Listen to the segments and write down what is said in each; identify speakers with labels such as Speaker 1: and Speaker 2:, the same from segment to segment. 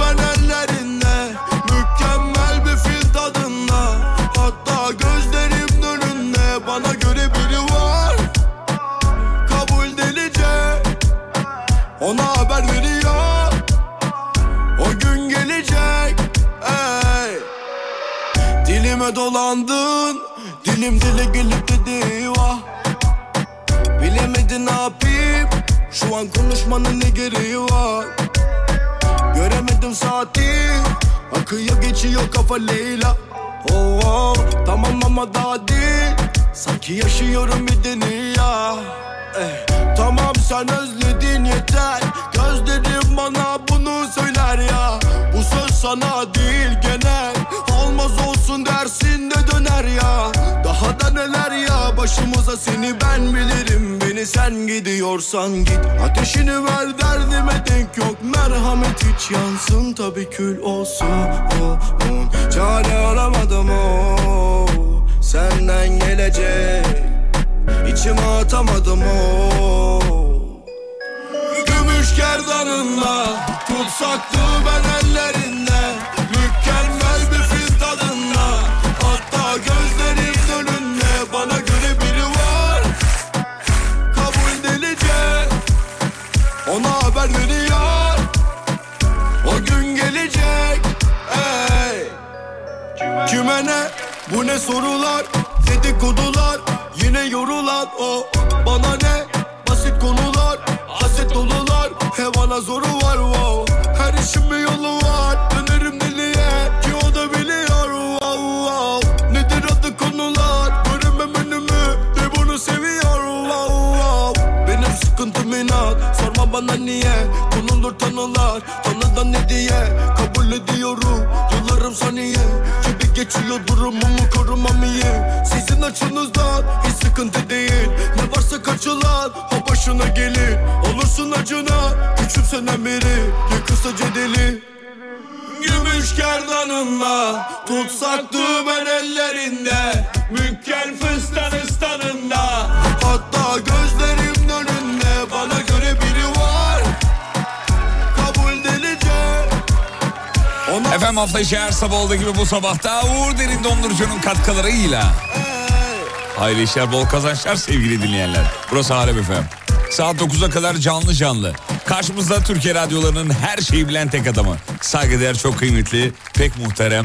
Speaker 1: ben ellerinle Mükemmel bir fil tadında Hatta gözlerim önünde Bana göre biri var Kabul delice Ona haber veriyor O gün gelecek Ey Dilime dolandın Dilim dile gelip dedi vah Bilemedin ne yapayım Şu an konuşmanın ne gereği var Göremedim saati Akıyor geçiyor kafa Leyla Oh, oh, Tamam ama daha değil Sanki yaşıyorum bir dünya Eh, Tamam sen özledin yeter Gözlerim bana bunu söyler ya Bu söz sana değil genel Olmaz olsun dersin de döner ya Daha da neler ya başımıza seni ben bilirim Beni sen gidiyorsan git Ateşini ver derdime denk yok Merhamet hiç yansın tabi kül olsun oh, oh. Çare aramadım oh. Senden gelecek İçime atamadım o Gümüş gerdanınla Tutsaktı ben ellerinde Mükemmel bir fil tadında Hatta gözlerim önünde Bana göre biri var Kabul delice Ona haber veriyor O gün gelecek Ey Kime ne? Bu ne sorular? Dedikodular Yine yorulan o Bana ne? Basit konular Aset dolular Hevana zoru var wow Her işin bir yolu var Dönerim deliye Ki o da biliyor wow wow Nedir adı konular Göremem önümü De bunu seviyor wow wow Benim sıkıntım inat Sorma bana niye Konulur tanılar Tanıdan ne diye Kabul ediyorum Yıllarım saniye Gibi geçiyor durumumu korumam iyi Sizin açınızdan Hiç sıkıntı değil Ne varsa kaçılan O başına gelir Olursun acına Küçümsenen biri Yıkırsa cedeli Gümüş gerdanınla Tutsak düğmen ellerinde Mükkel fıstan ıstanında Hatta gözlerim önünde Bana göre biri var Kabul delice Ona
Speaker 2: Efendim hafta içi her sabah olduğu gibi bu sabahta Uğur Derin Dondurucu'nun katkılarıyla Hayırlı işler, bol kazançlar sevgili dinleyenler. Burası Alem Efem. Saat 9'a kadar canlı canlı. Karşımızda Türkiye radyolarının her şeyi bilen tek adamı. Saygıdeğer, çok kıymetli, pek muhterem.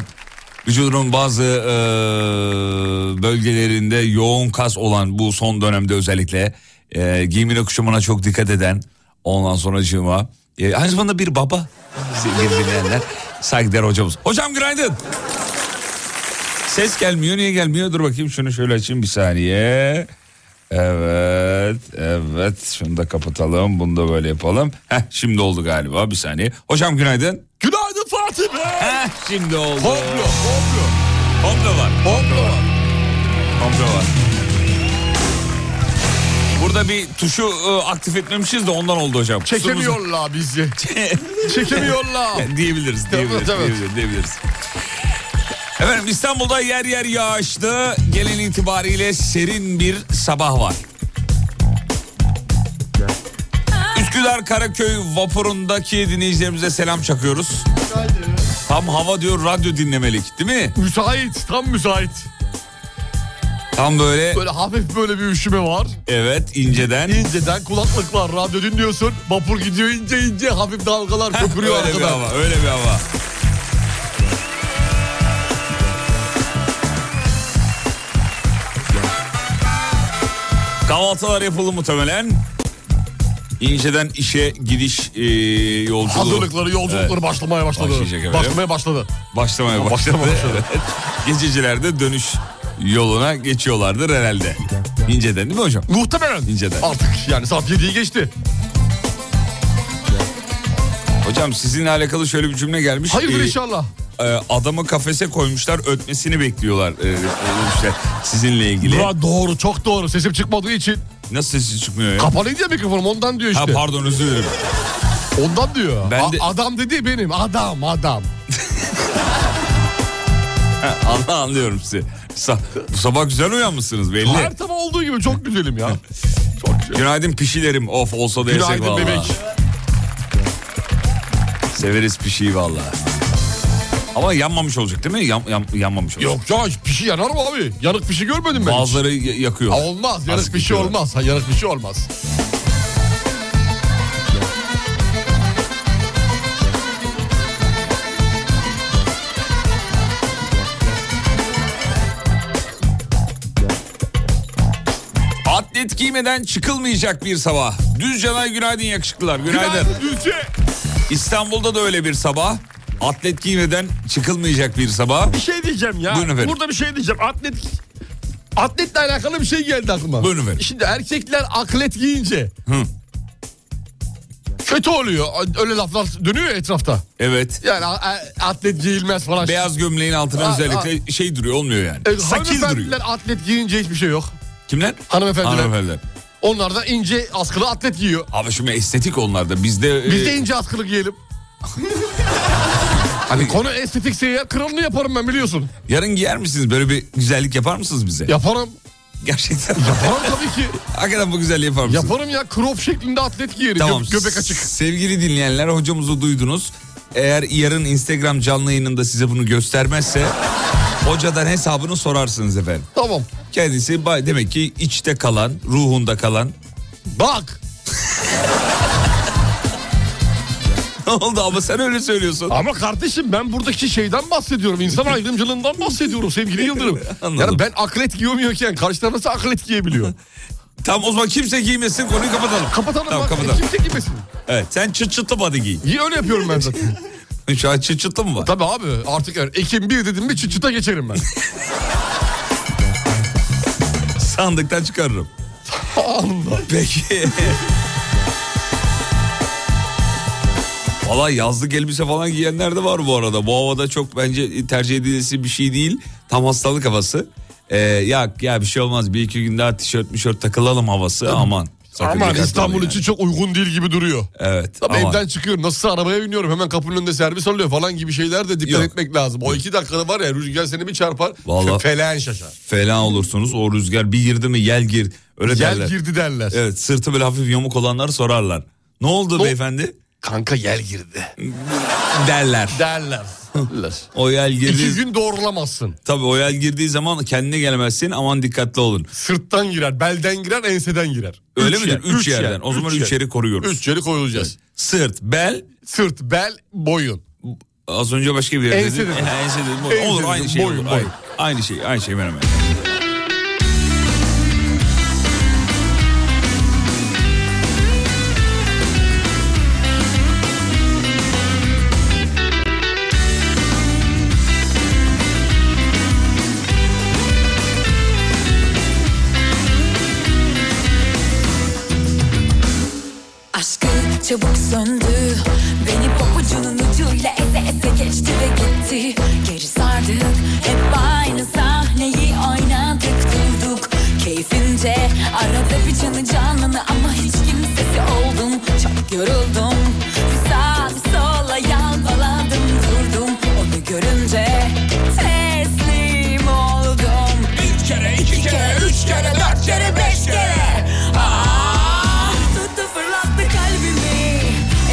Speaker 2: Vücudunun bazı eee, bölgelerinde yoğun kas olan bu son dönemde özellikle eee giyimine kuşamına çok dikkat eden ondan sonra cıma. Eee, aynı zamanda bir baba sevgili dinleyenler. Saygıdeğer hocamız. Hocam günaydın. Ses gelmiyor niye gelmiyor dur bakayım şunu şöyle açayım bir saniye. Evet evet şunu da kapatalım bunu da böyle yapalım. Heh şimdi oldu galiba bir saniye. Hocam günaydın.
Speaker 1: Günaydın Fatih Bey
Speaker 2: Heh şimdi oldu.
Speaker 1: Komplo komplo
Speaker 2: Komplo var.
Speaker 1: komplo
Speaker 2: Komplo var. Burada bir tuşu e, aktif etmemişiz de ondan oldu hocam. Kusurumuzu-
Speaker 1: Çekemiyorlar bizi Çekemiyorlar
Speaker 2: diyebiliriz, diyebiliriz,
Speaker 1: Tabii, tabii.
Speaker 2: diyebiliriz, diyebiliriz. Efendim İstanbul'da yer yer yağışlı, gelen itibariyle serin bir sabah var. Üsküdar Karaköy vapurundaki dinleyicilerimize selam çakıyoruz. Tam hava diyor radyo dinlemelik değil mi?
Speaker 1: Müsait tam müsait
Speaker 2: Tam böyle
Speaker 1: Böyle hafif böyle bir üşüme var
Speaker 2: evet inceden
Speaker 1: İnceden kulaklıklar radyo dinliyorsun Vapur gidiyor ince ince hafif dalgalar köpürüyor
Speaker 2: öyle bir
Speaker 1: arkadan
Speaker 2: hava, öyle bir hava. Kahvaltılar yapıldı muhtemelen. İnceden işe gidiş e, yolculuğu
Speaker 1: Hazırlıkları yolculukları
Speaker 2: Evet,
Speaker 1: başlamaya başladı
Speaker 2: Başlayacak efendim.
Speaker 1: Başlamaya başladı
Speaker 2: başlamaya başladı.
Speaker 1: Başlamaya başladı.
Speaker 2: Evet. Gececiler de dönüş yoluna geçiyorlardır herhalde. İnceden değil mi hocam?
Speaker 1: Muhtemelen
Speaker 2: İnceden.
Speaker 1: Artık yani saat 7'yi geçti
Speaker 2: Hocam sizinle alakalı şöyle bir cümle gelmiş.
Speaker 1: Hayırdır
Speaker 2: Ee,
Speaker 1: inşallah
Speaker 2: Ee, e, adamı kafese koymuşlar ötmesini bekliyorlar e, işte sizinle ilgili.
Speaker 3: Burak doğru çok doğru sesim çıkmadığı için.
Speaker 2: Nasıl sesi çıkmıyor ya?
Speaker 3: Kapalıydı ya mikrofonum ondan diyor
Speaker 2: Ha
Speaker 3: işte.
Speaker 2: pardon özür dilerim.
Speaker 3: Ondan diyor.
Speaker 2: Ben
Speaker 3: A-
Speaker 2: de-
Speaker 3: Adam dedi benim adam adam.
Speaker 2: Anla anlıyorum sizi. Sa- bu sabah güzel uyanmışsınız belli.
Speaker 3: Her sabah olduğu gibi çok güzelim ya. çok güzel.
Speaker 2: Günaydın pişilerim. Of olsa da yesek
Speaker 3: Günaydın
Speaker 2: vallahi.
Speaker 3: bebek.
Speaker 2: Severiz pişiyi vallahi. Ama yanmamış olacak değil mi? Yan- yan- yanmamış olacak.
Speaker 3: Yok ya pişi yanar mı abi? Yanık pişi görmedim ben. hiç.
Speaker 2: Bazıları y- yakıyor.
Speaker 3: Ha, olmaz yanık
Speaker 2: Azıcık
Speaker 3: pişi
Speaker 2: yakıyorlar.
Speaker 3: olmaz. Ha, yanık pişi olmaz.
Speaker 2: Atlet giymeden çıkılmayacak bir sabah. Düzcanay günaydın yakışıklılar. günaydın.
Speaker 3: Düzce.
Speaker 2: İstanbul'da da öyle bir sabah. Atlet giymeden çıkılmayacak bir sabah.
Speaker 3: Bir şey diyeceğim ya.
Speaker 2: Buyurun efendim.
Speaker 3: Burada bir şey diyeceğim. Atlet Atletle alakalı bir şey geldi aklıma.
Speaker 2: Buyurun efendim.
Speaker 3: Şimdi erkekler aklet giyince
Speaker 2: Hı.
Speaker 3: kötü oluyor. Öyle laflar dönüyor ya etrafta.
Speaker 2: Evet.
Speaker 3: Yani a- a- atlet giyilmez falan.
Speaker 2: Beyaz gömleğin altına
Speaker 3: Aa,
Speaker 2: özellikle şey duruyor olmuyor yani.
Speaker 3: E,
Speaker 2: Sakil duruyor.
Speaker 3: hanımefendiler atlet giyince hiçbir şey yok.
Speaker 2: Kimler?
Speaker 3: Hanımefendiler.
Speaker 2: Hanımefendiler.
Speaker 3: Onlar da ince askılı atlet giyiyor.
Speaker 2: Abi şimdi estetik onlar da. Bizde...
Speaker 3: Biz
Speaker 2: e,
Speaker 3: de ince askılı giyelim.
Speaker 2: hani
Speaker 3: Konu estetikse ya kralını yaparım ben biliyorsun.
Speaker 2: yarın giyer misiniz? Böyle bir güzellik yapar mısınız bize?
Speaker 3: Yaparım.
Speaker 2: Gerçekten.
Speaker 3: Yaparım tabii ki.
Speaker 2: Hakikaten bu güzelliği yapar mısınız?
Speaker 3: Yaparım ya crop şeklinde atlet giyerim. Gö- göbek açık.
Speaker 2: Sevgili dinleyenler hocamızı duydunuz. Eğer yarın Instagram canlı yayınında size bunu göstermezse hocadan hesabını sorarsınız efendim.
Speaker 3: Tamam.
Speaker 2: Kendisi bay- demek ki içte kalan, ruhunda kalan.
Speaker 3: Bak.
Speaker 2: ne oldu ama sen öyle söylüyorsun.
Speaker 3: Ama kardeşim ben buradaki şeyden bahsediyorum. İnsan ayrımcılığından bahsediyorum sevgili Yıldırım.
Speaker 2: Anladım.
Speaker 3: Yani ben aklet giyemiyorken karşı taraf nasıl aklet giyebiliyor?
Speaker 2: Tamam o zaman kimse giymesin konuyu kapatalım.
Speaker 3: Kapatalım
Speaker 2: Tamam
Speaker 3: bak.
Speaker 2: kapatalım.
Speaker 3: Kimse giymesin.
Speaker 2: Evet sen çıt çıtlı body giy.
Speaker 3: İyi öyle yapıyorum ben zaten.
Speaker 2: Şu an çıt çıtlı mı var?
Speaker 3: Tabii abi artık yani Ekim 1 dedim mi çıt çıta geçerim ben.
Speaker 2: Sandıktan çıkarırım.
Speaker 3: Allah.
Speaker 2: Peki. Valla yazlık elbise falan giyenler de var bu arada. Bu havada çok bence tercih edilmesi bir şey değil. Tam hastalık havası. Ee, ya ya bir şey olmaz. Bir iki gün daha tişört mişört takılalım havası. Aman. Sakın
Speaker 3: Aman
Speaker 2: dikkatli olun
Speaker 3: İstanbul
Speaker 2: yani.
Speaker 3: için çok uygun değil gibi duruyor.
Speaker 2: Evet.
Speaker 3: Tabii
Speaker 2: aman.
Speaker 3: evden çıkıyorum nasıl arabaya biniyorum hemen kapının önünde servis alıyor falan gibi şeyler de dikkat
Speaker 2: Yok.
Speaker 3: etmek lazım. O iki dakikada var ya rüzgar seni bir çarpar
Speaker 2: Vallahi.
Speaker 3: felen şaşar.
Speaker 2: Falan olursunuz. O rüzgar bir girdi mi yel gir. Öyle derler.
Speaker 3: Yel girdi derler.
Speaker 2: Evet sırtı böyle hafif yamuk olanlar sorarlar. Ne oldu
Speaker 3: Ne-
Speaker 2: beyefendi?
Speaker 3: Kanka yel girdi
Speaker 2: Derler.
Speaker 3: derler.
Speaker 2: O yel
Speaker 3: iki
Speaker 2: girdi.
Speaker 3: gün doğrulamazsın.
Speaker 2: Tabii o yel girdiği zaman kendine gelemezsin. Aman dikkatli olun.
Speaker 3: Sırttan girer, belden girer, enseden girer.
Speaker 2: Öyle
Speaker 3: Üç
Speaker 2: midir?
Speaker 3: yer,
Speaker 2: üç, yerden. O zaman üç,
Speaker 3: yer.
Speaker 2: yeri koruyoruz.
Speaker 3: Üç yeri koyulacağız.
Speaker 2: Sırt, bel,
Speaker 3: Sırt, bel, boyun.
Speaker 2: az önce başka bir yer
Speaker 3: Ense
Speaker 2: dedin.
Speaker 3: dedim.
Speaker 2: Ha, Ense dedim. Boyun.
Speaker 3: Ense
Speaker 2: Olur
Speaker 3: dedim,
Speaker 2: aynı şey.
Speaker 3: boyun,
Speaker 2: olur.
Speaker 3: boyun.
Speaker 2: Aynı, aynı şey, aynı şey hemen hemen.
Speaker 4: Aşkı çabuk söndü Beni papucunun ucuyla eze eze geçti ve gitti Geri sardık hep aynı sahneyi oynadık durduk Keyfince arada bir canı canını ama hiç kimsesi oldum Çok yoruldum bir sağa bir sola yalpaladım durdum Onu görünce teslim oldum
Speaker 1: Bir kere, iki kere, üç kere, dört kere, beş kere
Speaker 4: Ah, tuttu fırlattı kalbimi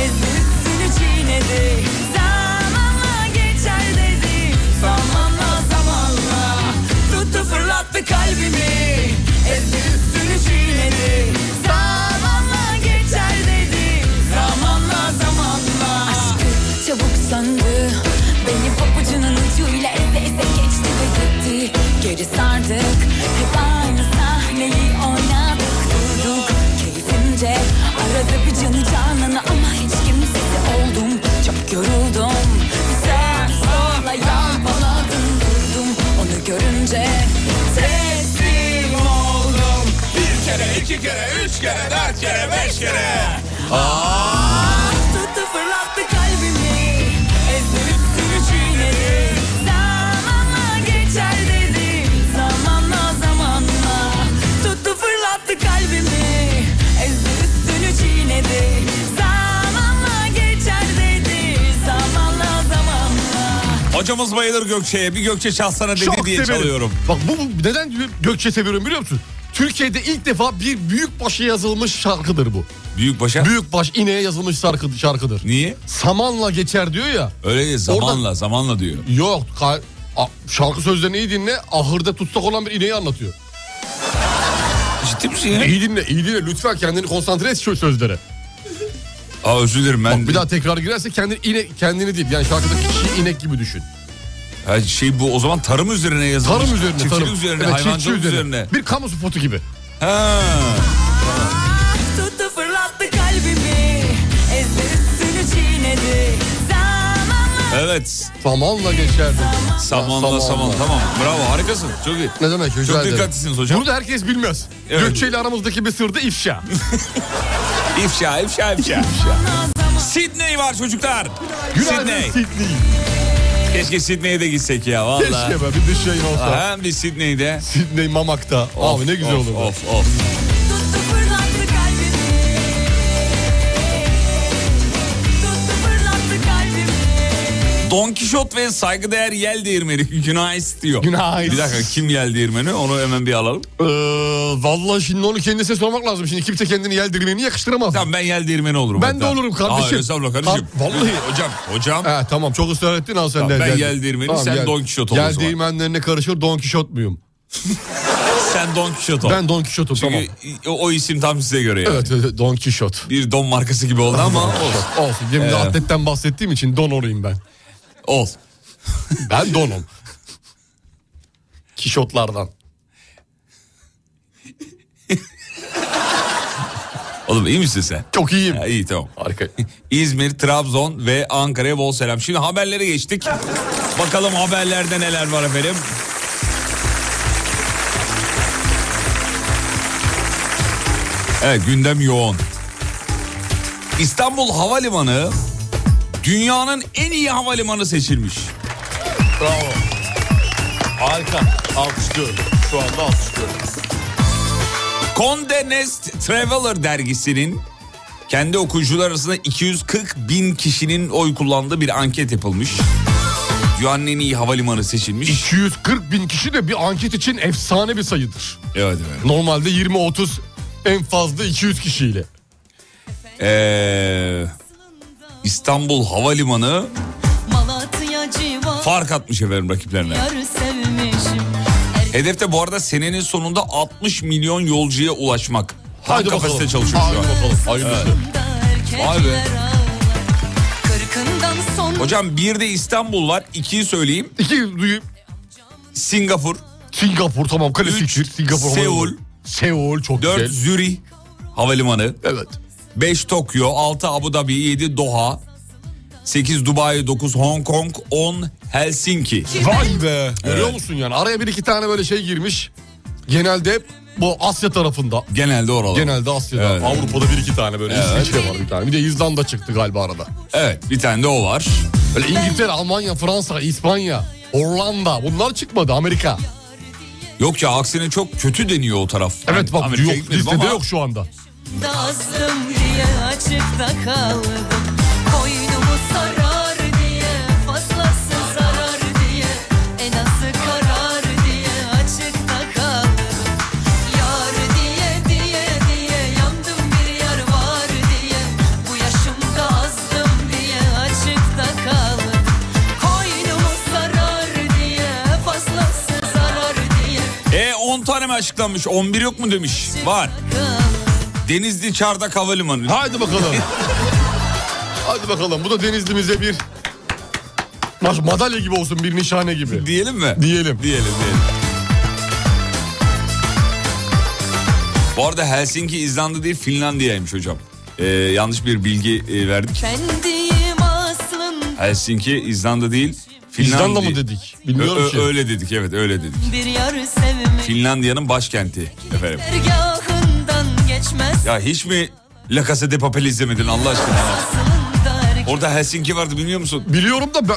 Speaker 4: Ezdi üstünü çiğnedi Zamanla geçer dedi Zamanla zamanla Tuttu fırlattı kalbimi Ezdi üstünü çiğnedi Zamanla geçer dedi Zamanla zamanla Aşkı çabuk söndü Beni papucunun ucuyla eze eze geçti ve gitti Geri sardık hep aynı sahneyi oynadık durduk Keyfimce arada bir canı canına ama hiç kimsesi oldum Çok yoruldum bir sen sonra yalpaladım durdum Onu görünce teslim oldum
Speaker 1: Bir kere, iki kere, üç kere, dört kere, beş kere
Speaker 4: Ee, Ah tuttu fırlattı kalbimi Ezdi üstünü çiğnedi
Speaker 2: hocamız bayılır Gökçe'ye. Bir Gökçe çalsana dedi diye çalıyorum.
Speaker 3: Bak bu bu- neden Gökçe seviyorum biliyor musun? Türkiye'de ilk defa bir büyükbaşa yazılmış şarkıdır bu.
Speaker 2: Büyükbaşa.
Speaker 3: Büyükbaş ineğe yazılmış şarkı, şarkıdır.
Speaker 2: Niye?
Speaker 3: Samanla geçer diyor ya.
Speaker 2: Öyle değil, zamanla zamanla diyor.
Speaker 3: Yok ka- a- şarkı sözlerini iyi dinle ahırda tutsak olan bir ineği anlatıyor.
Speaker 2: Ciddi misin ya?
Speaker 3: İyi dinle iyi dinle lütfen kendini konsantre et şu sözlere.
Speaker 2: Aa özür dilerim ben.
Speaker 3: Bak bir daha tekrar girerse kendini inek, kendini değil yani şarkıdaki kişiyi inek gibi düşün.
Speaker 2: Ha, şey bu o zaman tarım üzerine yazılmış.
Speaker 3: Tarım üzerine
Speaker 2: Çiftçilik
Speaker 3: tarım.
Speaker 2: üzerine,
Speaker 3: Evet,
Speaker 2: hayvancılık
Speaker 3: çiftçi
Speaker 2: üzerine.
Speaker 3: Bir kamu spotu gibi.
Speaker 2: Ha.
Speaker 4: Tuttu fırlattı kalbimi Ezdi üstünü çiğnedi Zamanla
Speaker 2: Evet.
Speaker 3: Samanla geçerdi.
Speaker 2: Samanla
Speaker 3: Samanla.
Speaker 2: saman tamam. Bravo harikasın. Çok iyi.
Speaker 3: Ne demek rica
Speaker 2: Çok
Speaker 3: ederim.
Speaker 2: dikkatlisiniz hocam.
Speaker 3: Bunu da herkes bilmez.
Speaker 2: Evet.
Speaker 3: Gökçe ile aramızdaki bir sırda ifşa.
Speaker 2: İfşa, ifşa, ifşa. Sydney var çocuklar.
Speaker 3: Günaydın
Speaker 2: Sydney.
Speaker 3: Sydney.
Speaker 2: Keşke Sydney'e de gitsek ya valla.
Speaker 3: Keşke be bir dış yayın olsa.
Speaker 2: Hem bir Sydney'de.
Speaker 3: Sydney Mamak'ta.
Speaker 2: Of,
Speaker 3: Abi ne güzel
Speaker 2: of,
Speaker 3: olur.
Speaker 2: Of of.
Speaker 4: tuttu fırlattı kalbimi Tuttu fırlattı kalbimi
Speaker 2: Don Kişot ve saygıdeğer yel değirmeni Günays diyor.
Speaker 3: Günays.
Speaker 2: Bir dakika kim yel değirmeni onu hemen bir alalım.
Speaker 3: Ee, vallahi şimdi onu kendisine sormak lazım. Şimdi kimse kendini yel değirmenine yakıştıramaz.
Speaker 2: Tamam ben yel değirmeni olurum.
Speaker 3: Ben
Speaker 2: hatta.
Speaker 3: de olurum kardeşim.
Speaker 2: Aa, estağfurullah kardeşim.
Speaker 3: Ha, vallahi.
Speaker 2: hocam hocam.
Speaker 3: He, tamam çok ısrar ettin al sen
Speaker 2: Tamam,
Speaker 3: de.
Speaker 2: ben yel değirmeni, sen Don Kişot ol o
Speaker 3: Yel
Speaker 2: zaman.
Speaker 3: değirmenlerine karışır Don Kişot muyum?
Speaker 2: Sen Don Kişot ol.
Speaker 3: Ben Don Kişot'um tamam.
Speaker 2: Çünkü o, o isim tam size göre yani.
Speaker 3: Evet, evet Don Kişot.
Speaker 2: Bir don markası gibi oldu ama ol.
Speaker 3: Olsun. Şimdi
Speaker 2: Ee.
Speaker 3: atletten bahsettiğim için don olayım ben.
Speaker 2: ol.
Speaker 3: Ben donum. Kişotlardan.
Speaker 2: Oğlum iyi misin sen?
Speaker 3: Çok iyiyim.
Speaker 2: Ya, iyi tamam.
Speaker 3: Harika.
Speaker 2: İzmir, Trabzon ve Ankara'ya bol selam. Şimdi haberlere geçtik. Bakalım haberlerde neler var efendim. Evet gündem yoğun. İstanbul Havalimanı dünyanın en iyi havalimanı seçilmiş.
Speaker 3: Bravo. Harika. Alkışlıyorum. Şu anda alkışlıyorum.
Speaker 2: Condé Nast Traveler dergisinin kendi okuyucular arasında 240 bin kişinin oy kullandığı bir anket yapılmış. Dünyanın en iyi havalimanı seçilmiş.
Speaker 3: 240 bin kişi de bir anket için efsane bir sayıdır.
Speaker 2: Evet efendim.
Speaker 3: Normalde 20-30 en fazla 200 kişiyle.
Speaker 2: Ee, İstanbul Havalimanı
Speaker 5: Malatya civarı
Speaker 2: fark atmış efendim rakiplerine.
Speaker 5: sevmişim
Speaker 2: Hedefte bu arada senenin sonunda 60 milyon yolcuya ulaşmak. Tam
Speaker 3: Haydi
Speaker 2: kapasite
Speaker 3: bakalım.
Speaker 2: çalışıyor şu an.
Speaker 3: Haydi bakalım. Hayırlısı.
Speaker 5: Da erkekler
Speaker 2: Vay be.
Speaker 5: ağlar Kırkından sonra
Speaker 2: Hocam bir de İstanbul var. İkiyi söyleyeyim.
Speaker 3: İki duyu-
Speaker 2: Singapur.
Speaker 3: Singapur tamam
Speaker 2: Üç,
Speaker 3: klasiktir. Singapur.
Speaker 2: Seul.
Speaker 3: Seul çok
Speaker 2: 4
Speaker 3: güzel.
Speaker 2: Zürih Havalimanı.
Speaker 3: Evet.
Speaker 2: 5 Tokyo, 6 Abu Dhabi, 7 Doha, 8 Dubai, 9 Hong Kong, 10 Helsinki.
Speaker 3: Vay be. Görüyor musun yani? Araya bir iki tane böyle şey girmiş. Genelde hep bu Asya tarafında.
Speaker 2: Genelde oralar.
Speaker 3: Genelde Asya'da.
Speaker 2: Evet.
Speaker 3: Avrupa'da bir iki tane böyle. İsviçre var bir tane. Bir de İzlanda çıktı galiba arada.
Speaker 2: Evet, bir tane de o var.
Speaker 3: Böyle İngiltere, Almanya, Fransa, İspanya, Hollanda. Bunlar çıkmadı Amerika.
Speaker 2: Yok ya aksine çok kötü deniyor o taraf.
Speaker 3: Evet
Speaker 2: Ben
Speaker 3: bak
Speaker 2: Amerika'ya
Speaker 3: yok
Speaker 2: gitmedim
Speaker 3: listede
Speaker 2: ama
Speaker 3: yok şu anda.
Speaker 5: da azdım diye açıkta kaldım Koynumu sarar diye Fazlası zarar diye En azı karar diye açıkta kaldım Yar diye diye diye Yandım bir yar var diye Bu yaşımda azdım diye açıkta kaldım Koynumu sarar diye Fazlası zarar diye
Speaker 2: E 10 tane mi açıklanmış? 11 yok mu demiş. Var. Denizli Çardak Havalimanı.
Speaker 3: Haydi bakalım. Hadi bakalım. Bu da Denizli'mize bir Bak madalya gibi olsun bir nişane gibi.
Speaker 2: Diyelim mi?
Speaker 3: Diyelim.
Speaker 2: Diyelim diyelim. Bu arada Helsinki İzlanda değil Finlandiya'ymış hocam. Ee, yanlış bir bilgi e, verdik.
Speaker 5: Kendiyim aslında
Speaker 2: Helsinki İzlanda değil Finlandiya.
Speaker 3: İzlanda mı dedik? Bilmiyorum
Speaker 2: Ö- ö-
Speaker 3: ki.
Speaker 2: öyle dedik evet öyle dedik.
Speaker 5: Bir yar sevmek
Speaker 2: Finlandiya'nın başkenti efendim.
Speaker 5: Dergahından geçmez
Speaker 2: Ya hiç mi La Casa de Papel izlemedin Allah aşkına?
Speaker 5: aslında erkek
Speaker 2: Orada Helsinki vardı biliyor musun?
Speaker 3: Biliyorum da ben,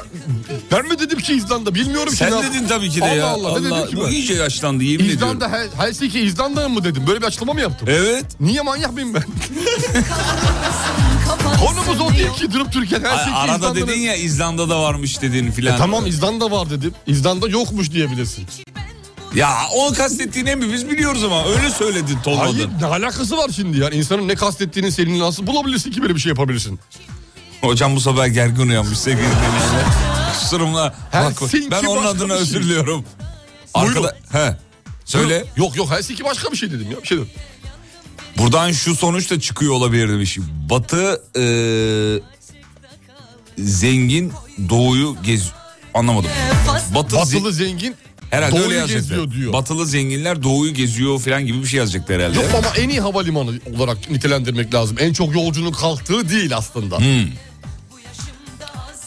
Speaker 3: ben mi dedim ki İzlanda bilmiyorum ki.
Speaker 2: Sen
Speaker 3: ne yap-
Speaker 2: dedin tabii ki de
Speaker 3: Allah
Speaker 2: ya.
Speaker 3: Allah, ne dedim ki
Speaker 2: bu
Speaker 3: ben?
Speaker 2: iyice yaşlandı yemin
Speaker 3: İzlanda Hel- Helsinki İzlanda mı dedim? Böyle bir açıklama mı yaptım?
Speaker 2: ediyorum. Evet.
Speaker 3: Niye manyak mıyım ben? Konumuz o değil ki durup Türkiye'de her
Speaker 2: A-
Speaker 3: şey
Speaker 2: Arada
Speaker 3: İzlanda'nın-
Speaker 2: dedin ya İzlanda'da varmış dedin filan.
Speaker 3: E tamam İzlanda var dedim. İzlanda yokmuş diyebilirsin.
Speaker 2: Ya onu kastettiğini mi biz biliyoruz ama öyle söyledin
Speaker 3: Hayır
Speaker 2: tonladın.
Speaker 3: ne alakası var şimdi yani insanın ne kastettiğini senin nasıl bulabilirsin ki böyle bir şey yapabilirsin.
Speaker 2: Hocam bu sabah gergin uyanmış sevgili dinleyiciler. Kusurumla. Bak,
Speaker 3: Helsinki
Speaker 2: ben onun
Speaker 3: başka
Speaker 2: adına
Speaker 3: bir şey.
Speaker 2: özür diliyorum.
Speaker 3: Buyurun.
Speaker 2: Arkada... He. Söyle.
Speaker 3: Yok yok Helsinki başka bir şey dedim ya. Bir şey dedim.
Speaker 2: Buradan şu sonuç da çıkıyor olabilir demiş. Batı e, zengin doğuyu gez anlamadım. Batı
Speaker 3: Batılı
Speaker 2: ze-
Speaker 3: zengin
Speaker 2: herhalde
Speaker 3: doğuyu
Speaker 2: öyle yazacaklar.
Speaker 3: geziyor diyor.
Speaker 2: Batılı zenginler doğuyu geziyor falan gibi bir şey yazacaklar herhalde.
Speaker 3: Yok ama en iyi havalimanı olarak nitelendirmek lazım. En çok yolcunun kalktığı değil aslında.
Speaker 2: Hmm.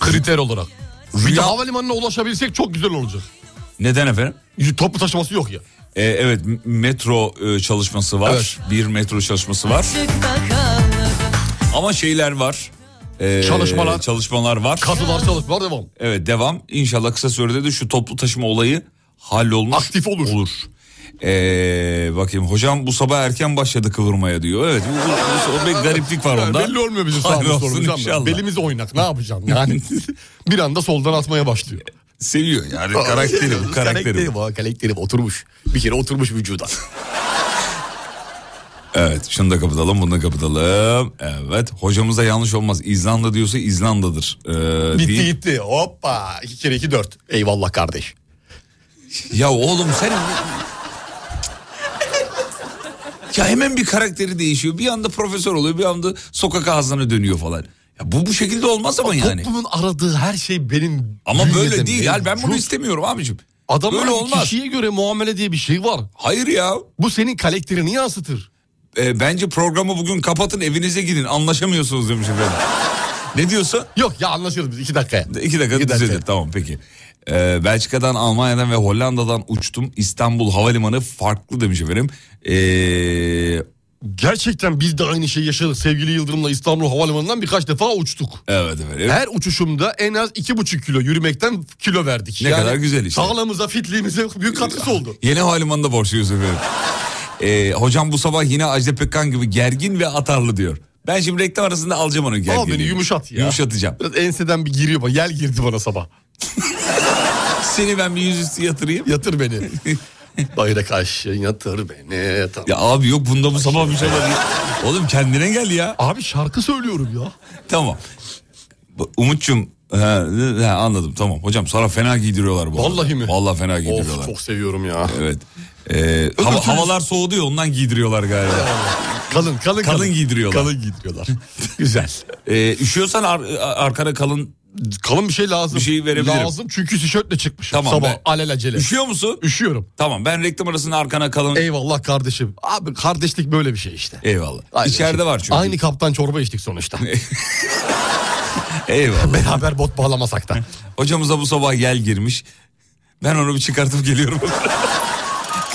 Speaker 3: Kriter olarak. Bir de
Speaker 2: Rüya-
Speaker 3: havalimanına ulaşabilsek çok güzel olacak.
Speaker 2: Neden efendim?
Speaker 3: Toplu taşıması yok ya.
Speaker 2: E, evet m- metro e, çalışması var.
Speaker 3: Evet.
Speaker 2: Bir metro çalışması var. Ama şeyler var. E,
Speaker 3: Çalışmalar.
Speaker 2: Çalışmalar var.
Speaker 3: Katılar çalışmalar devam.
Speaker 2: Evet devam. İnşallah kısa sürede de şu toplu taşıma olayı hallolmuş.
Speaker 3: Aktif olur.
Speaker 2: Olur. Ee, bakayım hocam bu sabah erken başladı kıvırmaya diyor. Evet bu, bu- bu- bir gariplik var
Speaker 3: Yani
Speaker 2: onda.
Speaker 3: belli olmuyor bizim
Speaker 2: Hayır
Speaker 3: sağımız
Speaker 2: olsun
Speaker 3: solumuz.
Speaker 2: inşallah.
Speaker 3: ama Belimiz oynak ne yapacağım yani. bir anda soldan atmaya başlıyor.
Speaker 2: Seviyor yani karakteri bu karakteri. bu.
Speaker 3: bu, karakteri bu. oturmuş. Bir kere oturmuş vücuda.
Speaker 2: Evet şunu da kapatalım bunu da kapatalım. Evet hocamıza yanlış olmaz. İzlanda diyorsa İzlanda'dır. Ee,
Speaker 3: Bitti
Speaker 2: değil.
Speaker 3: gitti hoppa. İki kere iki dört. Eyvallah kardeş.
Speaker 2: Ya oğlum sen... ya hemen bir karakteri değişiyor. Bir anda profesör oluyor bir anda sokak ağzına dönüyor falan. Ya bu bu şekilde olmaz ama yani.
Speaker 3: Toplumun aradığı her şey benim...
Speaker 2: Ama böyle
Speaker 3: bünyede
Speaker 2: değil. Yani ben bunu
Speaker 3: mevcut.
Speaker 2: istemiyorum abicim.
Speaker 3: Adam
Speaker 2: böyle olmaz.
Speaker 3: kişiye göre muamele diye bir şey var.
Speaker 2: Hayır ya.
Speaker 3: Bu senin karakterini yansıtır.
Speaker 2: E, bence programı bugün kapatın evinize gidin. Anlaşamıyorsunuz demiş efendim. ne diyorsa?
Speaker 3: Yok ya anlaşırız biz iki dakikaya.
Speaker 2: İki dakika
Speaker 3: İki dakika.
Speaker 2: düzelir. Tamam peki. E, Belçika'dan, Almanya'dan ve Hollanda'dan uçtum. İstanbul Havalimanı farklı demiş efendim. E,
Speaker 3: Gerçekten biz de aynı şeyi yaşadık. Sevgili Yıldırım'la İstanbul Havalimanı'ndan birkaç defa uçtuk.
Speaker 2: evet efendim.
Speaker 3: Her uçuşumda en az iki buçuk kilo yürümekten kilo verdik.
Speaker 2: Ne kadar güzel işte.
Speaker 3: Sağlığımıza, fitliğimize büyük katkısı oldu.
Speaker 2: Yeni havalimanında borçluyuz efendim. E, hocam bu sabah yine Ajda Pekkan gibi gergin ve atarlı diyor. Ben şimdi reklam arasında alacağım onun gerginliğini.
Speaker 3: Al beni yumuşat ya.
Speaker 2: Yumuşatacağım.
Speaker 3: Biraz enseden bir giriyor bana. Yel girdi bana sabah.
Speaker 2: Seni ben bir yüzüstü yatırayım.
Speaker 3: Yatır beni. Bayrak aşağı yatır beni. Tamam.
Speaker 2: Ya abi yok bunda bu sabah bir şey var. ya. Oğlum kendine gel ya.
Speaker 3: Abi şarkı söylüyorum ya.
Speaker 2: Tamam. Bu- Umut'cum he, he, anladım tamam. Hocam sana fena giydiriyorlar bu
Speaker 3: Vallahi
Speaker 2: arada.
Speaker 3: mi?
Speaker 2: Vallahi fena
Speaker 3: Of
Speaker 2: giydiriyorlar.
Speaker 3: çok seviyorum ya.
Speaker 2: Evet. Ee, hava- havalar soğudu ya ondan giydiriyorlar galiba.
Speaker 3: Kalın, kalın,
Speaker 2: Kalın giydiriyorlar.
Speaker 3: Kalın giydiriyorlar. Güzel.
Speaker 2: Ee, üşüyorsan ar- ar- arkana kalın.
Speaker 3: Kalın bir şey lazım.
Speaker 2: Bir şey verebilirim.
Speaker 3: Lazım çünkü tişörtle çıkmışım
Speaker 2: Tamam
Speaker 3: sabah
Speaker 2: be.
Speaker 3: alelacele.
Speaker 2: Üşüyor musun?
Speaker 3: Üşüyorum.
Speaker 2: Tamam ben reklam arasında arkana kalın.
Speaker 3: Eyvallah kardeşim. Abi kardeşlik böyle bir şey işte.
Speaker 2: Eyvallah.
Speaker 3: Aynı
Speaker 2: İçeride
Speaker 3: şey.
Speaker 2: var çünkü.
Speaker 3: Aynı kaptan çorba içtik sonuçta.
Speaker 2: Eyvallah.
Speaker 3: Beraber bot bağlamasak da.
Speaker 2: Hocamıza bu sabah gel girmiş. Ben onu bir çıkartıp geliyorum.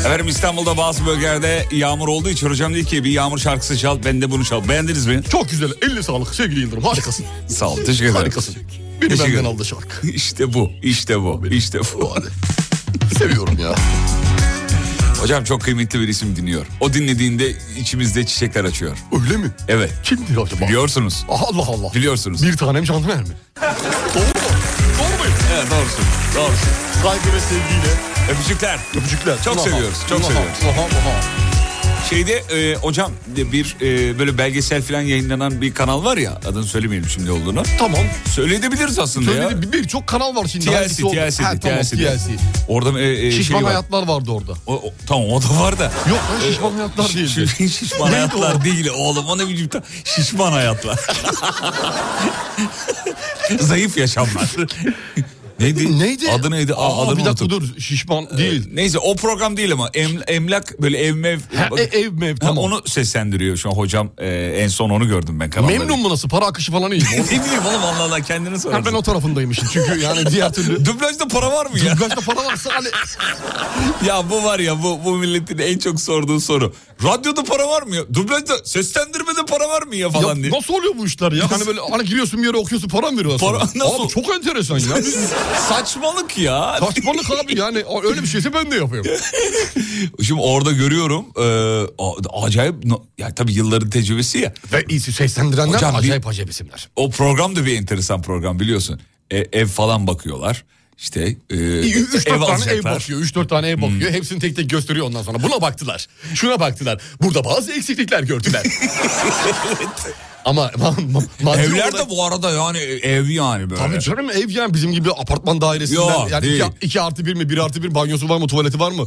Speaker 2: Efendim İstanbul'da bazı bölgelerde yağmur olduğu için hocam dedi ki bir yağmur şarkısı çal ben de bunu çal. Beğendiniz mi?
Speaker 3: Çok güzel. Eline sağlık sevgili Yıldırım. Harikasın.
Speaker 2: Sağ ol teşekkür ederim.
Speaker 3: Harikasın. Beni
Speaker 2: Teşekkür
Speaker 3: benden
Speaker 2: ederim.
Speaker 3: aldı şarkı.
Speaker 2: İşte bu, işte bu, işte bu.
Speaker 3: Seviyorum ya.
Speaker 2: Hocam çok kıymetli bir isim dinliyor. O dinlediğinde içimizde çiçekler açıyor.
Speaker 3: Öyle mi?
Speaker 2: Evet.
Speaker 3: Kimdir acaba?
Speaker 2: Biliyorsunuz.
Speaker 3: Allah Allah.
Speaker 2: Biliyorsunuz.
Speaker 3: Bir tanem şantımer mi? Doğru mu? Doğru muyum?
Speaker 2: Evet doğrusun. Doğrusun.
Speaker 3: Saygı ve sevgiyle.
Speaker 2: Öpücükler.
Speaker 3: Öpücükler.
Speaker 2: Çok
Speaker 3: Ulaha,
Speaker 2: seviyoruz, çok
Speaker 3: ulaha,
Speaker 2: seviyoruz.
Speaker 3: ulaha, ulaha.
Speaker 2: Şeyde e, hocam de bir e, böyle belgesel falan yayınlanan bir kanal var ya adını söylemeyelim şimdi olduğunu.
Speaker 3: Tamam.
Speaker 2: Söyleyebiliriz aslında ya.
Speaker 3: Söyledi birçok kanal var şimdi.
Speaker 2: TLC,
Speaker 3: Hangisi oldu?
Speaker 2: TLC,
Speaker 3: Ha, tamam,
Speaker 2: TLC.
Speaker 3: TLC.
Speaker 2: Orada e, e,
Speaker 3: Şişman
Speaker 2: şey var.
Speaker 3: hayatlar vardı orada.
Speaker 2: O, o- tamam o da var da.
Speaker 3: Yok lan şişman hayatlar değildi.
Speaker 2: Şi- şişman hayatlar değil oğlum o ne bileyim ta- şişman hayatlar. Zayıf yaşamlar. neydi?
Speaker 3: Neydi?
Speaker 2: Adı neydi? Aa,
Speaker 3: Aa, Ee,
Speaker 2: adını
Speaker 3: bir dakika
Speaker 2: unuttum.
Speaker 3: dur. Şişman değil.
Speaker 2: Neyse o program değil ama em- emlak böyle ev mev.
Speaker 3: Ha, e, ev mev,
Speaker 2: Ha,
Speaker 3: tamam.
Speaker 2: Onu seslendiriyor şu an hocam e, en son onu gördüm ben kanalda.
Speaker 3: Memnun mu nasıl? Para akışı falan iyi mi?
Speaker 2: ne bileyim oğlum Allah Allah kendini
Speaker 3: Ha,
Speaker 2: sorarsın.
Speaker 3: ben o tarafındaymışım çünkü yani diğer türlü.
Speaker 2: Dublajda para var mı ya?
Speaker 3: Dublajda para varsa hani
Speaker 2: ya bu var ya bu, bu milletin en çok sorduğu soru. Radyoda para var mı ya? Dublajda seslendirmede para var mı ya falan
Speaker 3: Ya
Speaker 2: diye.
Speaker 3: nasıl oluyor bu işler ya? Hani böyle hani giriyorsun bir yere okuyorsun para mı veriyorlar
Speaker 2: Para-
Speaker 3: sana?
Speaker 2: nasıl?
Speaker 3: Abi çok enteresan ya.
Speaker 2: Saçmalık ya.
Speaker 3: Saçmalık abi yani öyle bir şeyse ben de yapıyorum.
Speaker 2: Şimdi orada görüyorum e, a- acayip no- ya tabii yılların tecrübesi ya.
Speaker 3: Ve iyisi seslendirenler
Speaker 2: Hocam bir-
Speaker 3: acayip acayip isimler.
Speaker 2: O program da bir enteresan program biliyorsun. E, ev falan bakıyorlar. İşte e,
Speaker 3: Üç
Speaker 2: ev
Speaker 3: dört tane ev
Speaker 2: alacaklar. Hmm.
Speaker 3: bakıyor. Üç dört tane ev bakıyor. Hepsini tek tek gösteriyor ondan sonra. Buna baktılar. Şuna baktılar. Burada bazı eksiklikler gördüler. Ama ma- ma- maddi
Speaker 2: Evler
Speaker 3: olarak-
Speaker 2: de bu arada yani e, ev yani böyle.
Speaker 3: Tabii canım ev yani bizim gibi apartman dairesinden.
Speaker 2: Yo,
Speaker 3: yani
Speaker 2: değil.
Speaker 3: iki, iki artı bir mi, bir artı bir banyosu var mı, tuvaleti var mı?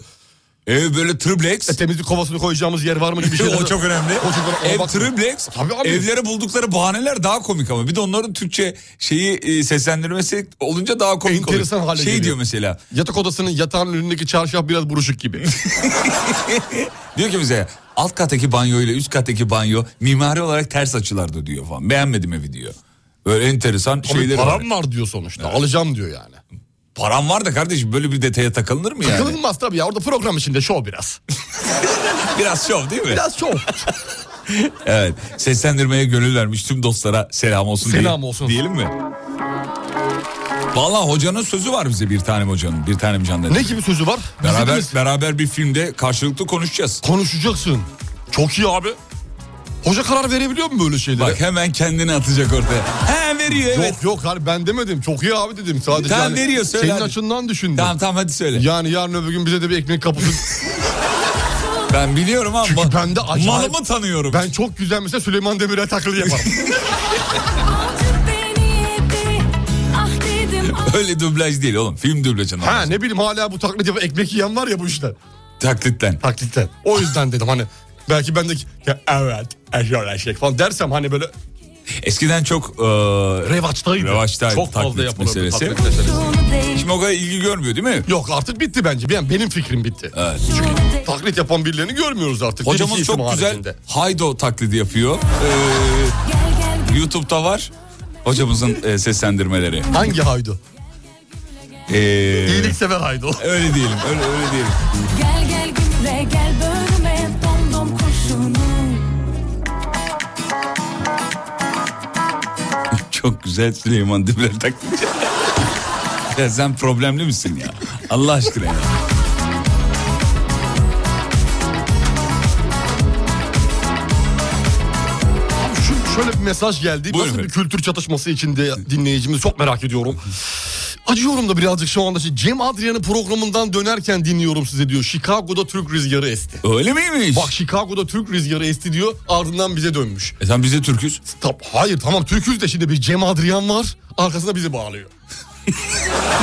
Speaker 2: Ev böyle triplex.
Speaker 3: E, temizlik kovasını koyacağımız yer var mı gibi şeyler.
Speaker 2: o çok önemli.
Speaker 3: O çok önemli. Ona
Speaker 2: Ev
Speaker 3: bakma.
Speaker 2: triplex.
Speaker 3: Tabii abi.
Speaker 2: Evlere buldukları bahaneler daha komik ama. Bir de onların Türkçe şeyi e, seslendirmesi olunca daha komik
Speaker 3: Enteresan
Speaker 2: oluyor.
Speaker 3: hale
Speaker 2: şey
Speaker 3: geliyor.
Speaker 2: diyor mesela.
Speaker 3: Yatak odasının yatağın önündeki çarşaf biraz buruşuk gibi.
Speaker 2: Diyor ki bize alt kattaki banyo ile üst kattaki banyo mimari olarak ters açılardı diyor falan. Beğenmedim evi diyor. Böyle enteresan
Speaker 3: Abi
Speaker 2: şeyleri var.
Speaker 3: param var diyor sonuçta. Alacağım diyor yani.
Speaker 2: Param var da kardeşim böyle bir detaya takılınır mı yani?
Speaker 3: Takılınmaz tabii ya. Orada program içinde şov biraz.
Speaker 2: Biraz şov değil mi?
Speaker 3: Biraz şov.
Speaker 2: Evet. Seslendirmeye gönül vermiş tüm dostlara selam olsun
Speaker 3: Selam
Speaker 2: diye-
Speaker 3: olsun.
Speaker 2: diyelim mi? Vallahi hocanın sözü var bize bir tanem hocanın. Bir tanem can dedi.
Speaker 3: ne gibi sözü var? Bizi
Speaker 2: Beraber
Speaker 3: biz-
Speaker 2: beraber bir filmde karşılıklı konuşacağız.
Speaker 3: Konuşacaksın. Çok iyi abi. Hoca karar verebiliyor mu böyle şeylere?
Speaker 2: Bak hemen kendini atacak ortaya. He veriyor
Speaker 3: yok
Speaker 2: evet.
Speaker 3: yok hani ben demedim. Çok iyi abi dedim. Sadece
Speaker 2: Tamam,
Speaker 3: yani
Speaker 2: veriyor, söyle
Speaker 3: Senin
Speaker 2: hadi.
Speaker 3: açından düşündüm.
Speaker 2: Tamam tamam hadi söyle.
Speaker 3: Yani yarın öbür gün bize de bir ekmek kapısı.
Speaker 2: Ben biliyorum ama
Speaker 3: Çünkü ben de acayip-
Speaker 2: malımı tanıyorum.
Speaker 3: ben çok güzel mesela Süleyman Demirel taklidi yaparım.
Speaker 4: Ah
Speaker 2: Öyle dublaj değil oğlum. Film dublajını.
Speaker 3: ha
Speaker 2: Ha,
Speaker 3: ne bileyim hala bu taklit yapıp ekmek yiyen var ya bu işte.
Speaker 2: Taklitten.
Speaker 3: Taklitten. O yüzden dedim hani belki ben de ya evet eşyal eşek falan dersem hani böyle
Speaker 2: Eskiden çok e,
Speaker 3: revaçtaydı.
Speaker 2: revaçtaydı
Speaker 3: Çok fazla
Speaker 2: taklit
Speaker 3: yapılırdı
Speaker 2: meselesi.
Speaker 3: taklit meselesi.
Speaker 2: şimdi o kadar ilgi görmüyor değil mi?
Speaker 3: Yok artık bitti bence. Ben, benim fikrim bitti.
Speaker 2: Evet.
Speaker 3: Taklit yapan birilerini görmüyoruz artık. Bir
Speaker 2: Hocamız
Speaker 3: iki isim
Speaker 2: çok güzel
Speaker 3: haricinde.
Speaker 2: Haydo taklidi yapıyor. Ee, YouTube'da var. Hocamızın e, seslendirmeleri.
Speaker 3: Hangi haydu?
Speaker 2: Ee,
Speaker 3: İyiliksever haydu.
Speaker 2: öyle diyelim, öyle öyle diyelim.
Speaker 4: Gel gel gümle gel bölüme dom dom kurşunu
Speaker 2: Çok güzel Süleyman Demirel taklidi. ya sen problemli misin ya? Allah aşkına ya.
Speaker 3: Şu, şöyle bir mesaj geldi.
Speaker 2: Buyurun
Speaker 3: Nasıl bir
Speaker 2: efendim.
Speaker 3: kültür çatışması içinde dinleyicimiz çok merak ediyorum. Acıyorum da birazcık şu anda. Cem Adrian'ın programından dönerken dinliyorum size diyor. Chicago'da Türk rüzgarı esti.
Speaker 2: Öyle miymiş?
Speaker 3: Bak Chicago'da Türk rüzgarı esti diyor ardından bize dönmüş.
Speaker 2: E sen bize Türküz.
Speaker 3: Tab- Hayır tamam Türk'üz de şimdi bir Cem Adrian var arkasında bizi bağlıyor.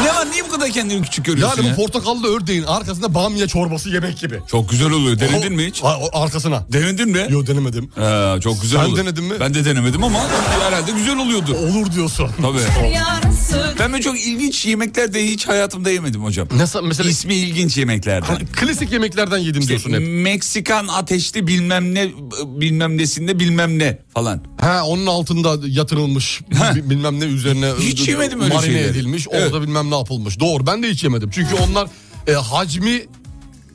Speaker 2: Ne var niye bu kadar kendini küçük görüyorsun
Speaker 3: Yani
Speaker 2: ya?
Speaker 3: bu portakallı ördeğin arkasında bamya çorbası yemek gibi.
Speaker 2: Çok güzel oluyor. Denedin mi hiç?
Speaker 3: Ha, o- Arkasına.
Speaker 2: Denedin mi?
Speaker 3: Yo denemedim.
Speaker 2: Ee, çok güzel
Speaker 3: Sen
Speaker 2: olur.
Speaker 3: denedin mi?
Speaker 2: Ben de denemedim ama herhalde güzel oluyordu.
Speaker 3: Olur diyorsun.
Speaker 2: Tabii.
Speaker 5: Yarısı
Speaker 2: Ben böyle çok ilginç yemekler de hiç hayatımda yemedim hocam.
Speaker 3: Nasıl mesela
Speaker 2: İsmi ilginç yemeklerden.
Speaker 3: Hani klasik yemeklerden yedim diyorsun hep.
Speaker 2: Meksikan ateşli bilmem ne bilmem nesinde bilmem ne falan.
Speaker 3: Ha onun altında yatırılmış
Speaker 2: Ha.
Speaker 3: bi- bilmem ne üzerine
Speaker 2: Hiç
Speaker 3: e,
Speaker 2: yemedim öyle
Speaker 3: marine
Speaker 2: şeyleri.
Speaker 3: edilmiş
Speaker 2: Evet.
Speaker 3: orada bilmem ne yapılmış. Doğru ben de hiç yemedim. Çünkü onlar e, hacmi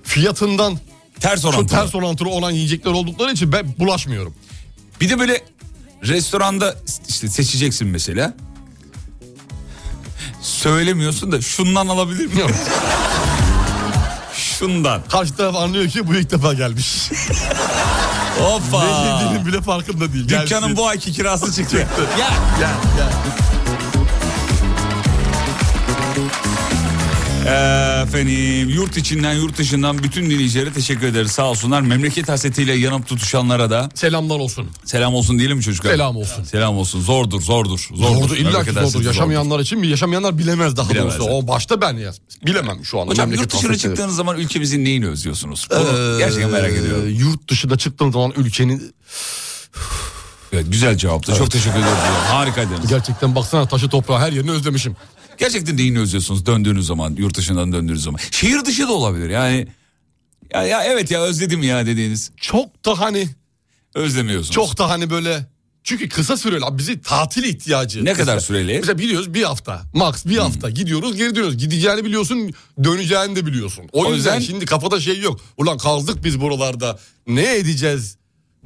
Speaker 3: fiyatından
Speaker 2: Ters
Speaker 3: çok
Speaker 2: orantılı.
Speaker 3: ters orantılı olan yiyecekler oldukları için ben bulaşmıyorum.
Speaker 2: Bir de böyle restoranda işte seçeceksin mesela. Söylemiyorsun da şundan alabilir miyim? şundan.
Speaker 3: Karşı taraf anlıyor ki bu ilk defa gelmiş. ne
Speaker 2: Hoppa.
Speaker 3: yediğinin bile farkında değil.
Speaker 2: Dükkanın
Speaker 3: Gelsin.
Speaker 2: bu ayki kirası çıktı. ya.
Speaker 3: Gel, gel.
Speaker 2: Efendim yurt içinden yurt dışından bütün dinleyicilere teşekkür ederiz sağ olsunlar. Memleket hasretiyle yanıp tutuşanlara da
Speaker 3: Selamlar olsun.
Speaker 2: selam olsun diyelim mi çocuklar?
Speaker 3: Selam olsun.
Speaker 2: Selam olsun zordur zordur. Zordur,
Speaker 3: Zordu illa
Speaker 2: Memleket
Speaker 3: ki
Speaker 2: hasreti
Speaker 3: zordur. Yaşamayanlar için mi? Yaşamayanlar bilemez daha
Speaker 2: Bilemez,
Speaker 3: doğrusu.
Speaker 2: evet.
Speaker 3: O başta ben ya. Bilemem şu anda.
Speaker 2: Hocam
Speaker 3: memleket
Speaker 2: yurt dışına
Speaker 3: hasreti.
Speaker 2: çıktığınız zaman ülkemizin neyini özlüyorsunuz? Bunu gerçekten merak
Speaker 3: Ee,
Speaker 2: ediyorum.
Speaker 3: Yurt dışına çıktığım zaman ülkenin
Speaker 2: Evet, güzel cevaptı. Çok teşekkür ederim. Harikaydınız.
Speaker 3: gerçekten baksana taşı toprağı her yerini özlemişim.
Speaker 2: Gerçekten neyini özlüyorsunuz döndüğünüz zaman, yurt dışından döndüğünüz zaman? Şehir dışı da olabilir yani. Ya, ya evet ya özledim ya dediğiniz.
Speaker 3: Çok da hani
Speaker 2: Özlemiyorsunuz.
Speaker 3: çok da hani böyle çünkü kısa süreli abi bizi tatil ihtiyacı.
Speaker 2: Ne
Speaker 3: Kısa.
Speaker 2: kadar Hmm. süreli?
Speaker 3: Mesela biliyoruz bir hafta. Max bir hafta. Gidiyoruz geri dönüyoruz. Gideceğini biliyorsun döneceğini de biliyorsun. O,
Speaker 2: O
Speaker 3: yüzden,
Speaker 2: yüzden-
Speaker 3: şimdi kafada şey yok. Ulan kaldık biz buralarda. Ne edeceğiz?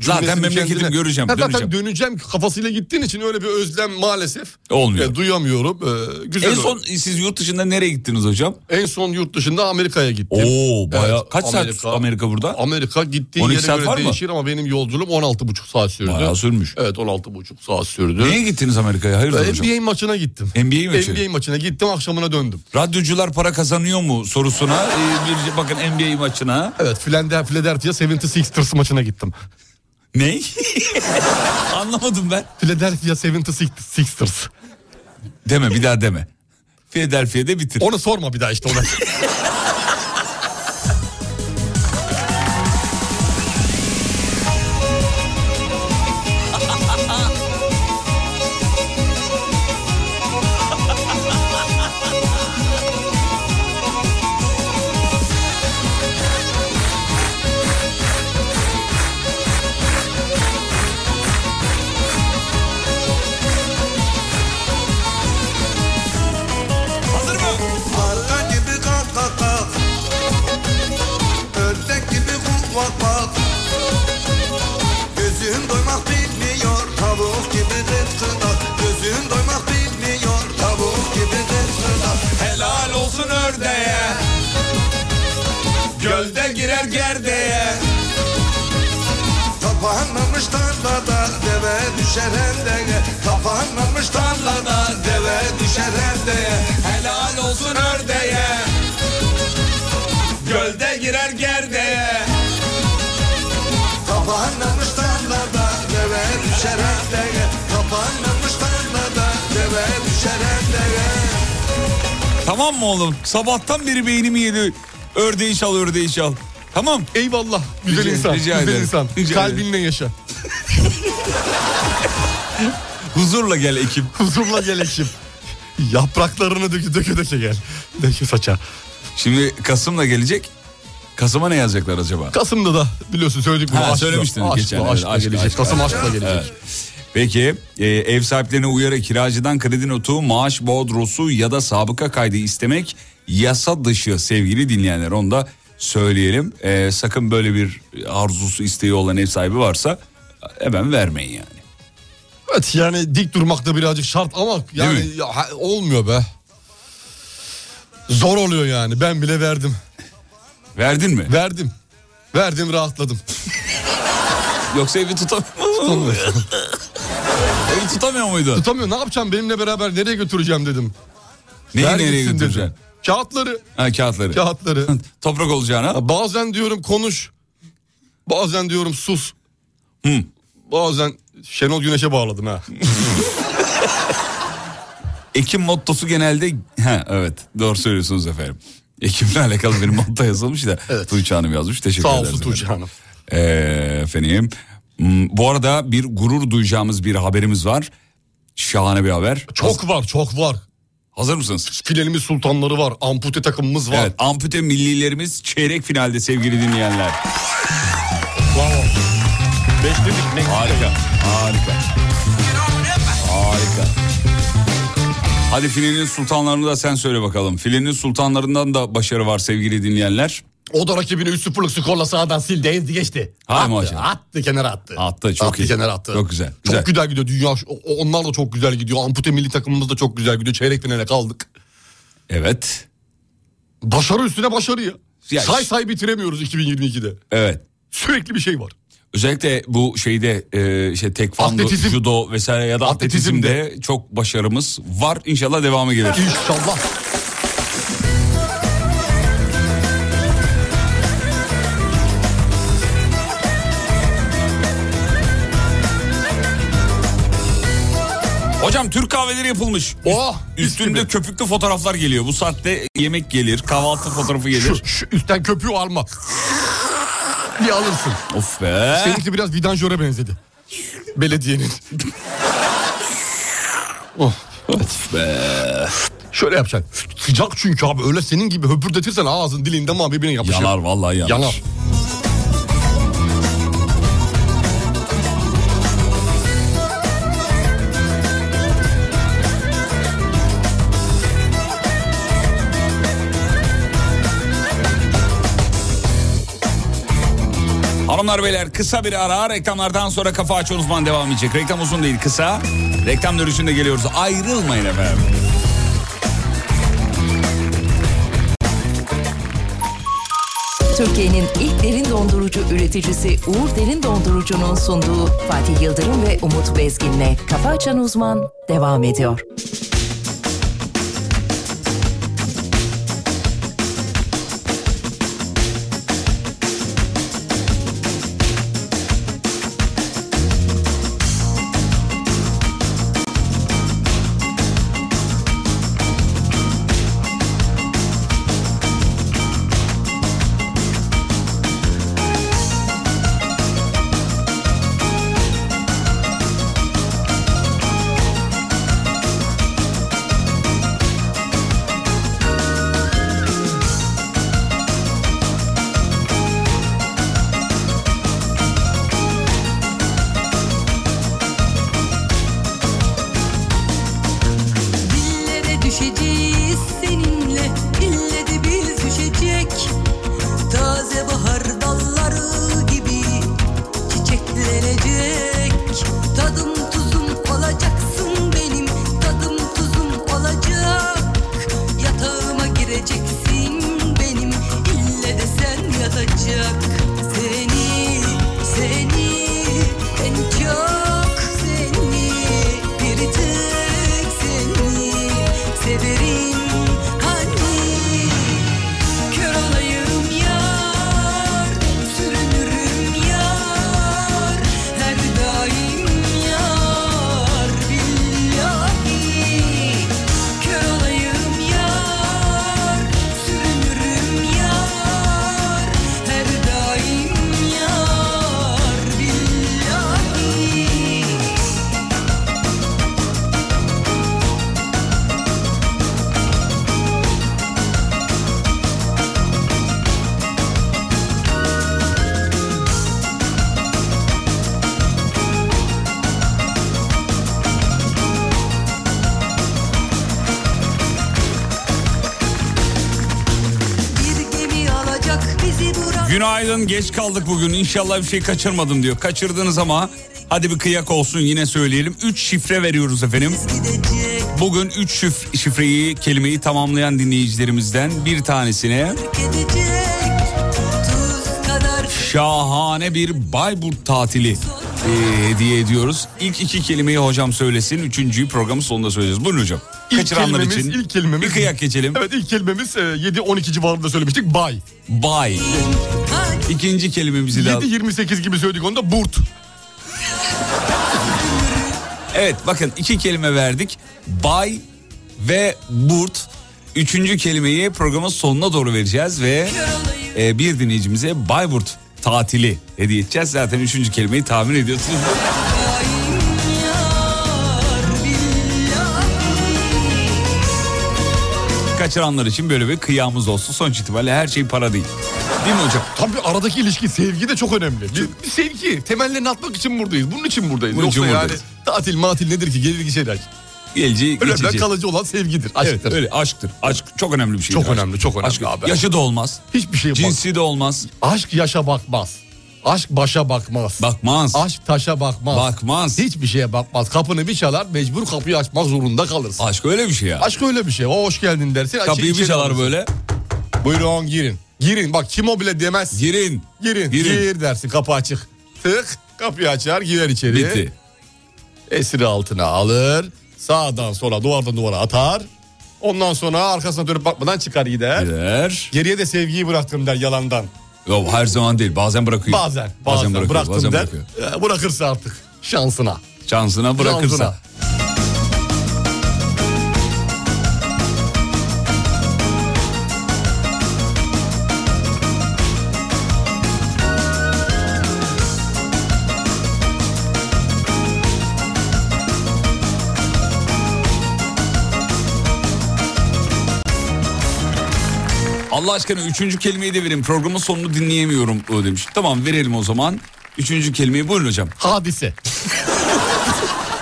Speaker 2: Zaten
Speaker 3: Cümlesini
Speaker 2: memleketimi göreceğim,
Speaker 3: Ha, Zaten
Speaker 2: döneceğim.
Speaker 3: döneceğim kafasıyla gittiğin için öyle bir özlem maalesef.
Speaker 2: Olmuyor.
Speaker 3: E, duyamıyorum. E, güzel
Speaker 2: en son siz yurt dışında nereye gittiniz hocam?
Speaker 3: en son yurt dışında Amerika'ya gittim.
Speaker 2: Oo baya
Speaker 3: Evet,
Speaker 2: kaç saat
Speaker 3: Amerika.
Speaker 2: Amerika burada?
Speaker 3: Amerika gittiği
Speaker 2: 12
Speaker 3: yere
Speaker 2: saat var
Speaker 3: göre
Speaker 2: mı?
Speaker 3: değişir ama benim yolculuğum 16,5 saat sürdü.
Speaker 2: Bayağı sürmüş.
Speaker 3: Evet 16,5 saat sürdü.
Speaker 2: Niye gittiniz Amerika'ya? Hayırdır
Speaker 3: Ben
Speaker 2: hocam?
Speaker 3: NBA maçına gittim.
Speaker 2: NBA maçı.
Speaker 3: NBA maçına gittim akşamına döndüm.
Speaker 2: Radyocular para kazanıyor mu sorusuna e, bir bakın NBA maçına.
Speaker 3: Evet Philadelphia, Philadelphia 76ers maçına gittim.
Speaker 2: Ne? Anlamadım ben.
Speaker 3: Philadelphia 76ers.
Speaker 2: Deme bir daha deme. Philadelphia'da bitir.
Speaker 3: Onu sorma bir daha işte ona.
Speaker 2: Hazır mı?
Speaker 1: Arka gibi kalk kalk kalk Ördek gibi kul vak vak Gözün doymak bilmiyor Tavuk gibi dıt gıda Gözün doymak bilmiyor Tavuk gibi dıt gıda Helal olsun ördeğe Gölde girer gerdeye Kapanmamış tarlada deve düşer hendeye Kapanmamış tarlada deve düşer hendeye Helal olsun ördeğe Gölde girer gerdeye Kapanmamış tarlada deve düşer hendeye Kapanmamış tarlada deve düşer hendeye
Speaker 2: Tamam mı oğlum? Sabahtan beri beynimi yedi. Ördeği çal, ördeği çal. Tamam.
Speaker 3: Eyvallah güzel
Speaker 2: Rica-
Speaker 3: insan.
Speaker 2: rica
Speaker 3: güzel
Speaker 2: ederim.
Speaker 3: insan.
Speaker 2: Rica
Speaker 3: Kalbinle yaşa.
Speaker 2: Huzurla gel ekip.
Speaker 3: Huzurla gel eşim. Yapraklarını döke döke döke gel. Döke saça.
Speaker 2: Şimdi Kasım'la gelecek. Kasım'a ne yazacaklar acaba?
Speaker 3: Kasım'da da biliyorsun söyledik bunu.
Speaker 2: Ha,
Speaker 3: aşkla.
Speaker 2: söylemiştiniz
Speaker 3: aşkla,
Speaker 2: geçen, evet,
Speaker 3: Aşkla,
Speaker 2: aşkla,
Speaker 3: gelecek.
Speaker 2: aşkla.
Speaker 3: Kasım aşkla gelecek.
Speaker 2: Evet. Peki e, ev sahiplerine uyarı kiracıdan kredi notu, maaş bodrosu ya da sabıka kaydı istemek yasa dışı sevgili dinleyenler. Onu da söyleyelim. E, sakın böyle bir arzusu isteği olan ev sahibi varsa hemen vermeyin yani.
Speaker 3: Evet yani dik durmak da birazcık şart ama yani
Speaker 2: mi?
Speaker 3: ya, ha- olmuyor be. Zor oluyor yani. Ben bile verdim.
Speaker 2: Verdin mi?
Speaker 3: Verdim. Verdim rahatladım.
Speaker 2: Yoksa evi tutamıyor mu?
Speaker 3: Tutamıyor.
Speaker 2: evi tutamıyor muydu?
Speaker 3: Tutamıyor ne yapacağım benimle beraber nereye götüreceğim dedim.
Speaker 2: Neyi
Speaker 3: Ver
Speaker 2: nereye
Speaker 3: gitsin
Speaker 2: götüreceksin?
Speaker 3: dedim. Kağıtları.
Speaker 2: Ha kağıtları.
Speaker 3: Kağıtları.
Speaker 2: Toprak olacağına.
Speaker 3: Ya bazen diyorum konuş. Bazen diyorum sus.
Speaker 2: Hı.
Speaker 3: Bazen Şenol Güneş'e bağladım ha.
Speaker 2: Ekim mottosu genelde ha evet doğru söylüyorsunuz efendim. Ekim'le alakalı bir motto yazılmış da Tuğçe Hanım yazmış. Teşekkür
Speaker 3: Sağ
Speaker 2: ederiz.
Speaker 3: olsun
Speaker 2: efendim.
Speaker 3: Tuğçe Hanım.
Speaker 2: Ee, efendim. hmm, Bu arada bir gurur duyacağımız bir haberimiz var. Şahane bir haber. Haz-
Speaker 3: Çok var çok var.
Speaker 2: hazır mısınız?
Speaker 3: Filelimiz sultanları var. Ampute takımımız var.
Speaker 2: Evet, ampute millilerimiz çeyrek finalde sevgili dinleyenler.
Speaker 3: Bravo. Beşledik ne
Speaker 2: Harika, harika. Harika. Hadi filenin sultanlarını da sen söyle bakalım. Filenin sultanlarından da başarı var sevgili dinleyenler.
Speaker 3: O da rakibini 3-0'lık skorla sağdan sildi ezdi geçti.
Speaker 2: Hay
Speaker 3: attı,
Speaker 2: maşallah.
Speaker 3: attı kenara attı.
Speaker 2: Attı, çok
Speaker 3: attı,
Speaker 2: iyi.
Speaker 3: Kenara attı.
Speaker 2: Çok güzel,
Speaker 3: Çok
Speaker 2: güzel.
Speaker 3: güzel, gidiyor dünya. şu- o- Onlar da çok güzel gidiyor. Ampute milli takımımız da çok güzel gidiyor. Çeyrek finale kaldık.
Speaker 2: Evet.
Speaker 3: Başarı üstüne başarı ya.
Speaker 2: Ya
Speaker 3: say
Speaker 2: iş-
Speaker 3: say bitiremiyoruz 2022'de.
Speaker 2: Evet.
Speaker 3: Sürekli bir şey var.
Speaker 2: Özellikle bu şeyde e, işte tekvando,
Speaker 3: Atletizm.
Speaker 2: judo vesaire ya da
Speaker 3: Atletizmde.
Speaker 2: atletizmde çok başarımız var. İnşallah devamı gelir.
Speaker 3: İnşallah.
Speaker 2: Hocam Türk kahveleri yapılmış.
Speaker 3: Oh,
Speaker 2: Üstünde köpüklü fotoğraflar geliyor. Bu saatte yemek gelir, kahvaltı fotoğrafı gelir.
Speaker 3: Şu, şu üstten köpüğü alma. Bir alırsın.
Speaker 2: of be.
Speaker 3: Seninki biraz vidanjöre benzedi. Belediyenin. oh. Şöyle yapacaksın. Sıcak çünkü abi öyle senin gibi höpürdetirsen ağzın dilinde ama birbirine yapışır.
Speaker 2: Yanar vallahi yanar.
Speaker 3: Yanar.
Speaker 2: Hanımlar beyler kısa bir ara reklamlardan sonra kafa aç uzman devam edecek. Reklam uzun değil kısa. Reklam dönüşünde geliyoruz. Ayrılmayın efendim.
Speaker 6: Türkiye'nin ilk derin dondurucu üreticisi Uğur Derin Dondurucu'nun sunduğu Fatih Yıldırım ve Umut Bezgin'le Kafa Açan Uzman devam ediyor.
Speaker 4: Dillere düşeceğiz seninle ille de biz düşecek Taze bahar dalları gibi çiçeklenecek Tadım tuzum olacaksın benim tadım tuzum olacak Yatağıma gireceksin benim ille de sen yatacak Seni, seni en çok seni bir tek seni severim hani Kör olayım yar, sürünürüm yar, her daim yar billahi. Kör olayım yar, sürünürüm yar, her daim yar billahi. Bir gemi alacak bizi durak.
Speaker 2: Günaydın geç kaldık bugün. İnşallah bir şey kaçırmadım diyor. Kaçırdınız ama hadi bir kıyak olsun yine söyleyelim. 3 şifre veriyoruz efendim.
Speaker 4: gidecek
Speaker 2: Bugün 3 şifreyi kelimeyi tamamlayan dinleyicilerimizden bir tanesine
Speaker 4: edecek tuz kadar
Speaker 2: şahane bir Bayburt tatili e, hediye ediyoruz. İlk iki kelimeyi hocam söylesin. Üçüncüyü programın sonunda söyleyeceğiz. Buyurun hocam.
Speaker 3: İlk
Speaker 2: Kaçıranlar
Speaker 3: kelimemiz,
Speaker 2: için
Speaker 3: ilk kelimemiz-
Speaker 2: bir kıyak geçelim.
Speaker 3: Evet ilk kelimemiz e, 7-12 civarında söylemiştik. Bay.
Speaker 2: Bay. İkinci kelimemizi de al-
Speaker 3: 7-28 gibi söyledik onu da burt.
Speaker 2: Evet bakın iki kelime verdik. Bay ve burt. Üçüncü kelimeyi programın sonuna doğru vereceğiz ve e, bir dinleyicimize Bayburt tatili hediye edeceğiz. Zaten üçüncü kelimeyi tahmin ediyorsunuz. Kaçıranlar için böyle bir kıyamız olsun. Sonuç itibariyle her şey para değil. Değil mi hocam?
Speaker 3: Tabii aradaki ilişki, sevgi de çok önemli. Biz, biz sevgi, temellerini atmak için buradayız. Bunun için buradayız.
Speaker 2: Bunun için
Speaker 3: Yoksa yani
Speaker 2: buradayız.
Speaker 3: tatil matil nedir ki? Gelir şeyler.
Speaker 2: Geleceği
Speaker 3: Önemli
Speaker 2: geçici.
Speaker 3: kalıcı olan sevgidir, aşktır.
Speaker 2: Evet, öyle aşktır. Aşk çok önemli bir şey.
Speaker 3: Çok önemli, çok önemli abi.
Speaker 2: Yaşı da olmaz.
Speaker 3: Hiçbir şey bakmaz.
Speaker 2: Cinsi de olmaz.
Speaker 3: Aşk yaşa bakmaz. Aşk başa bakmaz.
Speaker 2: Bakmaz.
Speaker 3: Aşk taşa bakmaz.
Speaker 2: Bakmaz.
Speaker 3: Hiçbir şeye bakmaz. Kapını bir çalar mecbur kapıyı açmak zorunda kalırsın.
Speaker 2: Aşk öyle bir şey ya.
Speaker 3: Aşk öyle bir şey. O hoş geldin dersin. açı-
Speaker 2: Kapıyı bir
Speaker 3: içeri
Speaker 2: çalar
Speaker 3: alırsın.
Speaker 2: böyle.
Speaker 3: Buyurun girin. Girin bak kim o bile demez.
Speaker 2: Girin.
Speaker 3: Girin.
Speaker 2: Girin.
Speaker 3: Gir dersin kapı açık. Tık kapıyı açar girer içeri.
Speaker 2: Bitti.
Speaker 3: Esiri altına alır. Sağdan sola duvardan duvara atar. Ondan sonra arkasına dönüp bakmadan çıkar gider.
Speaker 2: Gider.
Speaker 3: Geriye de sevgiyi bıraktım der yalandan.
Speaker 2: Yok her zaman değil. Bazen bırakıyor.
Speaker 3: Bazen. Bazen,
Speaker 2: bırakıyor.
Speaker 3: bıraktım
Speaker 2: bazen
Speaker 3: der.
Speaker 2: bırakıyor.
Speaker 3: Ee, Bırakırsa artık şansına.
Speaker 2: Şansına bırakırsa.
Speaker 3: Şansına.
Speaker 2: Allah aşkına üçüncü kelimeyi de verin. Programın sonunu dinleyemiyorum o demiş. Tamam verelim o zaman. Üçüncü kelimeyi buyurun hocam.
Speaker 3: Hadise.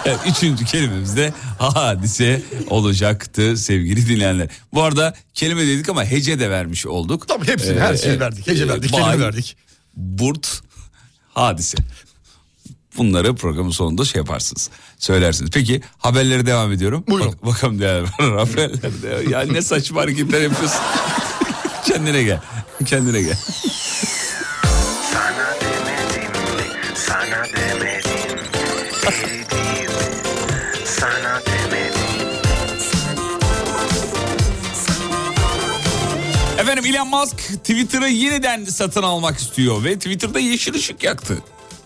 Speaker 2: Evet, üçüncü kelimemiz de hadise olacaktı sevgili dinleyenler. Bu arada kelime dedik ama hece de vermiş olduk.
Speaker 3: Tabii hepsini, her şeyi verdik.
Speaker 2: Ee,
Speaker 3: Hece verdik, kelime
Speaker 2: bay,
Speaker 3: verdik.
Speaker 2: Burt, hadise. Bunları programın sonunda şey yaparsınız. Söylersiniz. Peki haberlere devam ediyorum.
Speaker 3: Buyurun.
Speaker 2: Bak, bakalım neler var haberlerde. Ya ne saçma hareketler yapıyorsun. Kendine gel. Kendine gel.
Speaker 7: Sana demedim mi? Sana demedim. Eridim. Sana demedim.
Speaker 2: Efendim Elon Musk Twitter'ı yeniden satın almak istiyor ve Twitter'da yeşil ışık yaktı.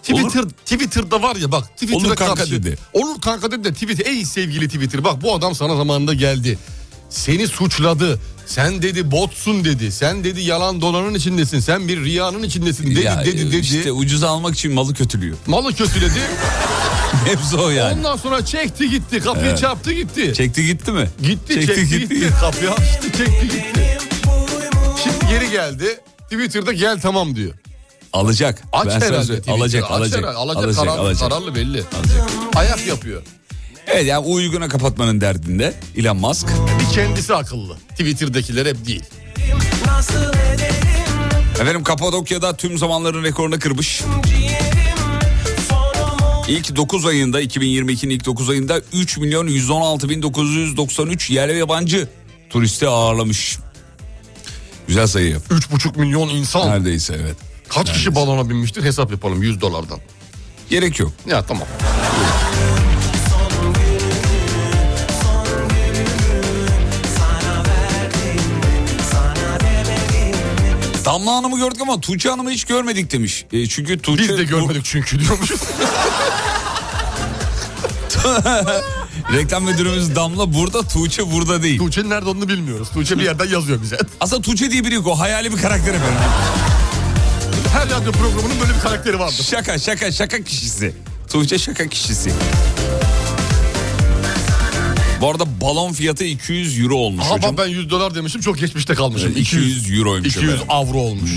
Speaker 3: Twitter, Twitter'da var ya bak Twitter'a
Speaker 2: Olur kanka
Speaker 3: karşı-
Speaker 2: dedi.
Speaker 3: Olur kanka dedi de Twitter ey sevgili Twitter bak bu adam sana zamanında geldi. Seni suçladı. Sen dedi botsun dedi. Sen dedi yalan dolanın içindesin. Sen bir riyanın içindesin dedi
Speaker 2: Ya,
Speaker 3: dedi dedi.
Speaker 2: işte ucuz almak için malı kötülüyor.
Speaker 3: Malı kötüledi.
Speaker 2: Hepsi o yani.
Speaker 3: Ondan sonra çekti gitti. Kapıyı çarptı gitti.
Speaker 2: Çekti gitti mi?
Speaker 3: Gitti çekti, gitti. Kapıyı açtı çekti gitti. Şimdi geri geldi. Twitter'da gel tamam diyor.
Speaker 2: Alacak.
Speaker 3: Aç
Speaker 2: sana
Speaker 3: herhalde
Speaker 2: söyleyeyim.
Speaker 3: Twitter'ı.
Speaker 2: Alacak,
Speaker 3: Aç
Speaker 2: alacak.
Speaker 3: herhalde. Alacak, kararlı, kararlı belli. Ayak yapıyor.
Speaker 2: Evet yani uyguna kapatmanın derdinde Elon Musk.
Speaker 3: Bir kendisi akıllı. Twitter'dakiler hep değil.
Speaker 2: Efendim Kapadokya'da tüm zamanların rekorunu kırmış. İlk 9 ayında 2022'nin ilk 9 ayında 3 milyon 116 bin 993 yerli ve yabancı turisti ağırlamış. Güzel sayı.
Speaker 3: 3,5 milyon insan.
Speaker 2: Neredeyse evet.
Speaker 3: Kaç kişi balona binmiştir hesap yapalım 100 dolardan.
Speaker 2: Gerek yok.
Speaker 3: Ya tamam.
Speaker 2: Damla Hanım'ı gördük ama Tuğçe Hanım'ı hiç görmedik demiş. E, çünkü Tuğçe...
Speaker 3: Biz de görmedik çünkü diyormuş.
Speaker 2: Reklam müdürümüz Damla burada, Tuğçe burada değil.
Speaker 3: Tuğçe'nin nerede olduğunu bilmiyoruz. Tuğçe bir yerden yazıyor bize.
Speaker 2: Aslında Tuğçe diye biri yok. O hayali bir karakter efendim.
Speaker 3: Her radyo programının böyle bir karakteri vardır.
Speaker 2: Şaka şaka şaka kişisi. Tuğçe şaka kişisi. Bu arada balon fiyatı 200 euro olmuş
Speaker 3: Aha
Speaker 2: hocam.
Speaker 3: bak ben 100 dolar demişim çok geçmişte kalmışım.
Speaker 2: 200, euroymuş
Speaker 3: 200
Speaker 2: efendim.
Speaker 3: avro olmuş.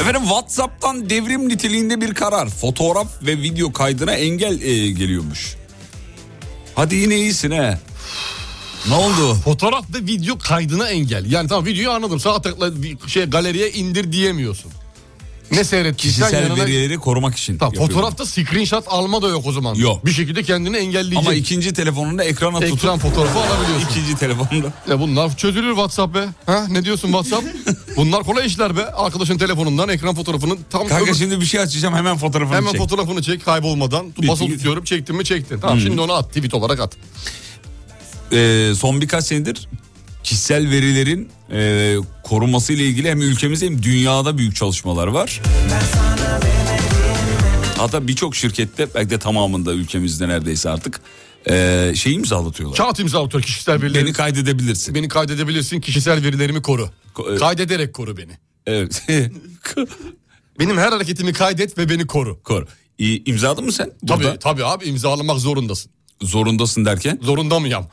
Speaker 2: Efendim Whatsapp'tan devrim niteliğinde bir karar. Fotoğraf ve video kaydına engel e, geliyormuş. Hadi yine iyisin he. Ne oldu?
Speaker 3: Fotoğraf ve video kaydına engel. Yani tamam videoyu anladım. Sağ tıkla bir şey galeriye indir diyemiyorsun. Ne seyrettiysen
Speaker 2: Kişisel
Speaker 3: yanına...
Speaker 2: verileri korumak için.
Speaker 3: Tamam,
Speaker 2: yapıyorum.
Speaker 3: fotoğrafta screenshot alma da yok o zaman.
Speaker 2: Yok.
Speaker 3: Bir şekilde kendini engelleyecek.
Speaker 2: Ama ikinci telefonunda ekrana tutup
Speaker 3: Ekran fotoğrafı alabiliyorsun.
Speaker 2: ikinci telefonunda.
Speaker 3: Ya bunlar çözülür WhatsApp be. Ha ne diyorsun WhatsApp? Bunlar kolay işler be. Arkadaşın telefonundan ekran fotoğrafının tam
Speaker 2: Kanka
Speaker 3: öbür-
Speaker 2: şimdi bir şey açacağım hemen fotoğrafını
Speaker 3: hemen
Speaker 2: çek.
Speaker 3: fotoğrafını çek kaybolmadan.
Speaker 2: Bitti,
Speaker 3: Basılı
Speaker 2: gitti.
Speaker 3: tutuyorum çektin mi çektin.
Speaker 2: Hmm.
Speaker 3: Tamam şimdi onu at tweet olarak at.
Speaker 2: Ee, son birkaç senedir kişisel verilerin e, korunması ile ilgili hem ülkemizde hem dünyada büyük çalışmalar var. Hatta birçok şirkette belki de tamamında ülkemizde neredeyse artık e, şey imzalatıyorlar.
Speaker 3: Kağıt imzalatıyor kişisel verilerimi.
Speaker 2: Beni kaydedebilirsin.
Speaker 3: Beni kaydedebilirsin kişisel verilerimi koru.
Speaker 2: Ko- e-
Speaker 3: Kaydederek koru beni.
Speaker 2: Evet.
Speaker 3: Benim her hareketimi kaydet ve beni koru.
Speaker 2: Kor. İ- İmzaladın mı sen?
Speaker 3: Tabii
Speaker 2: Burada
Speaker 3: tabii abi imzalamak zorundasın.
Speaker 2: Zorundasın derken
Speaker 3: Zorunda mıyım?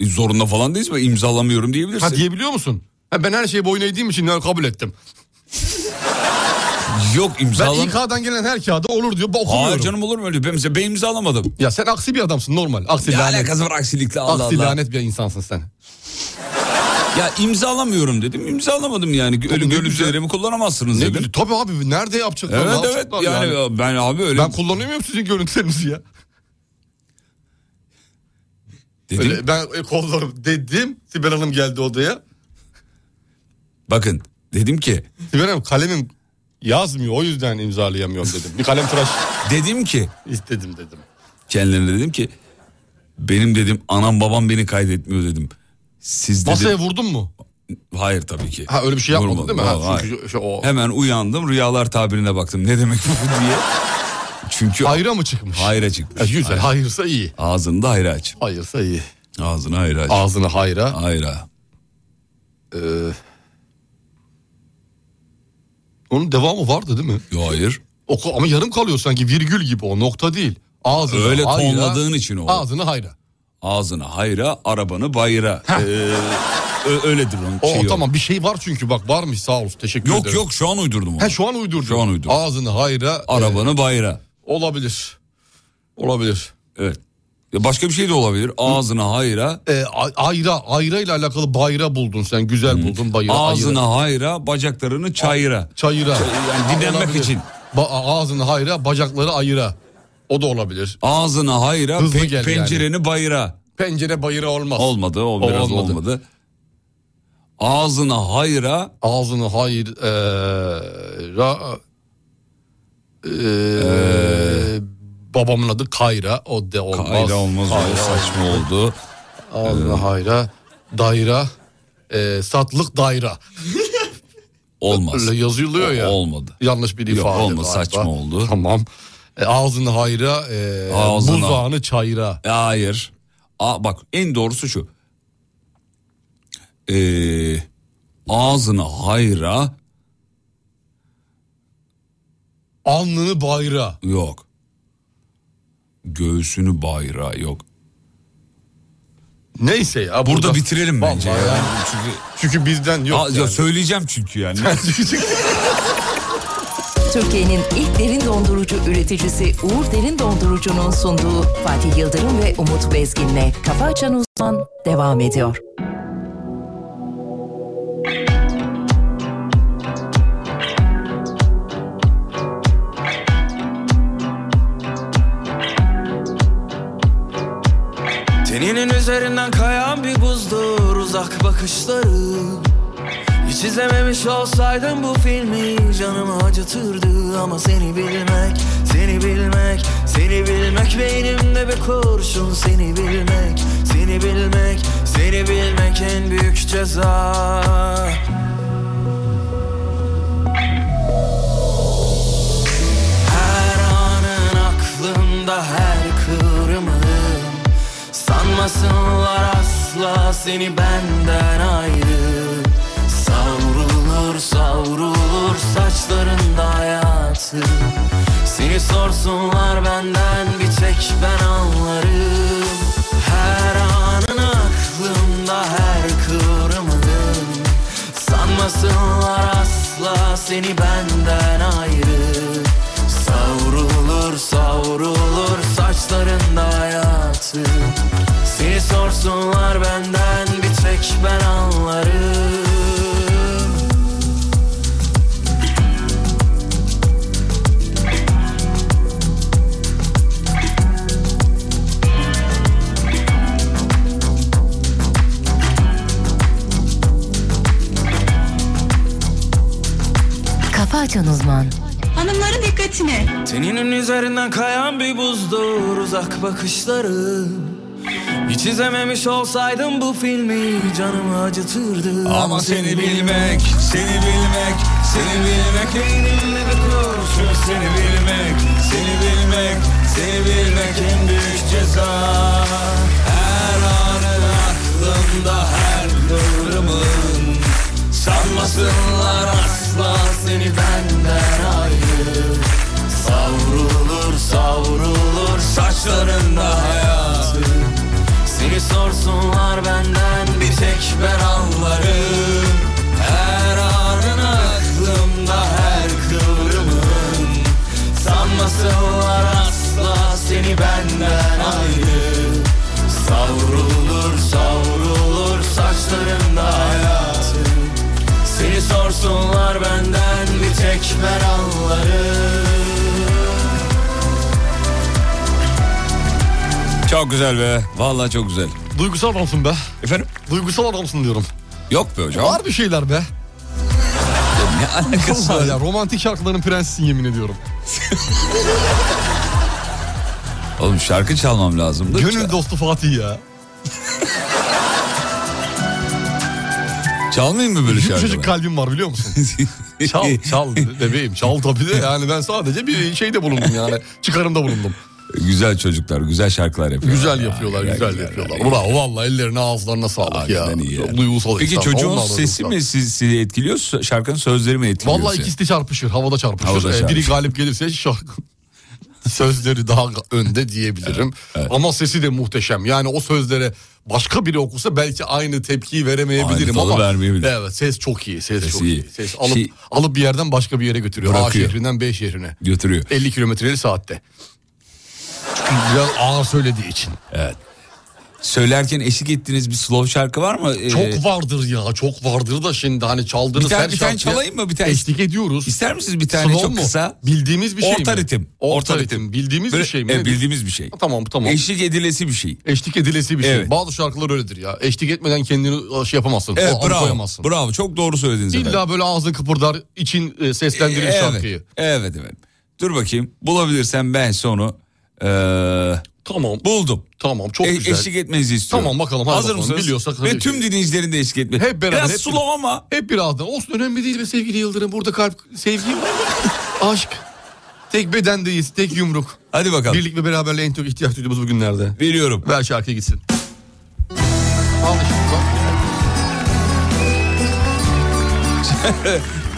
Speaker 2: e, zorunda falan değiliz mi? İmzalamıyorum diyebilirsin.
Speaker 3: Ha diyebiliyor musun? Ha, ben her şeyi boyun eğdiğim için ya, kabul ettim.
Speaker 2: Yok
Speaker 3: Ben
Speaker 2: imzalam.
Speaker 3: İK'dan gelen her kağıda olur diyor. ba- Okumuyorum.
Speaker 2: Hayır canım olur mu öyle? Ben, mesela ben imzalamadım.
Speaker 3: Ya sen aksi bir adamsın normal. Aksi
Speaker 2: Ne
Speaker 3: lanet.
Speaker 2: alakası var aksilikle Allah
Speaker 3: Aksi
Speaker 2: Allah.
Speaker 3: lanet bir insansın sen.
Speaker 2: Ya imzalamıyorum dedim. İmzalamadım yani. Öyle
Speaker 3: ne
Speaker 2: görüntülerimi kullanamazsınız
Speaker 3: Ne
Speaker 2: dedim.
Speaker 3: bileyim, Tabii abi nerede yapacaklar?
Speaker 2: Evet
Speaker 3: ne
Speaker 2: evet
Speaker 3: yapacaklar
Speaker 2: yani,
Speaker 3: yani?
Speaker 2: ben abi öyle
Speaker 3: Ben kullanıyor muyum sizin görüntülerinizi ya?
Speaker 2: dedim.
Speaker 3: Öyle ben e, kollarım dedim. Sibel Hanım geldi odaya.
Speaker 2: Bakın dedim ki
Speaker 3: Sibel Hanım kalemim yazmıyor o yüzden imzalayamıyorum dedim. Bir kalem tıraş
Speaker 2: dedim ki
Speaker 3: istedim dedim.
Speaker 2: kendilerine dedim ki benim dedim anam babam beni kaydetmiyor dedim. Siz dedim.
Speaker 3: Masaya vurdun mu?
Speaker 2: Hayır tabii ki.
Speaker 3: Ha öyle bir şey yapmadın
Speaker 2: Vurmadım,
Speaker 3: değil mi? Ha,
Speaker 2: hayır.
Speaker 3: çünkü şey, o
Speaker 2: Hemen uyandım rüyalar tabirine baktım. Ne demek bu diye. Çünkü
Speaker 3: hayra mı çıkmış?
Speaker 2: hayra çıkmış.
Speaker 3: E, güzel.
Speaker 2: Hayır.
Speaker 3: Hayırsa iyi.
Speaker 2: Ağzında hayra aç.
Speaker 3: Hayırsa iyi.
Speaker 2: Ağzını hayra aç.
Speaker 3: Ağzını hayra.
Speaker 2: Hayra.
Speaker 3: Ee, onun devamı vardı değil mi?
Speaker 2: Yo hayır.
Speaker 3: Oku, ama yarım kalıyor sanki virgül gibi o nokta değil. Ağzını
Speaker 2: Öyle
Speaker 3: hayra,
Speaker 2: tonladığın için o.
Speaker 3: Ağzını hayra.
Speaker 2: Ağzına hayra, arabanı bayra. Ee, ö- öyledir onun
Speaker 3: O
Speaker 2: şeyi. o.
Speaker 3: tamam bir şey var çünkü bak varmış sağ olsun teşekkür
Speaker 2: Yok
Speaker 3: ederim.
Speaker 2: yok şu an uydurdum onu. Ee.
Speaker 3: Ha şu an uydurdum.
Speaker 2: Şu an uydurdum.
Speaker 3: Ağzını hayra. e,
Speaker 2: Arabanı bayra.
Speaker 3: olabilir. Olabilir.
Speaker 2: Evet. Ya başka bir şey de olabilir. Ağzına hayra,
Speaker 3: E, a- ayra, ayra ile alakalı bayra buldun sen. Güzel buldun bayra. ayra.
Speaker 2: ağzına hayra, bacaklarını çayıra.
Speaker 3: Çayıra.
Speaker 2: yani dinlenmek
Speaker 3: Olabilir.
Speaker 2: için.
Speaker 3: Ba- ağzını hayra, bacakları ayıra. O da olabilir.
Speaker 2: Ağzına hayra,
Speaker 3: Hızlı
Speaker 2: pe-
Speaker 3: gel yani.
Speaker 2: pencereni bayra.
Speaker 3: Pencere bayıra olmaz.
Speaker 2: Olmadı, o
Speaker 3: O
Speaker 2: biraz
Speaker 3: olmadı.
Speaker 2: olmadı. Ağzına hayra,
Speaker 3: Ağzını hayır... E, ra, e, babamın adı Kayra. O da olmaz.
Speaker 2: hayra olmaz, o
Speaker 3: Kayra
Speaker 2: saçma oldu.
Speaker 3: Ağzına hayra, daire, e, satlık daire.
Speaker 2: Olmaz.
Speaker 3: Öyle yazılıyor
Speaker 2: O-
Speaker 3: ya.
Speaker 2: Olmadı.
Speaker 3: Yanlış bir
Speaker 2: Yok,
Speaker 3: ifade.
Speaker 2: olmaz,
Speaker 3: galiba.
Speaker 2: saçma oldu.
Speaker 3: Tamam. E, ağzını hayra, e,
Speaker 2: Ağzına-
Speaker 3: buzağını çayra.
Speaker 2: E, Hayır. A, bak en doğrusu şu. Ee, ağzına hayra
Speaker 3: Alnını bayra.
Speaker 2: yok. Göğsünü bayra yok.
Speaker 3: Neyse ya.
Speaker 2: Burada, bitirelim bence.
Speaker 3: Vallahi
Speaker 2: ya.
Speaker 3: yani.
Speaker 2: Çünkü
Speaker 3: Çünkü bizden yok.
Speaker 2: Aa, ya
Speaker 3: yani.
Speaker 2: söyleyeceğim çünkü yani.
Speaker 6: Türkiye'nin ilk derin dondurucu üreticisi Uğur Derin Dondurucu'nun sunduğu Fatih Yıldırım ve Umut Bezgin'le Kafa Açan Uzman devam ediyor.
Speaker 8: Teninin üzerinden kayan bir buzdur uzak bakışları Hiç izlememiş olsaydım bu filmi canımı acıtırdı Ama seni bilmek, seni bilmek, seni bilmek Beynimde bir kurşun seni bilmek, seni bilmek, seni bilmek en büyük ceza Her anın aklımda her kıvrımın Sanmasınlar asla seni benden ayrı Savrulur savrulur saçlarında hayatı Seni sorsunlar benden bir tek ben anlarım Her anın aklımda her kıvrımın Sanmasınlar asla seni benden ayrı Savrulur savrulur saçlarında hayatı Seni sorsunlar benden bir tek ben anlarım
Speaker 6: Kafa Açan Uzman
Speaker 9: Hanımların dikkatine.
Speaker 8: Teninin üzerinden kayan bir buzdur uzak bakışları Hiç izlememiş olsaydım bu filmi canımı acıtırdı
Speaker 2: Ama seni bilmek, seni bilmek,
Speaker 8: Seni bilmek beynimde bir kurşun Seni bilmek, seni bilmek Seni bilmek en büyük ceza Her anı aklımda her kıvrımın Sanmasınlar asla seni benden ayrı Savrulur savrulur saçlarında hayatı Seni sorsunlar benden bir tek ben anlarım Her anın aklımda her kıvrımın Sanmasınlar asla seni benden ayrı Savrulur savrulur saçlarında hayatı Seni sorsunlar benden bir tek ben anlarım
Speaker 2: Çok güzel be. Vallahi çok güzel.
Speaker 3: Duygusal adamsın be.
Speaker 2: Efendim?
Speaker 3: Duygusal adamsın diyorum.
Speaker 2: Yok be hocam.
Speaker 3: Var bir şeyler be.
Speaker 2: Ne alakası var?
Speaker 3: Vallahi ya romantik şarkıların prensisin yemin ediyorum.
Speaker 2: Oğlum şarkı çalmam lazımdı.
Speaker 3: Gönül dostu Fatih ya.
Speaker 2: Ça- Çalmayayım mı böyle şarkı?
Speaker 3: Yumuşacık kalbim var biliyor musun? çal, çal bebeğim. Çal tabii de yani ben sadece bir şeyde bulundum yani. Çıkarımda bulundum.
Speaker 2: güzel çocuklar, güzel şarkılar yapıyorlar.
Speaker 3: Güzel
Speaker 2: Ya,
Speaker 3: yapıyorlar, güzel yapıyorlar. Bravo valla ellerine ağızlarına sağlık ya.
Speaker 2: Hakikaten iyi ya.
Speaker 3: Duygusal
Speaker 2: Peki
Speaker 3: insan,
Speaker 2: çocuğun
Speaker 3: vallahi
Speaker 2: sesi
Speaker 3: duygusal.
Speaker 2: mi sizi, sizi etkiliyor, s- şarkının sözleri mi etkiliyor?
Speaker 3: Vallahi
Speaker 2: sizi?
Speaker 3: ikisi de çarpışır, havada çarpışır.
Speaker 2: Havada
Speaker 3: Ee, Biri
Speaker 2: çarpışır.
Speaker 3: galip gelirse şarkı sözleri daha önde diyebilirim. Ama sesi de muhteşem. Yani o sözlere başka biri okusa belki aynı tepkiyi veremeyebilirim
Speaker 2: Aynı tadı
Speaker 3: ama
Speaker 2: vermeyebilir.
Speaker 3: evet ses çok iyi. Ses,
Speaker 2: Ses
Speaker 3: çok
Speaker 2: iyi.
Speaker 3: iyi. Ses alıp
Speaker 2: Şey-
Speaker 3: alıp bir yerden başka bir yere götürüyor.
Speaker 2: Bırakıyor.
Speaker 3: A şehrinden B şehrine.
Speaker 2: götürüyor.
Speaker 3: 50 kilometreleri saatte. Çünkü biraz ağır söylediği için.
Speaker 2: Söylerken eşlik ettiğiniz bir slow şarkı var mı? Ee,
Speaker 3: Çok vardır ya çok vardır da şimdi hani çaldığınız
Speaker 2: Bir tane-
Speaker 3: her
Speaker 2: bir tane
Speaker 3: şarkıya
Speaker 2: çalayım mı? Bir tane-
Speaker 3: Eşlik ediyoruz.
Speaker 2: İster misiniz bir tane
Speaker 3: Slow
Speaker 2: çok
Speaker 3: mu?
Speaker 2: kısa?
Speaker 3: Bildiğimiz bir şey
Speaker 2: Orta
Speaker 3: mi?
Speaker 2: ritim.
Speaker 3: Orta ritim. Bildiğimiz
Speaker 2: Böyle-
Speaker 3: bir şey mi?
Speaker 2: Evet,
Speaker 3: Nedir?
Speaker 2: bildiğimiz bir şey.
Speaker 3: Tamam tamam.
Speaker 2: Eşlik edilesi bir şey.
Speaker 3: Eşlik edilesi bir şey.
Speaker 2: Evet.
Speaker 3: Bazı şarkılar öyledir ya. Eşlik etmeden kendini şey yapamazsın.
Speaker 2: Evet
Speaker 3: o-
Speaker 2: bravo.
Speaker 3: koyamazsın.
Speaker 2: Bravo çok doğru söylediniz efendim.
Speaker 3: İlla böyle ağzın kıpırdar, için e, seslendirir
Speaker 2: Ee, evet,
Speaker 3: şarkıyı.
Speaker 2: Evet evet. Dur bakayım bulabilirsem ben sonu ee,
Speaker 3: Tamam.
Speaker 2: buldum.
Speaker 3: Tamam çok
Speaker 2: E-
Speaker 3: güzel.
Speaker 2: Eşlik etmenizi istiyorum.
Speaker 3: Tamam, bakalım, hadi
Speaker 2: Hazır
Speaker 3: bakalım.
Speaker 2: mısınız?
Speaker 3: Biliyorsak
Speaker 2: Ve
Speaker 3: hadi.
Speaker 2: tüm dinleyicilerin de eşlik etme.
Speaker 3: Hep beraber,
Speaker 2: Biraz
Speaker 3: hep-
Speaker 2: slow ama.
Speaker 3: Hep birazdan. Olsun önemli değil be sevgili Yıldırım. Burada kalp, sevgi, aşk. Tek bedendeyiz, tek yumruk.
Speaker 2: Hadi bakalım.
Speaker 3: Birlik ve beraberliğe en çok ihtiyaç duyduğumuz bugünlerde.
Speaker 2: Veriyorum.
Speaker 3: Ver şarkıya gitsin. Al işte bak.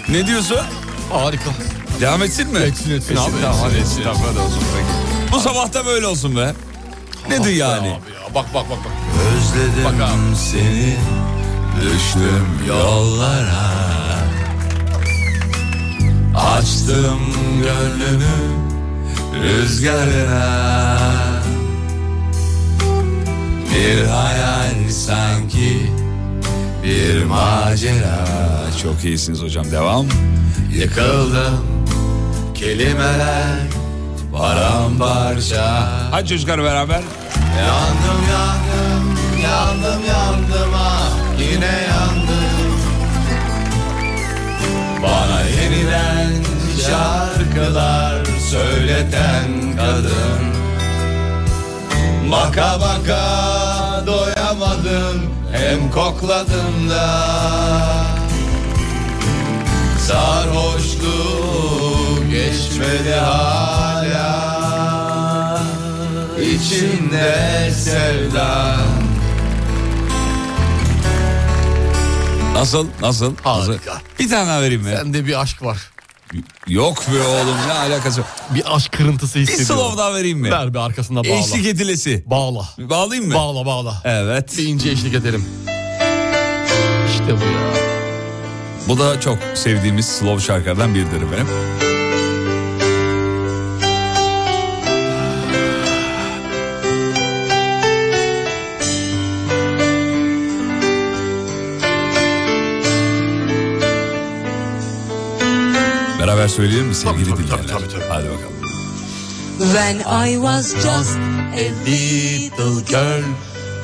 Speaker 2: Ne diyorsun?
Speaker 3: Harika.
Speaker 2: Devam etsin mi?
Speaker 3: Etsin, etsin abi,
Speaker 2: Tamam,
Speaker 3: etsin,
Speaker 2: hadi
Speaker 3: etsin.
Speaker 2: etsin. Tamam, hadi olsun, peki. Bu sabah da böyle olsun be. Nedir yani?
Speaker 3: Ah Abi ya, bak bak bak. bak.
Speaker 2: Özledim seni Düştüm yollara Açtım gönlümü rüzgarına Bir hayal sanki bir macera Çok iyisiniz hocam devam Yıkıldım kelimeler paramparça Hadi çocuklar beraber
Speaker 8: Yandım yandım yandım yandım ah yine yandım Bana yeniden şarkılar söyleten kadın Baka baka doyamadım hem kokladım da Sarhoşluk geçmedi hala İçinde sevda
Speaker 2: Nasıl? Nasıl?
Speaker 3: Harika.
Speaker 2: Nasıl? Bir tane daha vereyim mi?
Speaker 3: Bende bir aşk var.
Speaker 2: Yok be oğlum ne alakası var?
Speaker 3: Bir aşk kırıntısı
Speaker 2: Bir
Speaker 3: hissediyorum.
Speaker 2: slow daha vereyim mi?
Speaker 3: Ver bir arkasına bağla.
Speaker 2: Eşlik edilesi.
Speaker 3: Bağla.
Speaker 2: Bağlayayım mı?
Speaker 3: Bağla bağla.
Speaker 2: Evet.
Speaker 3: Bir ince eşlik edelim. İşte bu ya.
Speaker 2: Bu da çok sevdiğimiz slow şarkılardan biridir benim. Beraber söyleyelim mi sevgili
Speaker 3: Tabii, tabii,
Speaker 2: dinleyenler?
Speaker 3: tabii, tabii, tabii.
Speaker 2: Hadi bakalım.
Speaker 4: When I was just a little girl,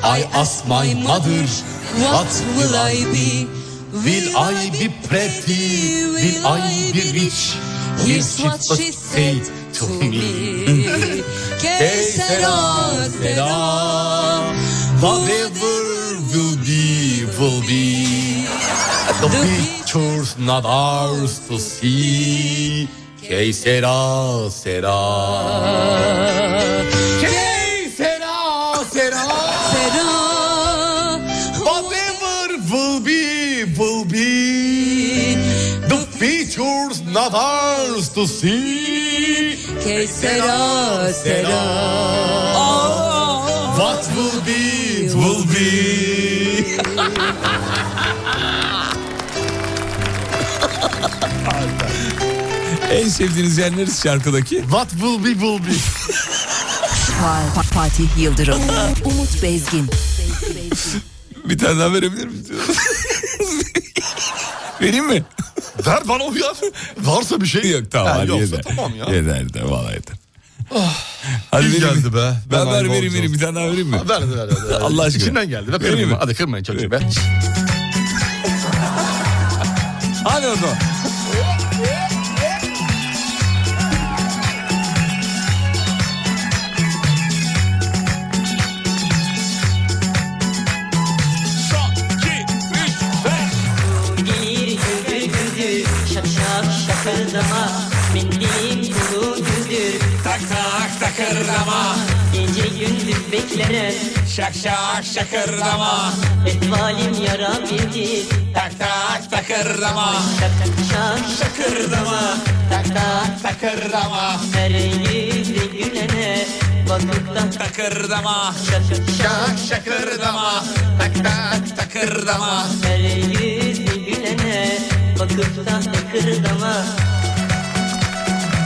Speaker 4: I asked my mother, what will I be? Will I be pretty? Will I be rich? Here's what she said to me. Que sera, sera, whatever will be, will be. The
Speaker 3: pictures not ours to see. Che sera sera. Che sera sera. Whatever will be, will be. The features not ours to see.
Speaker 6: Que será, será.
Speaker 3: What will be, will be.
Speaker 2: En sevdiğiniz yer neresi şarkıdaki?
Speaker 3: What will be, will be.
Speaker 10: Fa- Fa- Fatih Yıldırım, Umut Bezgin,
Speaker 2: Bir tane daha verebilir miyiz? Vereyim mi?
Speaker 3: Ver bana o ya. Varsa bir şey.
Speaker 2: Yok tamam
Speaker 3: Ha,
Speaker 2: hadi
Speaker 3: yoksa
Speaker 2: yeter.
Speaker 3: tamam ya.
Speaker 2: Yeter yeter vallahi yeter. Hadi
Speaker 3: İyi
Speaker 2: vereyim mi?
Speaker 3: geldi be.
Speaker 2: Ben,
Speaker 3: Ben
Speaker 2: ver
Speaker 3: ayrı
Speaker 2: vereyim
Speaker 3: olacağım.
Speaker 2: vereyim bir tane daha vereyim mi?
Speaker 3: Ha, Ver ver ver. ver.
Speaker 2: Allah aşkına.
Speaker 3: İçinden geldi. Ver,
Speaker 2: Vereyim
Speaker 3: kırmayın.
Speaker 2: mi?
Speaker 3: Hadi kırmayın çok iyi be.
Speaker 2: Hadi o zaman.
Speaker 5: Gelir güldür güldür Şap şap şakırdama Mendilim kulu güldür
Speaker 2: Tak tak takırdama.
Speaker 5: Gece gündüz beklerim
Speaker 2: Şak şak şakırdama.
Speaker 5: Etvalim yara bildir
Speaker 2: Tak tak takırdama.
Speaker 5: Şap şap
Speaker 2: Şakırdama.
Speaker 5: tak tak
Speaker 2: Takırdama.
Speaker 5: Her yüzde gülene Bakmaktan
Speaker 2: Takırdama.
Speaker 5: şap şap
Speaker 2: Şakırdama. Tak tak takırdama.
Speaker 5: Her yüzde gülene Bakıptan da kırdama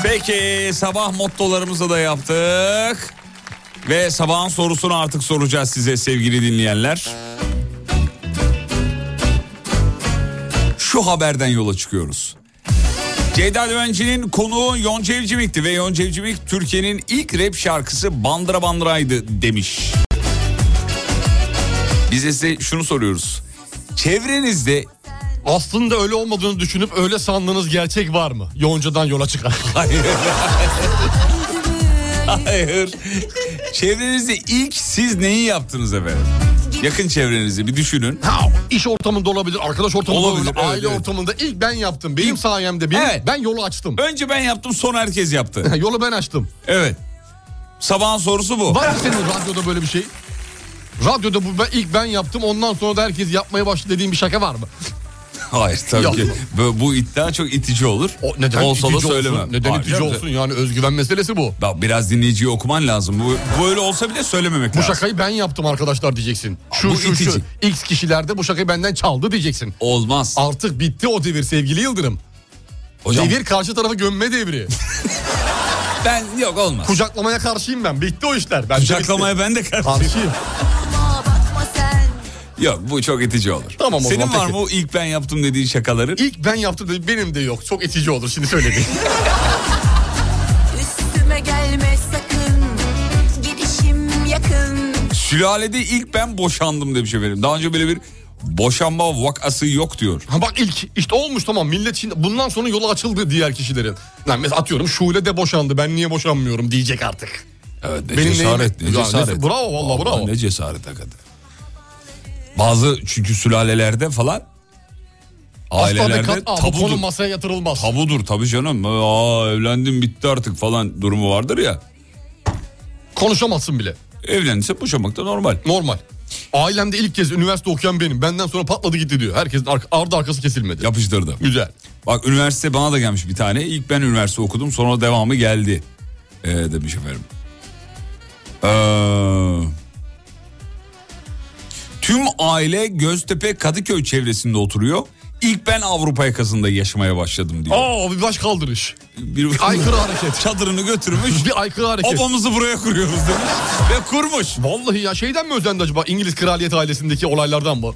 Speaker 2: Peki sabah mottolarımızı da yaptık. Ve sabahın sorusunu artık soracağız size sevgili dinleyenler. Şu haberden yola çıkıyoruz. Ceyda Düvenci'nin konuğu Yonca Evcimik'ti ve Yonca Evcimik Türkiye'nin ilk rap şarkısı Bandıra Bandıra'ydı demiş. Biz de size şunu soruyoruz. Çevrenizde
Speaker 3: Aslında öyle olmadığını düşünüp öyle sandığınız gerçek var mı? Yonca'dan yola çıkar.
Speaker 2: Hayır. Hayır. Çevrenizde ilk siz neyi yaptınız efendim? Yakın çevrenizi bir düşünün.
Speaker 3: Ha, iş ortamında olabilir, arkadaş ortamında
Speaker 2: Olabilir,
Speaker 3: olabilir,
Speaker 2: evet,
Speaker 3: aile
Speaker 2: evet.
Speaker 3: ortamında ilk ben yaptım. Benim sayemde benim,
Speaker 2: Evet.
Speaker 3: ben yolu açtım.
Speaker 2: Önce ben yaptım sonra herkes yaptı.
Speaker 3: yolu ben açtım.
Speaker 2: Evet. Sabahın sorusu bu.
Speaker 3: Var mı senin radyoda böyle bir şey? Radyoda bu ben, ilk ben yaptım ondan sonra da herkes yapmaya başladı dediğim bir şaka var mı?
Speaker 2: Hayır tabii
Speaker 3: Yok.
Speaker 2: ki. Bu, bu iddia çok itici olur.
Speaker 3: O neden
Speaker 2: Olsa
Speaker 3: itici
Speaker 2: da söylemem.
Speaker 3: olsun? Neden
Speaker 2: Hayır,
Speaker 3: itici
Speaker 2: canım.
Speaker 3: olsun? Yani özgüven meselesi bu.
Speaker 2: Bak biraz dinleyiciyi okuman lazım. Bu böyle olsa bile söylememek
Speaker 3: Bu
Speaker 2: lazım.
Speaker 3: şakayı ben yaptım arkadaşlar diyeceksin. Şu
Speaker 2: Bu
Speaker 3: şu şu
Speaker 2: itici.
Speaker 3: X kişilerde bu şakayı benden çaldı diyeceksin.
Speaker 2: Olmaz.
Speaker 3: Artık bitti o devir sevgili Yıldırım.
Speaker 2: Hocam
Speaker 3: Devir karşı tarafa gömme devri.
Speaker 2: ben yok olmaz.
Speaker 3: Kucaklamaya karşıyım ben. Bitti o işler. Ben
Speaker 2: Kucaklamaya ben de karşıyım.
Speaker 3: karşıyım.
Speaker 2: Yok bu çok itici olur.
Speaker 3: Tamam o zaman,
Speaker 2: Senin var
Speaker 3: peki.
Speaker 2: mı o ilk ben yaptım dediğin şakaların?
Speaker 3: İlk ben yaptım dedi, benim de yok. Çok itici olur şimdi söylediğim.
Speaker 4: Üstüme gelme sakın Gidişim yakın
Speaker 2: Sülalede ilk ben boşandım demiş efendim. Daha önce böyle bir boşanma vakası yok diyor.
Speaker 3: ha bak ilk işte olmuş tamam millet şimdi bundan sonra yolu açıldı diğer kişilerin. Lan mesela atıyorum Şule de boşandı ben niye boşanmıyorum diyecek artık.
Speaker 2: Evet ne
Speaker 3: Benim
Speaker 2: cesaret
Speaker 3: neyim-
Speaker 2: ne
Speaker 3: Ya
Speaker 2: cesaret.
Speaker 3: ne- bravo, vallahi bravo.
Speaker 2: Ne cesaret hakikaten. Bazı çünkü sülalelerde falan
Speaker 3: Asla bir
Speaker 2: ailelerde
Speaker 3: kat- Aa, bu konu
Speaker 2: tabudur.
Speaker 3: masaya yatırılmaz.
Speaker 2: Tabudur tabii canım. Aa evlendim bitti artık falan durumu vardır ya.
Speaker 3: Konuşamazsın bile.
Speaker 2: Evlendiyse boşanmak da normal.
Speaker 3: Normal. Ailemde ilk kez üniversite okuyan benim. Benden sonra patladı gitti diyor. Herkesin arka, ardı arkası kesilmedi.
Speaker 2: Yapıştırdı.
Speaker 3: Güzel.
Speaker 2: Bak üniversite bana da gelmiş bir tane. İlk ben üniversite okudum sonra devamı geldi ee, demiş efendim. Ee, tüm aile Göztepe Kadıköy çevresinde oturuyor. İlk ben Avrupa yakasında yaşamaya başladım diyor.
Speaker 3: Aa bir baş kaldırış.
Speaker 2: Bir
Speaker 3: aykırı hareket.
Speaker 2: Çadırını götürmüş.
Speaker 3: Bir aykırı hareket.
Speaker 2: Obamızı buraya kuruyoruz demiş. Ve kurmuş.
Speaker 3: Vallahi ya şeyden mi özendi acaba İngiliz kraliyet ailesindeki olaylardan mı?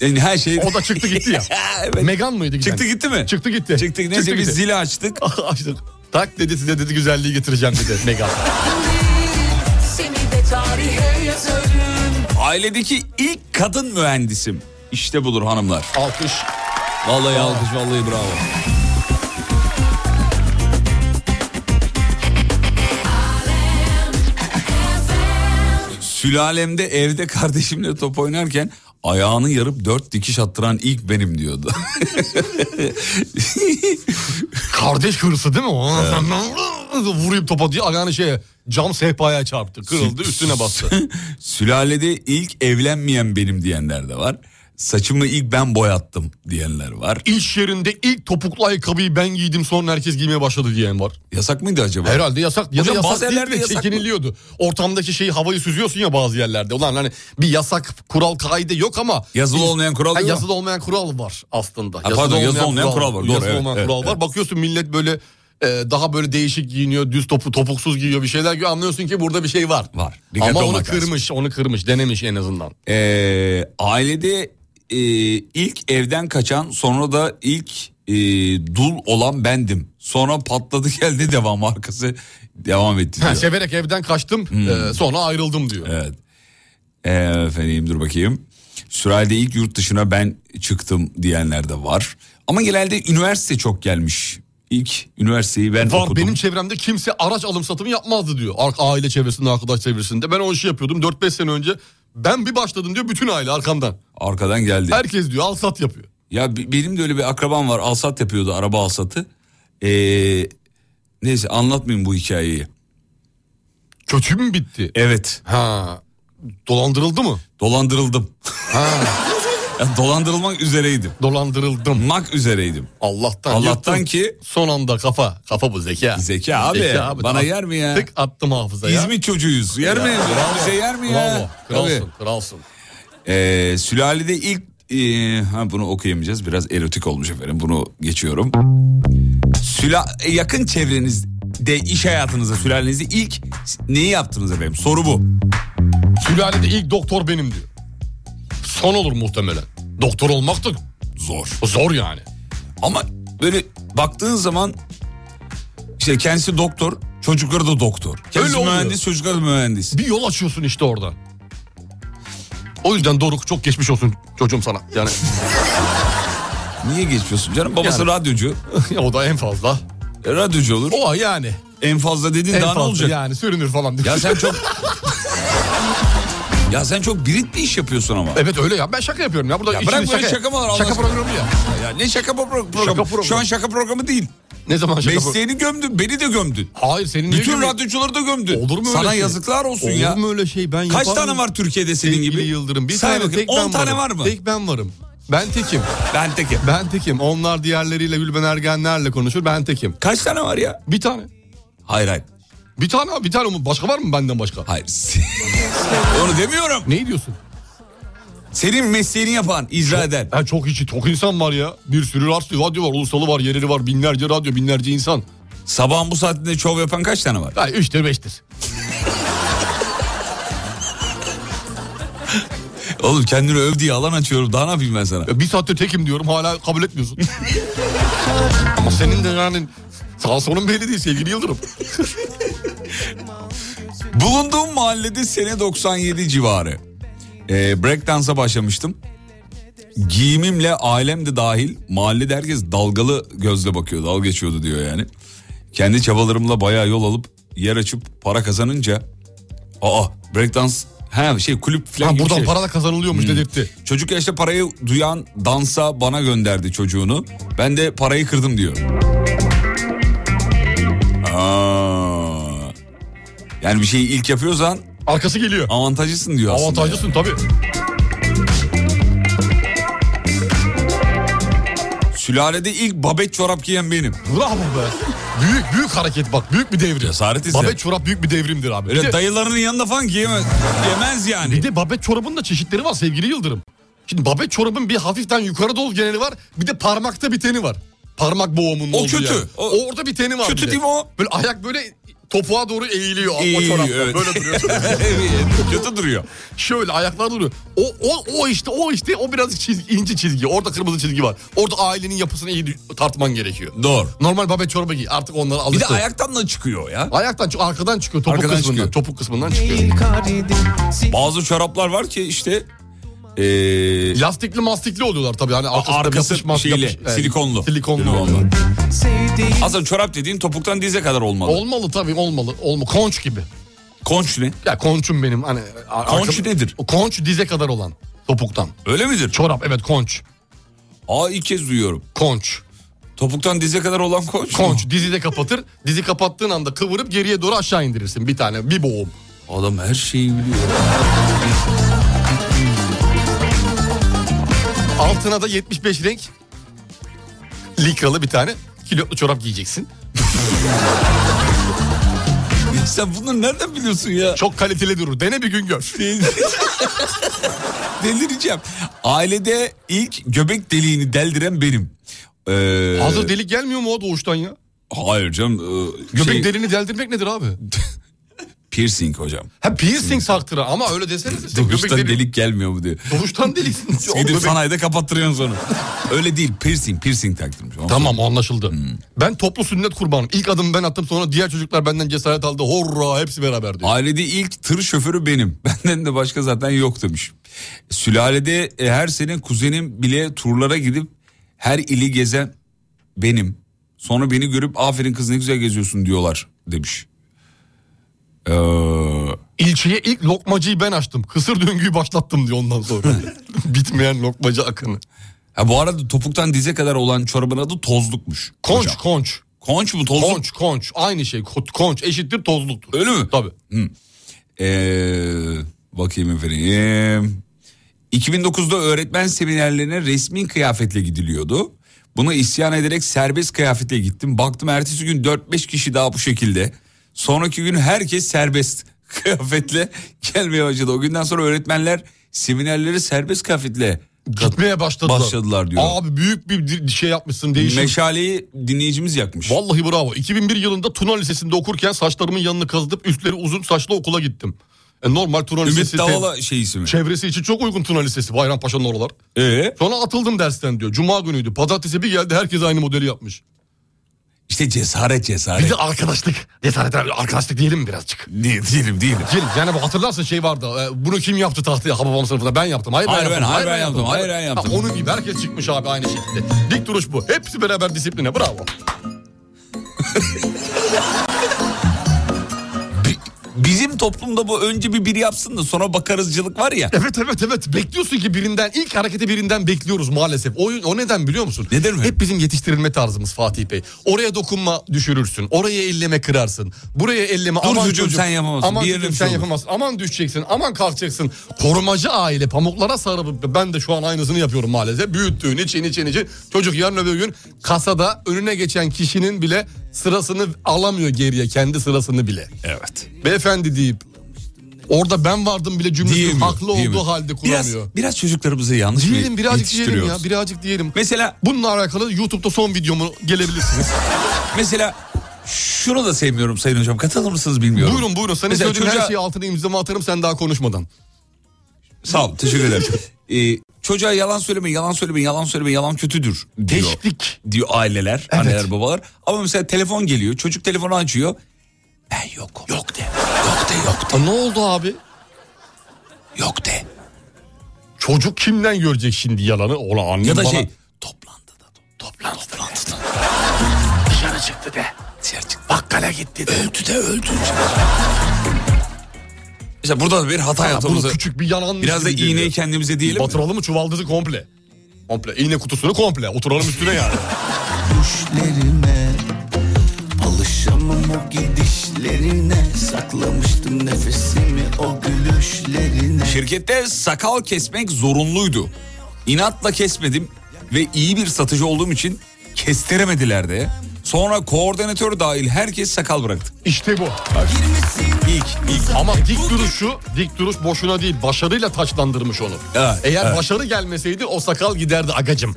Speaker 2: Yani her şey...
Speaker 3: O da çıktı gitti ya.
Speaker 2: Evet.
Speaker 3: Megan mıydı giden?
Speaker 2: Çıktı gitti mi?
Speaker 3: Çıktı gitti.
Speaker 2: Çıktı. Neyse
Speaker 3: Çıktı
Speaker 2: biz
Speaker 3: gitti.
Speaker 2: zili açtık.
Speaker 3: Açtım. Tak dedi size dedi güzelliği getireceğim dedi Megan.
Speaker 4: Seni de tarihe yazarım
Speaker 2: Ailedeki ilk kadın mühendisim. İşte budur hanımlar.
Speaker 3: Alkış.
Speaker 2: Vallahi alkış vallahi bravo. Sülalemde evde kardeşimle top oynarken Ayağını yarıp dört dikiş attıran ilk benim diyordu.
Speaker 3: Kardeş hırsı değil mi? Ona sen vurayım topa diye ayağını şeye cam sehpaya çarptı. Kırıldı üstüne bastı.
Speaker 2: Sülalede ilk evlenmeyen benim diyenler de var. Saçımı ilk ben boyattım diyenler var.
Speaker 3: İş yerinde ilk topuklu ayakkabıyı ben giydim sonra herkes giymeye başladı diyen var.
Speaker 2: Yasak mıydı acaba?
Speaker 3: Herhalde yasak. Ya da
Speaker 2: Hocam
Speaker 3: yasak
Speaker 2: bazı
Speaker 3: değil
Speaker 2: yerlerde
Speaker 3: de
Speaker 2: yasak mı?
Speaker 3: çekiniliyordu. Ortamdaki şeyi havayı süzüyorsun ya bazı yerlerde. Ulan hani bir yasak kural kaide yok ama.
Speaker 2: Yazılı
Speaker 3: bir-
Speaker 2: olmayan kural
Speaker 3: Ha,
Speaker 2: yok.
Speaker 3: Yazılı olmayan kural var aslında.
Speaker 2: Ha, pardon, yazılı olmayan kural var. Doğru,
Speaker 3: yazılı
Speaker 2: evet,
Speaker 3: olmayan
Speaker 2: evet,
Speaker 3: kural var.
Speaker 2: evet.
Speaker 3: Bakıyorsun millet böyle e, daha böyle değişik giyiniyor. Düz topu topuksuz giyiyor bir şeyler giyiyor. Anlıyorsun ki burada bir şey var.
Speaker 2: Var. Dikkatli
Speaker 3: Ama onu
Speaker 2: olmak lazım.
Speaker 3: kırmış, onu kırmış, denemiş en azından.
Speaker 2: Ee, ailede e, ilk evden kaçan sonra da ilk e, dul olan bendim. Sonra patladı geldi devam arkası devam etti
Speaker 3: Ha, şey-
Speaker 2: diyor.
Speaker 3: severek evden kaçtım,
Speaker 2: Hmm.
Speaker 3: e, sonra ayrıldım diyor.
Speaker 2: Evet. Ee, efendim dur bakayım. Sürayde ilk yurt dışına ben çıktım diyenler de var. Ama genelde üniversite çok gelmiş. İlk üniversiteyi ben
Speaker 3: Var
Speaker 2: okudum.
Speaker 3: benim çevremde kimse araç alım satımı yapmazdı diyor. Ar- Aile çevresinde, arkadaş çevresinde. Ben o işi yapıyordum 4-5 sene önce. Ben bir başladım diyor bütün aile arkamdan.
Speaker 2: Arkadan geldi.
Speaker 3: Herkes diyor al sat yapıyor.
Speaker 2: Ya bi- benim de öyle bir akrabam var alsat yapıyordu araba alsatı. Ee, neyse anlatmayayım bu hikayeyi.
Speaker 3: Kötü mü bitti?
Speaker 2: Evet
Speaker 3: Ha. Dolandırıldı mı?
Speaker 2: dolandırıldım. Ya dolandırılmak üzereydim.
Speaker 3: Dolandırıldım.
Speaker 2: Mak üzereydim.
Speaker 3: Allah'tan.
Speaker 2: Allah'tan
Speaker 3: yırttım.
Speaker 2: ki-
Speaker 3: son anda kafa. Kafa bu zeka.
Speaker 2: Zeka abi, bana
Speaker 3: At-
Speaker 2: yer mi ya?
Speaker 3: Tık attım hafızaya.
Speaker 2: İzmit çocuğuyuz. Yer mi? Bize
Speaker 3: şey
Speaker 2: yer mi ya?
Speaker 3: Bravo. Kralsın,
Speaker 2: Tabii.
Speaker 3: kralsın.
Speaker 2: Ee, sülalede ilk ee, ha bunu okuyamayacağız. Biraz erotik olmuş efendim. Bunu geçiyorum. Süla e, yakın çevrenizde iş hayatınızda sülalenizde ilk neyi yaptınız efendim? Soru bu.
Speaker 3: Sülalede ilk doktor benim diyor. Son olur muhtemelen. Doktor olmak da
Speaker 2: Zor.
Speaker 3: zor yani.
Speaker 2: Ama böyle baktığın zaman işte kendisi doktor, çocukları da doktor. Kendisi
Speaker 3: Öyle oluyor.
Speaker 2: mühendis, çocukları da mühendis.
Speaker 3: Bir yol açıyorsun işte orada. O yüzden Doruk çok geçmiş olsun çocuğum sana. Yani
Speaker 2: Niye geçmiyorsun canım? Babası
Speaker 3: Yani.
Speaker 2: radyocu.
Speaker 3: o da en fazla.
Speaker 2: E, radyocu olur.
Speaker 3: O yani.
Speaker 2: En fazla dedin
Speaker 3: En
Speaker 2: daha
Speaker 3: fazla
Speaker 2: ne olacak?
Speaker 3: yani sürünür falan. diyor.
Speaker 2: Ya sen çok... ya sen çok birit bir iş yapıyorsun ama.
Speaker 3: Evet öyle ya. Ben şaka yapıyorum ya. Burada
Speaker 2: Ya
Speaker 3: içimiz
Speaker 2: bırak böyle şakamalar Allah
Speaker 3: Şaka
Speaker 2: aşkına.
Speaker 3: programı ya.
Speaker 2: Ya ne şaka pro- programı?
Speaker 3: Şaka programı.
Speaker 2: Şu an şaka programı değil.
Speaker 3: Ne zaman şaka pro-
Speaker 2: Mesleğini gömdün, beni de gömdün.
Speaker 3: Hayır senin niye
Speaker 2: Bütün
Speaker 3: gibi-
Speaker 2: radyocuları da gömdün.
Speaker 3: Olur mu öyle
Speaker 2: Sana
Speaker 3: şey?
Speaker 2: yazıklar olsun
Speaker 3: Olur
Speaker 2: ya.
Speaker 3: mu öyle şey? Ben
Speaker 2: Kaç
Speaker 3: yaparım.
Speaker 2: tane var Türkiye'de senin
Speaker 3: Sevgili
Speaker 2: gibi?
Speaker 3: Yıldırım. Bir
Speaker 2: Say
Speaker 3: tane
Speaker 2: bakayım,
Speaker 3: tek ben
Speaker 2: 10 tane
Speaker 3: varım.
Speaker 2: var mı?
Speaker 3: Tek ben varım. Ben tekim.
Speaker 2: Ben tekim.
Speaker 3: Ben tekim. Onlar diğerleriyle Gülben Ergenlerle konuşur. Ben tekim.
Speaker 2: Kaç tane var ya?
Speaker 3: Bir tane.
Speaker 2: Hayır hayır.
Speaker 3: Bir tane abi, bir tane. mi? Başka var mı benden başka?
Speaker 2: Hayır. Onu demiyorum.
Speaker 3: Ne diyorsun?
Speaker 2: Senin mesleğini yapan, icra eden.
Speaker 3: Ha, çok içi çok insan var ya. Bir sürü radyo, radyo var. Ulusalı var, yereli var. Binlerce radyo, binlerce insan.
Speaker 2: Sabahın bu saatinde şov yapan kaç tane var?
Speaker 3: Ha, üçtir beştir.
Speaker 2: Oğlum kendini öv diye alan açıyorum. Daha ne yapayım ben sana?
Speaker 3: E, Bir saattir tekim diyorum hala kabul etmiyorsun. Ama senin de yani sağ sonun belli değil sevgili Yıldırım.
Speaker 2: Bulunduğum mahallede sene 97 civarı. Ee, breakdance'a başlamıştım. Giyimimle ailem de dahil mahallede herkes dalgalı gözle bakıyor. Dalga geçiyordu diyor yani. Kendi çabalarımla bayağı yol alıp yer açıp para kazanınca... Aa breakdance... Ha şey kulüp falan
Speaker 3: Ha,
Speaker 2: gibi
Speaker 3: buradan
Speaker 2: şey.
Speaker 3: para da kazanılıyormuş dedirtti.
Speaker 2: Çocuk yaşta parayı duyan dansa bana gönderdi çocuğunu. Ben de parayı kırdım diyor. Aa. Yani bir şeyi ilk yapıyorsan
Speaker 3: Arkası geliyor.
Speaker 2: avantajlısın diyor aslında.
Speaker 3: Avantajlısın tabii.
Speaker 2: Sülalede ilk babet çorap giyen benim.
Speaker 3: Bravo be. Büyük büyük hareket bak büyük bir devrim.
Speaker 2: Cesaret ise.
Speaker 3: Babet çorap büyük bir devrimdir abi. Bir
Speaker 2: Öyle
Speaker 3: de,
Speaker 2: dayılarının yanında falan giyemez, giyemez yani.
Speaker 3: bir de babet çorabın da çeşitleri var sevgili Yıldırım. Şimdi babet çorabın bir hafiften yukarı dolu geneli var. Bir de parmakta biteni var. Parmak boğumunun
Speaker 2: O
Speaker 3: olduğu
Speaker 2: kötü.
Speaker 3: yer.
Speaker 2: O-
Speaker 3: O, orada biteni var.
Speaker 2: Kötü
Speaker 3: bir de.
Speaker 2: değil mi o?
Speaker 3: Böyle ayak böyle topuğa doğru eğiliyor. o
Speaker 2: İyi,
Speaker 3: çoraplar.
Speaker 2: evet.
Speaker 3: Böyle duruyor.
Speaker 2: Evet, Kötü duruyor.
Speaker 3: Şöyle ayaklar duruyor. O, o, o işte o işte o biraz çizgi, ince çizgi. Orada kırmızı çizgi var. Orada ailenin yapısını iyi dü- tartman gerekiyor.
Speaker 2: Doğru.
Speaker 3: Normal babet çorba giy. Artık onlara
Speaker 2: Bir de
Speaker 3: alıştı.
Speaker 2: ayaktan da çıkıyor ya.
Speaker 3: Ayaktan çık- arkadan çıkıyor topuk
Speaker 2: Arkadan
Speaker 3: kısmından.
Speaker 2: çıkıyor.
Speaker 3: Topuk kısmından çıkıyor.
Speaker 2: Bazı çoraplar var ki işte... Ee,
Speaker 3: Lastikli mastikli oluyorlar tabii. Hani arkasında
Speaker 2: arkası
Speaker 3: yapışmaz,
Speaker 2: şeyle,
Speaker 3: e,
Speaker 2: silikonlu.
Speaker 3: Silikonlu.
Speaker 2: Silikonlu. Aslında çorap dediğin topuktan dize kadar olmalı.
Speaker 3: Olmalı tabii olmalı. Olma konç gibi.
Speaker 2: Konç ne?
Speaker 3: Ya konçum benim hani. ar-
Speaker 2: Konç nedir?
Speaker 3: O konç dize kadar olan. Topuktan.
Speaker 2: Öyle midir?
Speaker 3: Çorap evet konç.
Speaker 2: Aa ilk kez duyuyorum.
Speaker 3: Konç.
Speaker 2: Topuktan dize kadar olan konç.
Speaker 3: Konç dizi de kapatır. Dizi kapattığın anda kıvırıp geriye doğru aşağı indirirsin bir tane bir boğum.
Speaker 2: Adam her şeyi biliyor.
Speaker 3: Altına da 75 renk likralı bir tane kilotlu çorap giyeceksin.
Speaker 2: Sen bunları nereden biliyorsun ya?
Speaker 3: Çok kaliteli durur. Dene bir gün gör.
Speaker 2: Delireceğim. Ailede ilk göbek deliğini deldiren benim. Ee,
Speaker 3: Hazır delik gelmiyor mu o doğuştan ya?
Speaker 2: Hayır canım. e,
Speaker 3: Göbek
Speaker 2: şey,
Speaker 3: deliğini deldirmek nedir abi?
Speaker 2: piercing hocam.
Speaker 3: Ha piercing taktıra ama öyle deseniz işte göbek
Speaker 2: Doğuştan
Speaker 3: deliği.
Speaker 2: delik gelmiyor mu diyor.
Speaker 3: Doğuştan deliksin. Oğlum,
Speaker 2: Gidip
Speaker 3: göbek-
Speaker 2: sanayide kapattırıyorsun sonra. Öyle değil piercing piercing taktım.
Speaker 3: Tamam anlaşıldı. Ben toplu sünnet kurbanım. İlk adımı ben attım sonra diğer çocuklar benden cesaret aldı. Horra hepsi beraber diyor.
Speaker 2: Ailede ilk tır şoförü benim. Benden de başka zaten yok demiş. Sülalede e, her sene kuzenim bile turlara gidip her ili gezen benim. Sonra beni görüp aferin kız ne güzel geziyorsun diyorlar demiş. Ee,
Speaker 3: İlçeye ilk lokmacıyı ben açtım. Kısır döngüyü başlattım diyor ondan sonra. Bitmeyen lokmacı akını.
Speaker 2: ha bu arada topuktan dize kadar olan çorabın adı tozlukmuş.
Speaker 3: Konç
Speaker 2: hocam.
Speaker 3: konç.
Speaker 2: Konç mu tozluk?
Speaker 3: Konç konç. Aynı şey. Ko- Konç eşittir tozluktur.
Speaker 2: Öyle mi?
Speaker 3: Tabii.
Speaker 2: Ee, bakayım efendim. 2009'da öğretmen seminerlerine resmi kıyafetle gidiliyordu. Buna isyan ederek serbest kıyafetle gittim. Baktım ertesi gün 4-5 kişi daha bu şekilde. Sonraki gün herkes serbest kıyafetle gelmeye başladı. O günden sonra öğretmenler seminerleri serbest kıyafetle
Speaker 3: Gitmeye başladılar.
Speaker 2: Başladılar diyor.
Speaker 3: Abi büyük bir di- şey yapmışsın değişim.
Speaker 2: meşaleyi dinleyicimiz yakmış.
Speaker 3: Vallahi bravo. 2001 yılında Tuna Lisesi'nde okurken saçlarımın yanını kazıtıp üstleri uzun saçlı okula gittim. E, normal Tuna Lisesi.
Speaker 2: Ümit Davala şey şeysi mi?
Speaker 3: Çevresi için çok uygun Tuna Lisesi. Bayrampaşa'nın oralar.
Speaker 2: Ee,
Speaker 3: Sonra atıldım dersten diyor. Cuma günüydü. Pazartesi bir geldi herkes aynı modeli yapmış.
Speaker 2: işte cesaret
Speaker 3: Bir
Speaker 2: cesaret.
Speaker 3: de arkadaşlık. Cesaret arkadaşlık diyelim mi birazcık.
Speaker 2: Değil, değilim değilim.
Speaker 3: Diyelim. Yani bu hatırlarsın şey vardı. e, Bunu kim yaptı tahtaya? Ha babam sınıfında ben yaptım. Hayır,
Speaker 2: Hayır ben,
Speaker 3: yaptım.
Speaker 2: hayır ben yaptım, hayır ben yaptım.
Speaker 3: Ha, onun gibi herkes çıkmış abi aynı şekilde. Dik duruş bu. Hepsi beraber disipline. Bravo.
Speaker 2: Bi- Bizim toplumda bu önce bir biri yapsın da sonra bakarızcılık var ya.
Speaker 3: Evet evet evet. Bekliyorsun ki birinden ilk hareketi birinden bekliyoruz maalesef. O, o neden biliyor musun?
Speaker 2: Neden mi?
Speaker 3: Hep bizim yetiştirilme tarzımız Fatih Bey. Oraya dokunma düşürürsün. Oraya elleme kırarsın. Buraya elleme
Speaker 2: Dur
Speaker 3: aman
Speaker 2: çocuğum, sen yapamazsın.
Speaker 3: Aman
Speaker 2: Bir
Speaker 3: çocuğum
Speaker 2: yerin
Speaker 3: sen
Speaker 2: şey olur."
Speaker 3: yapamazsın. Aman düşeceksin. Aman kalkacaksın. Korumacı aile pamuklara sarılıp ben de şu an aynısını yapıyorum maalesef. Büyüttüğün için için için. Çocuk yarın öbür gün kasada önüne geçen kişinin bile sırasını alamıyor geriye kendi sırasını bile.
Speaker 2: Evet.
Speaker 3: Beyefendi deyip orada ben vardım bile cümlesini haklı olduğu halde kuramıyor.
Speaker 2: Biraz, biraz çocuklarımızı yanlış mı
Speaker 3: Diyelim birazcık diyelim ya
Speaker 2: yetiştiriyoruz?
Speaker 3: birazcık diyelim.
Speaker 2: Mesela
Speaker 3: Bununla alakalı YouTube'da son videomu gelebilirsiniz.
Speaker 2: mesela şunu da sevmiyorum Sayın Hocam. Katılır mısınız bilmiyorum.
Speaker 3: buyurun buyurun senin
Speaker 2: Mesela
Speaker 3: söylediğin
Speaker 2: çocuğa-
Speaker 3: her şeyi altına imzamı atarım sen daha konuşmadan.
Speaker 2: Sağ ol. Teşekkür ederim. Ee, çocuğa yalan söyleme, yalan söyleme, yalan söyleme, yalan kötüdür diyor.
Speaker 3: Teşvik.
Speaker 2: Diyor aileler, anneler, babalar. Ama mesela telefon geliyor. Çocuk telefonu açıyor. Ben yokum. Yok de. Yok de, yok de,
Speaker 3: Ha, ne oldu abi?
Speaker 2: yok de.
Speaker 3: Çocuk kimden görecek şimdi yalanı? Ola annem
Speaker 2: Ya da
Speaker 3: bana-
Speaker 2: şey toplandı da toplandı toplantıda. Dışarı çıktı de. Dışarı çıktı. Bakkala gitti de. Öldü de öldü. işte burada da bir hata
Speaker 3: Ha, bunu
Speaker 2: yaptığımızı
Speaker 3: küçük bir yalan.
Speaker 2: biraz da iğneyi kendimize diyelim. mi?
Speaker 3: Batıralım mı çuvaldızı komple? Komple. İğne kutusunu komple. Oturalım üstüne yani.
Speaker 1: düşlerine Alışamam o gidişlerine Saklamıştım nefesimi o gülüşlerine
Speaker 2: Şirkette sakal kesmek zorunluydu. İnatla kesmedim ve iyi bir satıcı olduğum için kestiremediler de. Sonra koordinatör dahil herkes sakal bıraktı.
Speaker 3: işte bu.
Speaker 2: İlk, ilk.
Speaker 3: Ama dik duruşu, dik duruş boşuna değil. Başarıyla taçlandırmış onu.
Speaker 2: Evet,
Speaker 3: Eğer
Speaker 2: evet.
Speaker 3: başarı gelmeseydi o sakal giderdi agacım.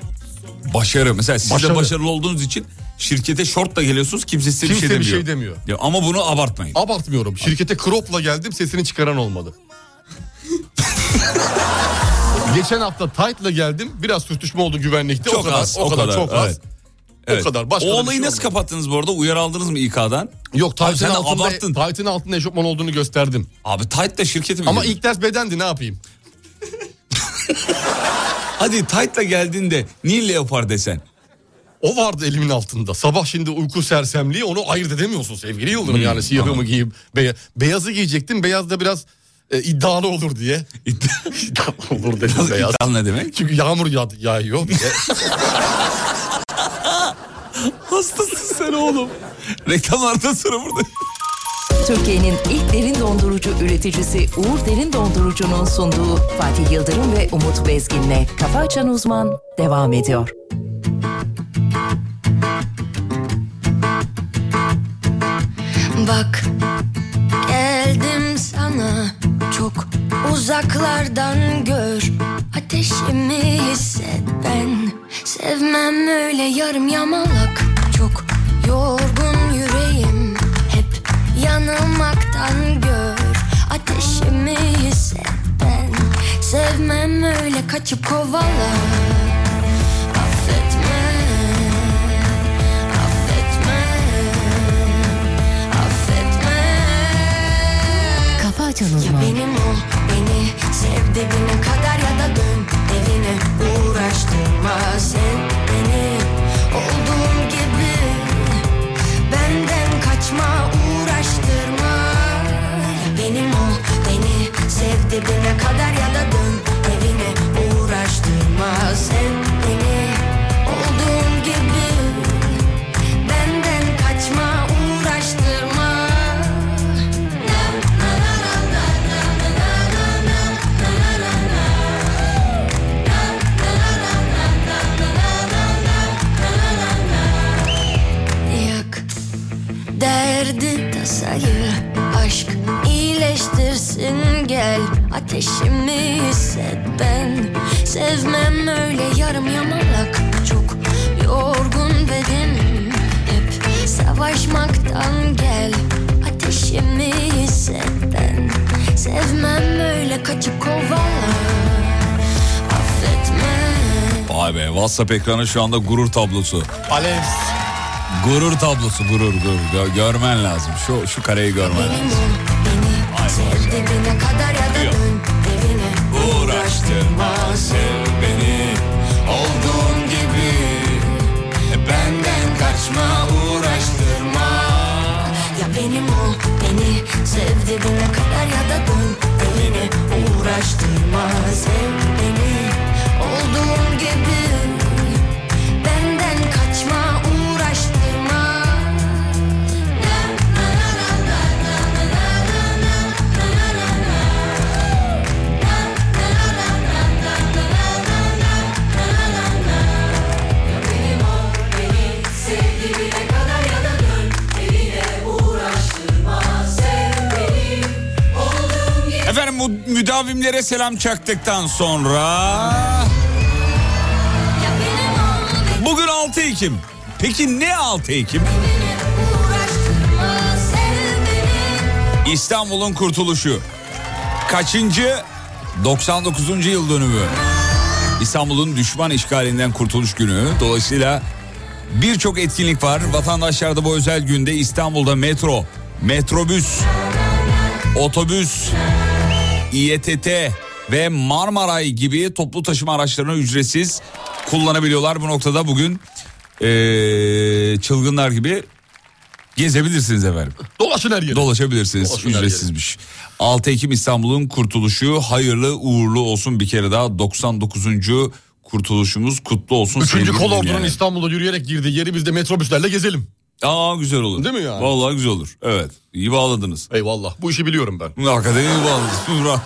Speaker 2: Başarı. Mesela siz de
Speaker 3: Başarı.
Speaker 2: başarılı olduğunuz için şirkete şort da geliyorsunuz kimse size bir şey
Speaker 3: Kimse
Speaker 2: demiyor.
Speaker 3: bir şey demiyor.
Speaker 2: Ya ama bunu abartmayın.
Speaker 3: Abartmıyorum. Şirkete kropla geldim sesini çıkaran olmadı. Geçen hafta tight'la geldim. Biraz sürtüşme oldu güvenlikte. o kadar, o kadar, çok az.
Speaker 2: evet. Evet.
Speaker 3: O kadar. Başka da
Speaker 2: o
Speaker 3: bir
Speaker 2: olayı
Speaker 3: şey
Speaker 2: nasıl
Speaker 3: olmadı.
Speaker 2: kapattınız bu arada? Uyarı aldınız mı İK'dan?
Speaker 3: Yok
Speaker 2: Abi sen
Speaker 3: tight'ın
Speaker 2: de
Speaker 3: altında,
Speaker 2: abarttın.
Speaker 3: tight'ın altında eşofman olduğunu gösterdim.
Speaker 2: Abi Tight'la şirketi mi?
Speaker 3: Ama
Speaker 2: girdin?
Speaker 3: ilk ders bedendi ne yapayım?
Speaker 2: Hadi Tight'la geldiğinde niye leopar desen?
Speaker 3: O vardı elimin altında. Sabah şimdi uyku Hmm, sersemliği onu ayırt edemiyorsun sevgili Yıldırım. yani siyahı mı giyeyim? beya- beyazı giyecektim. Beyaz da biraz e, iddialı olur diye. iddialı olur dedim
Speaker 2: Nasıl
Speaker 3: beyaz.
Speaker 2: iddialı ne demek?
Speaker 3: Çünkü yağmur yağ- yağıyor.
Speaker 2: Hastasın sen oğlum. Reklamlarda sıra burada.
Speaker 10: Türkiye'nin ilk derin dondurucu üreticisi Uğur Derin Dondurucu'nun sunduğu Fatih Yıldırım ve Umut Bezgin'le Kafa Açan Uzman devam ediyor.
Speaker 11: Bak geldim sana çok uzaklardan gör Ateşimi hisset ben sevmem öyle yarım yamalak Çok yorgun yüreğim hep yanılmaktan gör Ateşimi hisset ben sevmem öyle kaçıp kovala Affetme affetme affetme
Speaker 10: Kafa Açan
Speaker 11: Ya
Speaker 10: Uzman.
Speaker 11: benim ol beni sev dibine kadar ya da dön evine uğraştırma sen beni Olduğum gibi benden kaçma uğraştırma Ya benim ol beni sev dibine kadar ya da dön evine uğraştırma sen beni Olduğum gibi benden kaçma uğraştırma Yak derdi tasayı Aşk iyileştirsin gel Ateşimi hisset ben Sevmem öyle yarım yamalak Çok yorgun bedenim Hep savaşmaktan gel Ateşimi hisset ben Sevmem öyle kaçıp kovala Affetme
Speaker 2: Vay be WhatsApp ekranı şu anda gurur tablosu.
Speaker 3: Alev.
Speaker 2: Gurur tablosu gurur gurur. Gö- görmen lazım. Şu şu kareyi görmen lazım.
Speaker 11: Dibine kadar ya da dön evine
Speaker 2: Uğraştırma sev beni olduğum gibi
Speaker 11: Benden kaçma uğraştırma Ya benim ol beni sev dibine kadar ya da dön evine Uğraştırma sev beni olduğum gibi Benden kaçma uğraştırma
Speaker 4: Sevdiğine kadar ya da dön Evine uğraştırma Sev beni Olduğum gibi
Speaker 2: Efendim bu müdavimlere selam çaktıktan sonra... Bugün 6 Ekim. Peki ne 6 Ekim? İstanbul'un kurtuluşu. Kaçıncı? 99. yıl dönümü. İstanbul'un düşman işgalinden kurtuluş günü. Dolayısıyla birçok etkinlik var. Vatandaşlar da bu özel günde İstanbul'da metro, metrobüs, otobüs, İETT ve Marmaray gibi toplu taşıma araçlarını ücretsiz kullanabiliyorlar. Bu noktada bugün eee, çılgınlar gibi gezebilirsiniz efendim.
Speaker 3: Dolaşın her yere.
Speaker 2: Dolaşabilirsiniz ücretsizmiş. 6 Ekim İstanbul'un kurtuluşu hayırlı uğurlu olsun bir kere daha 99. kurtuluşumuz kutlu olsun.
Speaker 3: Üçüncü
Speaker 2: sevgili
Speaker 3: kol ordunun
Speaker 2: dinleyenler.
Speaker 3: İstanbul'da yürüyerek girdiği yeri biz de metrobüslerle gezelim.
Speaker 2: Aa güzel olur.
Speaker 3: Değil mi yani?
Speaker 2: Vallahi güzel olur. Evet. İyi bağladınız.
Speaker 3: Eyvallah. Bu işi biliyorum ben.
Speaker 2: Hakikaten iyi bağladınız. Bravo.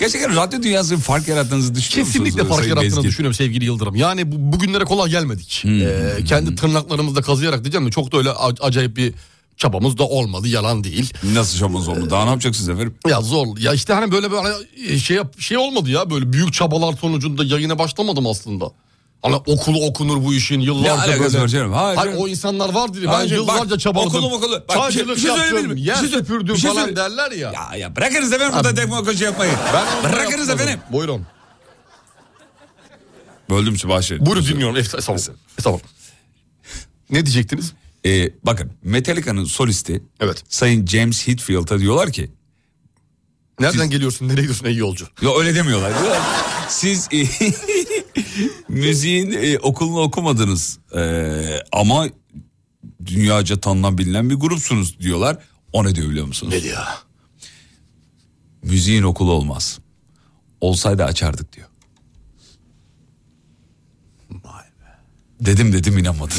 Speaker 2: Gerçekten radyo dünyasının fark yarattığınızı düşünüyor musunuz?
Speaker 3: Kesinlikle fark
Speaker 2: Sayın
Speaker 3: yarattığını
Speaker 2: Bezgin?
Speaker 3: düşünüyorum sevgili Yıldırım. Yani bu, bugünlere kolay gelmedik. Ee, kendi tırnaklarımızla kazıyarak diyeceğim de çok da öyle a- acayip bir çabamız da olmadı yalan değil.
Speaker 2: Nasıl çabamız olmadı? Daha ne yapacaksınız efendim?
Speaker 3: Ya zor. Ya işte hani böyle böyle e, şey yap- şey olmadı ya böyle büyük çabalar sonucunda yayına başlamadım aslında. Hani okulu okunur bu işin
Speaker 2: Ne
Speaker 3: yıllarca
Speaker 2: alakası
Speaker 3: böyle.
Speaker 2: var canım? Hayır
Speaker 3: Hayır,
Speaker 2: canım.
Speaker 3: o insanlar vardır ya. Ben
Speaker 2: Hayır canım, bak,
Speaker 3: yıllarca çabaladım.
Speaker 2: okulu mokulu. Bak, bir şey-
Speaker 3: Çaycılık
Speaker 2: bir şey söyleyebilir
Speaker 3: yaptım.
Speaker 2: miyim?
Speaker 3: Yer
Speaker 2: Bir şey söyle-
Speaker 3: süpürdüm
Speaker 2: bir şey
Speaker 3: falan
Speaker 2: söyle-
Speaker 3: derler ya.
Speaker 2: Ya ya bırakınız efendim burada teknoloji yapmayı.
Speaker 3: Ben onu
Speaker 2: bırakınız
Speaker 3: yapmadım.
Speaker 2: efendim.
Speaker 3: Buyurun.
Speaker 2: Böldüm sizi bahşedin.
Speaker 3: Buyurun dinliyorum. Esta- Estağfurullah. Estağfurullah. Ne diyecektiniz?
Speaker 2: Ee, bakın Metallica'nın solisti
Speaker 3: Evet.
Speaker 2: Sayın James Hetfield'a diyorlar ki
Speaker 3: Nereden geliyorsun? Nereye gidiyorsun ey yolcu?
Speaker 2: Ya öyle demiyorlar. Diyorlar, Siz e, müziğin e, okulunu okumadınız e, ama dünyaca tanınan bilinen bir grupsunuz diyorlar. O ne diyor biliyor musunuz?
Speaker 3: Ne diyor?
Speaker 2: Müziğin okulu olmaz. Olsaydı açardık diyor. Dedim dedim inanmadı.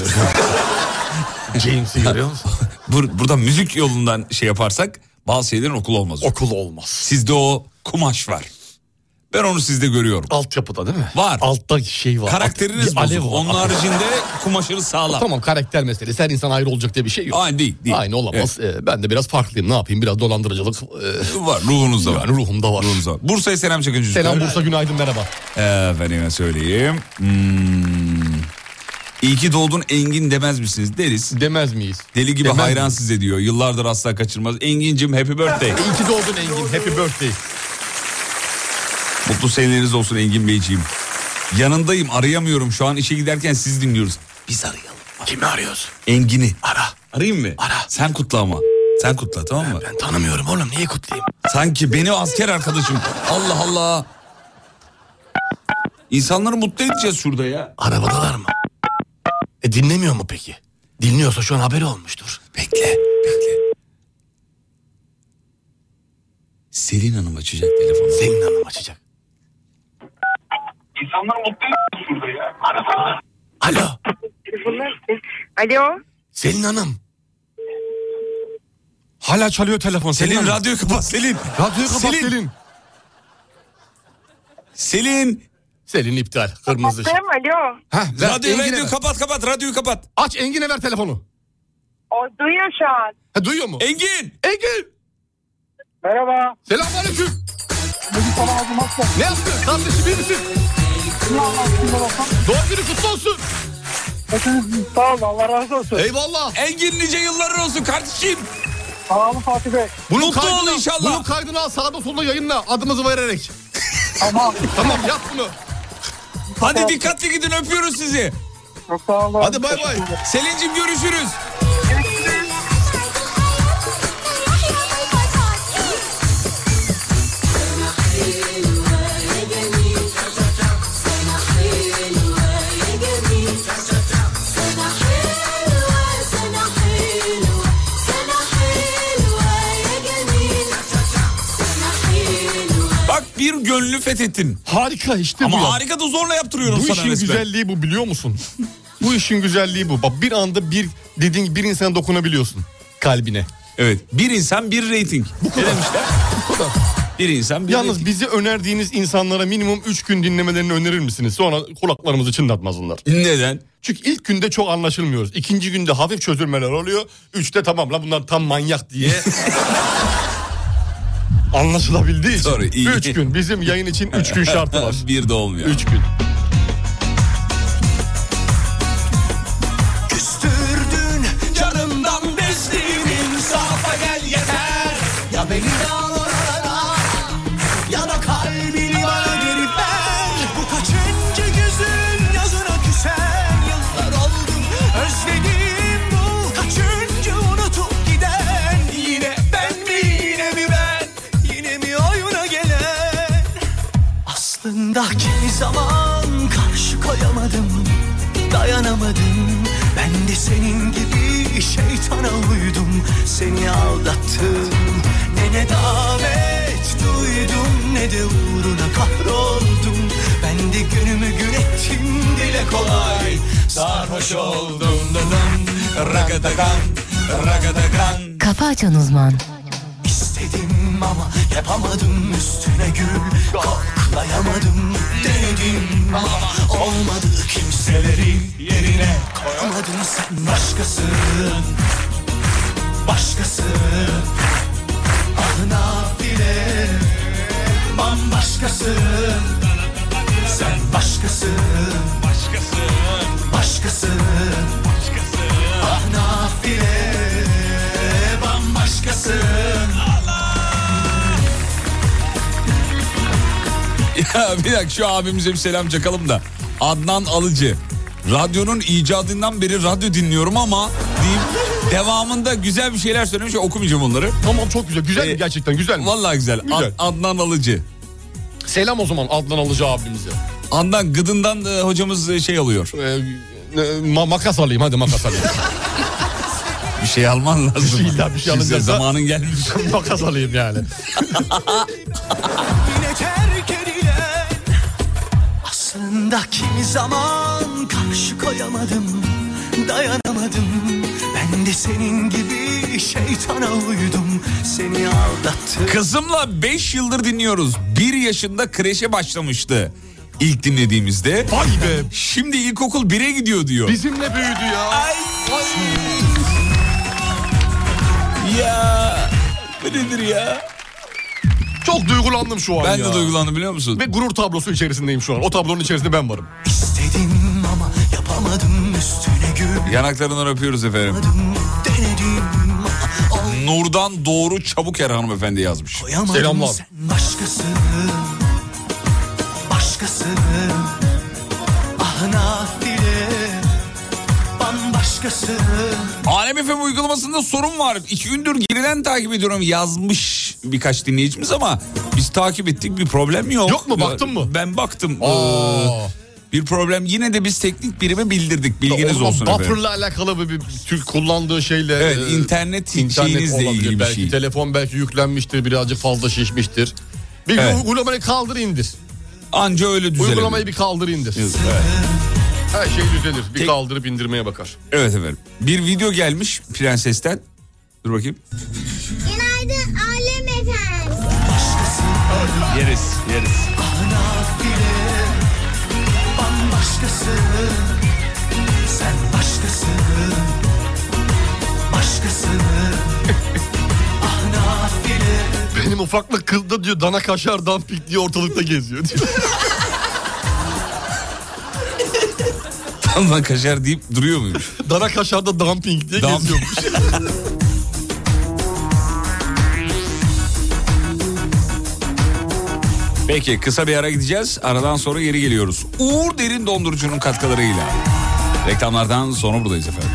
Speaker 2: James'i görüyor musun? Bur burada müzik yolundan şey yaparsak bazı şeylerin okulu olmaz. Okul olmaz. Sizde o kumaş var. Ben onu sizde görüyorum. Altyapıda değil mi? Var. Altta şey var. Karakteriniz
Speaker 3: Bir alev
Speaker 2: bozuk.
Speaker 3: var.
Speaker 2: Onun haricinde kumaşınız sağlam.
Speaker 3: Tamam karakter meselesi her insan ayrı olacak diye bir şey yok.
Speaker 2: Aynı değil. değil.
Speaker 3: Aynı olamaz. Ee, ben de biraz farklıyım ne yapayım biraz dolandırıcılık. e,
Speaker 2: Var ruhunuzda var.
Speaker 3: Yani ruhumda var.
Speaker 2: Ruhunuzda var. Bursa'ya selam çekin çocuklar.
Speaker 3: Selam Bursa günaydın merhaba.
Speaker 2: Efendime söyleyeyim. Hmm. İyi ki doğdun Engin demez misiniz? Deriz.
Speaker 3: Demez miyiz?
Speaker 2: Deli gibi
Speaker 3: Demez
Speaker 2: hayran
Speaker 3: miyiz?
Speaker 2: size diyor. Yıllardır asla kaçırmaz. Engin'cim happy birthday.
Speaker 3: İyi ki doğdun Engin happy birthday.
Speaker 2: Mutlu seneleriniz olsun Engin Beyciğim. Yanındayım arayamıyorum şu an işe giderken siz dinliyoruz. Biz arayalım. Kimi arıyoruz? Engin'i. Ara. Arayayım mı? Ara. Sen kutla ama. Sen kutla tamam mı? Ben, tanımıyorum oğlum niye kutlayayım? Sanki beni asker arkadaşım. Allah Allah. İnsanları mutlu edeceğiz şurada ya.
Speaker 3: Arabadalar mı? E dinlemiyor mu peki? Dinliyorsa şu an haberi olmuştur.
Speaker 2: Bekle. Selin Hanım açacak telefonu. Selin Hanım açacak.
Speaker 12: İnsanlar mutlu burada ya. Arada.
Speaker 3: Alo.
Speaker 8: Alo.
Speaker 3: Selin Hanım. Hala çalıyor telefon.
Speaker 2: Selin,
Speaker 3: Hanım.
Speaker 2: radyoyu kapat Selin.
Speaker 3: Radyoyu kapat
Speaker 2: Selin.
Speaker 3: Selin. Selin.
Speaker 2: Selin.
Speaker 3: iptal. Kırmızı ışık.
Speaker 8: Kapattım. Alo.
Speaker 3: Heh, ver,
Speaker 2: Radyo,
Speaker 3: Engin'e
Speaker 2: radyo
Speaker 3: ver.
Speaker 2: kapat kapat radyoyu kapat.
Speaker 3: Aç Engin'e ver telefonu.
Speaker 8: O duyuyor şu an.
Speaker 3: Ha, duyuyor mu?
Speaker 2: Engin.
Speaker 3: Engin.
Speaker 8: Merhaba.
Speaker 3: Selamünaleyküm. Ne yaptın? Kardeşim iyi misin? Doğum günü kutlu olsun.
Speaker 8: Sağ olun Allah razı olsun.
Speaker 3: Eyvallah.
Speaker 2: Engin nice yılların olsun kardeşim.
Speaker 8: Sağ olun Fatih Bey.
Speaker 3: Bunun
Speaker 2: Mutlu
Speaker 3: kaydını
Speaker 2: ol
Speaker 3: al,
Speaker 2: inşallah.
Speaker 3: Bunun kaydını al sağda solda yayınla adımızı vererek.
Speaker 8: Tamam.
Speaker 3: tamam yap bunu.
Speaker 2: Hadi dikkatli gidin öpüyoruz sizi.
Speaker 8: Çok sağ olun.
Speaker 3: Hadi bay bay.
Speaker 2: Selin'cim görüşürüz. Bak bir gönlü fethettin.
Speaker 3: Harika işte
Speaker 2: Ama
Speaker 3: bu ya.
Speaker 2: harika da zorla yaptırıyorum
Speaker 3: bu
Speaker 2: sana
Speaker 3: işin
Speaker 2: resmen.
Speaker 3: güzelliği bu biliyor musun? bu işin güzelliği bu. Bak bir anda bir dediğin gibi bir insana dokunabiliyorsun kalbine.
Speaker 2: Evet. Bir insan bir reyting. Bu kadar.
Speaker 3: Bu kadar.
Speaker 2: Bir insan bir
Speaker 3: Yalnız
Speaker 2: reyting.
Speaker 3: bize önerdiğiniz insanlara minimum 3 gün dinlemelerini önerir misiniz? Sonra kulaklarımızı çınlatmaz onlar.
Speaker 2: Neden?
Speaker 3: Çünkü ilk günde çok anlaşılmıyoruz. İkinci günde hafif çözülmeler oluyor. Üçte tamam lan bunlar tam manyak diye. Anlaşılabildiği için.
Speaker 2: Doğru, iyi.
Speaker 3: Üç gün. Bizim yayın için üç gün şartı var.
Speaker 2: bir de olmuyor.
Speaker 3: Üç gün.
Speaker 12: Küstürdün canımdan bezdiğin insafa gel yeter Ya beni de al oralara ya da kalbini bana geri ver Bu kaçıncı yüzün yazına küsen yıllar oldu özledim bu Kaçıncı unutup giden yine ben mi yine mi ben yine mi oyuna gelen Aslında kimi zaman karşı koyamadım dayanamadım Ben de senin gibi şeytana uydum Seni aldattım Ne nedamet duydum ne de uğruna kahroldum Ben de günümü gün ettim dile kolay Sarhoş oldum dönüm Ragadagan, ragadagan
Speaker 11: Kafa Açan Uzman.
Speaker 12: İstedim ama yapamadım üstüne gül Koklayamadım denedim ama olmadı kimseleri yerine koyamadın sen başkasın Başkası ahına bile bambaşkasın Sen başkasın Başkasın Başkasın Ahına bile bambaşkasın
Speaker 2: Ya bir dakika şu abimize bir selam çakalım da. Adnan Alıcı. Radyonun icadından beri radyo dinliyorum ama deyip devamında güzel bir şeyler söylemiş. Okumayacağım onları.
Speaker 3: Tamam çok güzel.
Speaker 2: Şey,
Speaker 3: Güzel mi gerçekten? Güzel mi?
Speaker 2: Vallahi güzel.
Speaker 3: Güzel.
Speaker 2: Ad- Adnan Alıcı.
Speaker 3: Selam o zaman Adnan Alıcı abimize.
Speaker 2: Adnan gıdından e, hocamız e, şey alıyor.
Speaker 3: Ee, e, ma- makas alayım hadi makas alayım.
Speaker 2: Bir şey alman lazım. Bir şey
Speaker 3: illa bir şey alınacaksa-
Speaker 2: Zamanın şey. gelmiş.
Speaker 3: Makas alayım yani.
Speaker 12: Yine terk edilen Aslında kimi zaman karşı koyamadım Dayanamadım Ben de senin gibi şeytana uydum Seni aldattım
Speaker 2: Kızımla 5 yıldır dinliyoruz. 1 yaşında kreşe başlamıştı. İlk dinlediğimizde. Vay be. Şimdi ilkokul 1'e gidiyor diyor.
Speaker 3: Bizimle büyüdü ya.
Speaker 2: Ay. Ya. Bu nedir ya?
Speaker 3: Çok duygulandım şu an
Speaker 2: Ben
Speaker 3: ya.
Speaker 2: de duygulandım biliyor musun?
Speaker 3: Ve gurur tablosu içerisindeyim şu an. O tablonun içerisinde ben varım.
Speaker 12: İstedim ama yapamadım Üstüne gül
Speaker 2: Yanaklarından öpüyoruz efendim.
Speaker 12: denedim
Speaker 2: Nur'dan Doğru Çabuker hanımefendi yazmış.
Speaker 12: Koyamadım
Speaker 2: Selamlar.
Speaker 12: sen başkasını Başkasını Ah nafile Bambaşkasını
Speaker 2: Alem FM uygulamasında sorun var. İki gündür geriden takip ediyorum yazmış birkaç dinleyicimiz ama biz takip ettik bir problem yok. Yok
Speaker 3: mu? Baktın
Speaker 2: mı? Ben baktım. Ee, bir problem yine de biz teknik birime bildirdik
Speaker 3: O
Speaker 2: bilginiz
Speaker 3: zaman
Speaker 2: olsun efendim.
Speaker 3: Buffer'la alakalı bir, bir Türk kullandığı şeyle.
Speaker 2: Evet,
Speaker 3: e,
Speaker 2: internet şeyinizle
Speaker 3: olabilir.
Speaker 2: ilgili bir
Speaker 3: belki
Speaker 2: şey.
Speaker 3: Telefon belki yüklenmiştir birazcık fazla şişmiştir. Bir
Speaker 2: Evet.
Speaker 3: uygulamayı kaldır indir.
Speaker 2: Anca öyle düzelebilir.
Speaker 3: Uygulamayı bir kaldır indir. Her şey düzelir. Bir kaldırıp indirmeye bakar.
Speaker 2: Evet efendim. Bir video gelmiş prensesten. Dur bakayım.
Speaker 13: Günaydın Alem Efendim.
Speaker 2: Yeriz yeriz.
Speaker 12: Nafile Bambaşkasını Sen başkasını Başkasını Ah nafile
Speaker 3: Benim ufaklık kızda diyor dana kaşar dampik diye ortalıkta geziyor diyor.
Speaker 2: Tam lan kaşar deyip duruyor muymuş?
Speaker 3: dana kaşarda dumping diye
Speaker 2: Dump-
Speaker 3: geziyormuş.
Speaker 2: Peki kısa bir ara gideceğiz. Aradan sonra geri geliyoruz. Uğur Derin Dondurucu'nun katkılarıyla. Reklamlardan sonra buradayız efendim.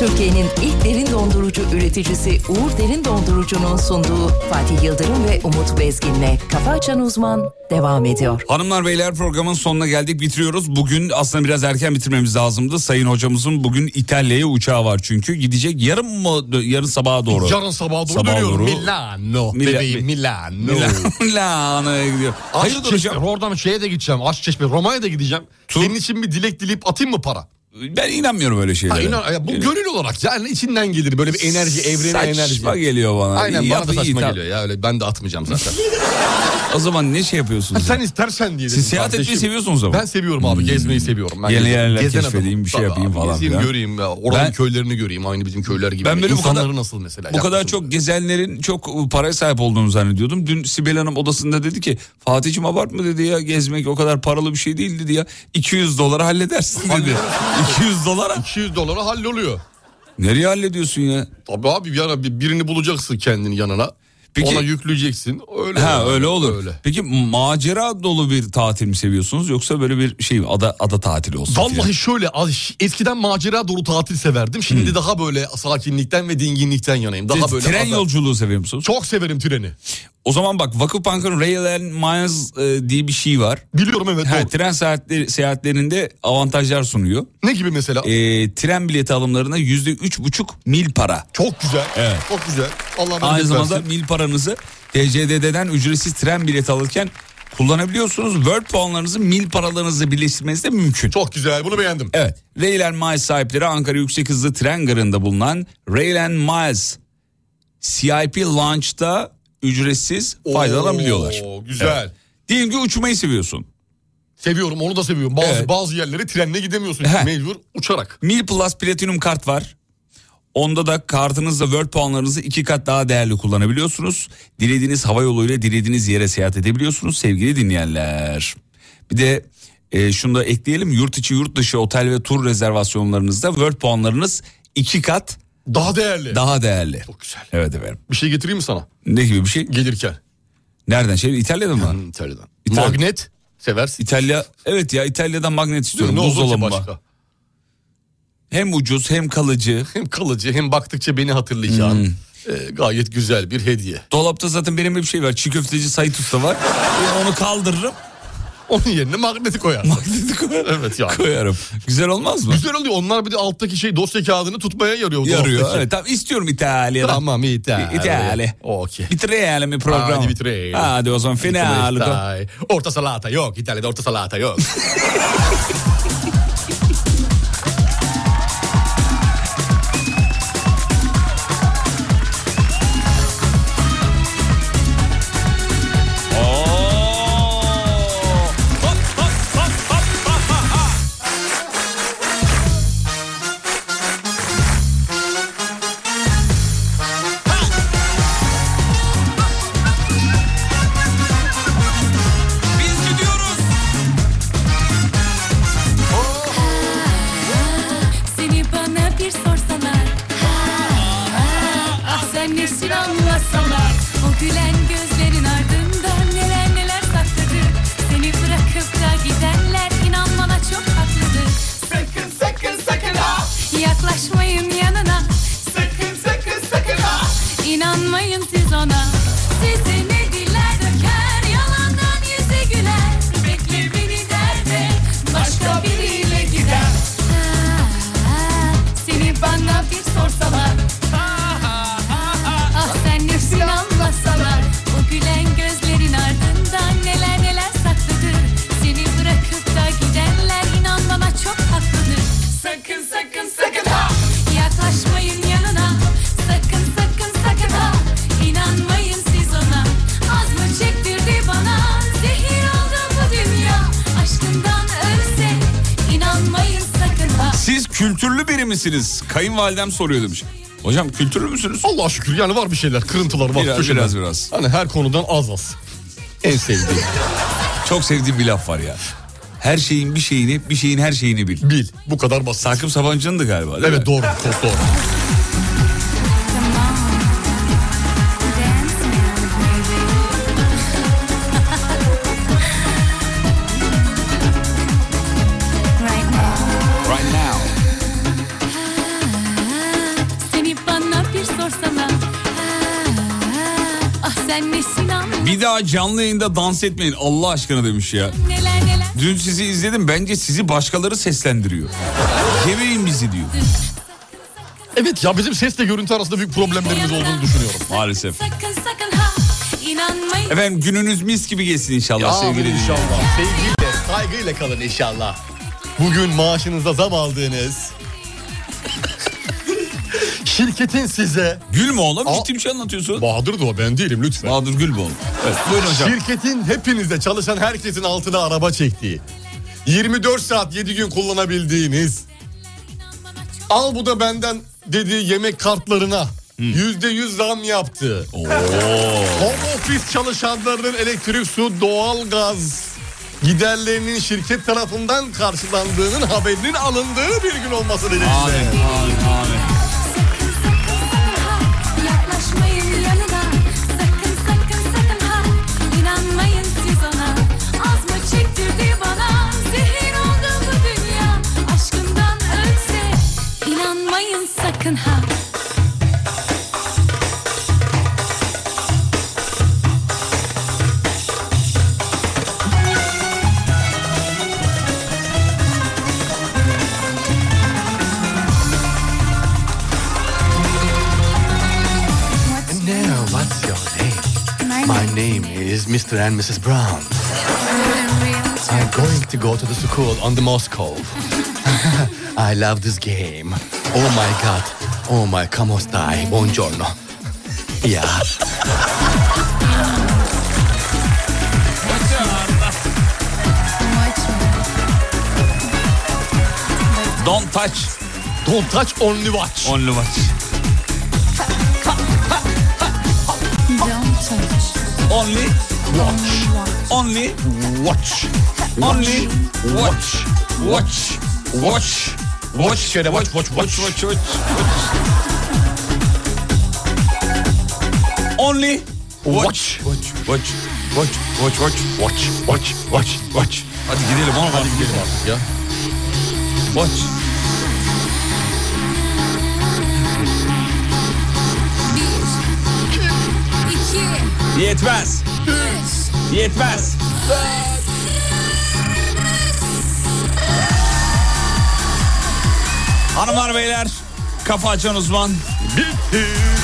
Speaker 10: Türkiye'nin ilk derin dondurucu üreticisi Uğur Derin Dondurucu'nun sunduğu Fatih Yıldırım ve Umut Bezgin'le Kafa Açan Uzman devam ediyor.
Speaker 2: Hanımlar beyler programın sonuna geldik bitiriyoruz. Bugün aslında biraz erken bitirmemiz lazımdı. Sayın hocamızın bugün İtalya'ya uçağı var çünkü. Gidecek yarın mı yarın sabaha doğru.
Speaker 3: Yarın sabaha doğru
Speaker 2: Sabaha
Speaker 3: dönüyorum.
Speaker 2: doğru.
Speaker 3: Milano
Speaker 2: Mila-
Speaker 3: bebeğim Milano.
Speaker 2: Milano. Milano'ya gidiyor. Hayırdır
Speaker 3: Aşçeşme,
Speaker 2: hocam?
Speaker 3: oradan şeye de gideceğim. Aşçeşme, Roma'ya da gideceğim. Senin için bir dilek dileyip atayım mı para?
Speaker 2: Ben inanmıyorum öyle şeylere.
Speaker 3: Ha, inan- ya bu gönül olarak yani içinden gelir böyle bir enerji, evrene
Speaker 2: Saçma
Speaker 3: enerji.
Speaker 2: geliyor bana.
Speaker 3: Aynen
Speaker 2: Yap-
Speaker 3: bana da saçma
Speaker 2: iyi, tamam.
Speaker 3: geliyor ya öyle ben de atmayacağım zaten.
Speaker 2: o zaman ne şey
Speaker 3: Ha,
Speaker 2: yapıyorsunuz?
Speaker 3: sen istersen diye.
Speaker 2: Siz
Speaker 3: dedim
Speaker 2: seyahat
Speaker 3: kardeşim.
Speaker 2: etmeyi seviyorsunuz ama.
Speaker 3: Ben seviyorum abi gezmeyi seviyorum. Ben
Speaker 2: Yeni
Speaker 3: gezen-
Speaker 2: yerler
Speaker 3: gezen adamım.
Speaker 2: keşfedeyim, bir şey
Speaker 3: Tabii
Speaker 2: yapayım
Speaker 3: abi,
Speaker 2: falan
Speaker 3: Gezeyim
Speaker 2: filan.
Speaker 3: göreyim ya. Oranın
Speaker 2: Ben-
Speaker 3: köylerini göreyim aynı bizim köyler gibi.
Speaker 2: Ben böyle bu
Speaker 3: İnsanları
Speaker 2: kadar-
Speaker 3: nasıl mesela?
Speaker 2: Bu kadar çok gezenlerin çok ıı, paraya sahip olduğunu zannediyordum. Dün Sibel Hanım odasında dedi ki Fatih'cim abartma dedi ya gezmek o kadar paralı bir şey değil dedi ya. 200 dolara halledersin dedi. 200 dolara?
Speaker 3: 200 dolara halloluyor.
Speaker 2: Nereye hallediyorsun ya?
Speaker 3: Tabii abi ya bir- birini bulacaksın kendini yanına. Ona yükleyeceksin. Öyle.
Speaker 2: ha
Speaker 3: yani.
Speaker 2: öyle olur. Peki macera dolu bir tatil mi seviyorsunuz yoksa böyle bir şey mi? ada ada tatili olsun?
Speaker 3: Vallahi şöyle az- eskiden macera dolu tatil severdim. Şimdi daha böyle sakinlikten ve dinginlikten yanayım. Daha
Speaker 2: Siz
Speaker 3: böyle
Speaker 2: Hmm. tren
Speaker 3: ada-
Speaker 2: yolculuğu seviyor musunuz?
Speaker 3: Çok severim treni.
Speaker 2: O zaman bak Vakıfbank'ın Rail and Miles e, diye bir şey var.
Speaker 3: Biliyorum evet.
Speaker 2: tren seyahatleri, seyahatlerinde avantajlar sunuyor. E,
Speaker 3: Ne gibi mesela?
Speaker 2: tren bileti alımlarına yüzde üç buçuk mil para.
Speaker 3: Çok güzel.
Speaker 2: Evet.
Speaker 3: Çok güzel. Allah
Speaker 2: Aynı
Speaker 3: bereket
Speaker 2: zamanda
Speaker 3: versin.
Speaker 2: mil paranızı TCDD'den ücretsiz tren bileti alırken kullanabiliyorsunuz. World puanlarınızı mil paralarınızla birleştirmeniz de mümkün.
Speaker 3: Çok güzel bunu beğendim.
Speaker 2: Evet. Rail and Miles sahipleri Ankara Yüksek Hızlı Tren Garı'nda bulunan Rail and Miles CIP Launch'ta ücretsiz faydalanabiliyorlar.
Speaker 3: Oo, güzel.
Speaker 2: Evet. Diyelim ki uçmayı seviyorsun.
Speaker 3: Seviyorum onu da seviyorum. Bazı
Speaker 2: Evet.
Speaker 3: bazı yerlere trenle gidemiyorsun. Mecbur uçarak.
Speaker 2: Mil Plus Platinum kart var. Onda da kartınızla World puanlarınızı iki kat daha değerli kullanabiliyorsunuz. Dilediğiniz hava yoluyla dilediğiniz yere seyahat edebiliyorsunuz sevgili dinleyenler. Bir de e, şunu da ekleyelim yurt içi yurt dışı otel ve tur rezervasyonlarınızda World puanlarınız iki kat
Speaker 3: daha değerli.
Speaker 2: Daha değerli. Çok güzel. Evet efendim.
Speaker 3: Bir şey getireyim mi sana?
Speaker 2: Ne gibi bir şey?
Speaker 3: Gelirken.
Speaker 2: Nereden? Şey İtalya'dan mı?
Speaker 3: İtalya'dan.
Speaker 2: İtalya.
Speaker 3: Magnet seversin.
Speaker 2: İtalya evet ya İtalya'dan magnet istiyorum.
Speaker 3: Ne olur ki
Speaker 2: Buzdolabı.
Speaker 3: başka?
Speaker 2: Hem ucuz hem kalıcı.
Speaker 3: Hem kalıcı hem baktıkça beni hatırlayacağın
Speaker 2: Hmm.
Speaker 3: e, gayet güzel bir hediye.
Speaker 2: Dolapta zaten benim bir şey var. Çiğ köfteci Sait Usta var. Ben onu E, kaldırırım.
Speaker 3: Onun yerine magneti koyarsın. Magneti koyar. Evet ya.
Speaker 2: Koyarım. Güzel olmaz mı?
Speaker 3: Güzel oluyor. Onlar bir de alttaki şey dosya kağıdını tutmaya yarıyor.
Speaker 2: Yarıyor. Evet, tamam istiyorum İtalya'dan.
Speaker 3: Tamam İtalya.
Speaker 2: İtalya.
Speaker 3: Okey.
Speaker 2: Bitirelim bir program.
Speaker 3: Hadi bitirelim.
Speaker 2: Hadi o zaman finali de-
Speaker 3: Ay, Orta salata yok. İtalya'da orta salata yok.
Speaker 14: Seni bana bir sorsalar Ah sen nesin anlasalar O gülen gözlerin ardında neler neler saklıdır Seni bırakıp da gidenler inan bana çok haklıdır Sakın sakın sakın ha Yaklaşmayın yanına Sakın sakın sakın ha İnanmayın siz ona Sizi ne diller döker Yalandan yüze güler Bekle beni derde Başka biriyle gider seni bana bir sorsalar Ah sen nefsin anlasalar O gülen gözlerin ardından neler neler saklıdır Seni bırakıp da gidenler inan bana çok haklıdır Sakın sakın sakın ha Yaklaşmayın yanına Sakın sakın sakın ha İnanmayın siz ona Az mı çektirdi bana Zehir oldu bu dünya Aşkından ölse inanmayın sakın ha
Speaker 2: Siz kültürlü biri misiniz? Kayınvalidem soruyor demiş. Hocam kültürlü müsünüz?
Speaker 3: Allah şükür yani var bir şeyler. Kırıntılar var.
Speaker 2: Biraz,
Speaker 3: köşeler.
Speaker 2: biraz, biraz.
Speaker 3: Hani her konudan az az. En sevdiğim.
Speaker 2: Çok sevdiğim bir laf var ya. Her şeyin bir şeyini, bir şeyin her şeyini bil.
Speaker 3: Bil. Bu kadar basit.
Speaker 2: Sakıp Sabancı'nındı galiba değil
Speaker 3: evet
Speaker 2: mi?
Speaker 3: doğru. Çok doğru.
Speaker 2: Right now.
Speaker 14: Seni bana bir sorsana Ah sen nesin anla
Speaker 2: Bir daha canlı yayında dans etmeyin Allah aşkına demiş ya.
Speaker 14: neler neler
Speaker 2: Dün sizi izledim bence sizi başkaları seslendiriyor. Yemeyin bizi diyor.
Speaker 3: Evet ya bizim sesle görüntü arasında büyük problemlerimiz olduğunu düşünüyorum.
Speaker 2: Maalesef.
Speaker 14: sakın sakın ha inanmayın
Speaker 2: Efendim gününüz mis gibi geçsin inşallah
Speaker 3: Ya
Speaker 2: sevgili
Speaker 3: amin
Speaker 2: dinleyiciler.
Speaker 3: inşallah. Sevgiyle, saygıyla kalın inşallah. Bugün maaşınıza zam aldığınız... Şirketin size...
Speaker 2: Gül mü oğlum?
Speaker 3: Aa,
Speaker 2: Ciddi bir şey anlatıyorsun.
Speaker 3: Bahadır da o ben değilim lütfen.
Speaker 2: Bahadır Gül bu oğlum. Evet, buyurun hocam.
Speaker 3: Şirketin hepinizde çalışan herkesin altına araba çektiği, 24 saat 7 gün kullanabildiğiniz, al bu da benden dediği yemek kartlarına %100 zam yaptı. Home office çalışanlarının elektrik, su, doğalgaz giderlerinin şirket tarafından karşılandığının haberinin alındığı bir gün olması
Speaker 2: Amin,
Speaker 3: dileğiyle.
Speaker 2: amin, amin.
Speaker 14: yaklaşmayın yanına sakın sakın sakın ha inanmayın siz ona az mı çektirdi bana zehir oldu bu dünya aşkından ölse inanmayın sakın ha
Speaker 3: Now, what's your name? My name is Mr. and Mrs. Brown. I'm going to go to the school on the Moscow. I love this game. Oh my god. Oh my como stai? Buongiorno. Yeah.
Speaker 2: Don't touch.
Speaker 3: Don't touch only watch.
Speaker 2: Only watch. Only
Speaker 3: watch.
Speaker 2: Only Only
Speaker 3: watch.
Speaker 2: watch. Watch. Watch. Watch. Şöyle watch watch watch. watch, watch. Only watch. Watch. Watch. Watch. Watch. Watch.
Speaker 3: Watch. Watch. Watch. Watch.
Speaker 2: Hadi gidelim oğlum. Hadi gidelim
Speaker 3: artık ya.
Speaker 2: Watch.
Speaker 14: bir iki
Speaker 2: Yetmez.
Speaker 14: üç
Speaker 2: Yetmez. Hanımlar beyler kafa açan uzman bitti.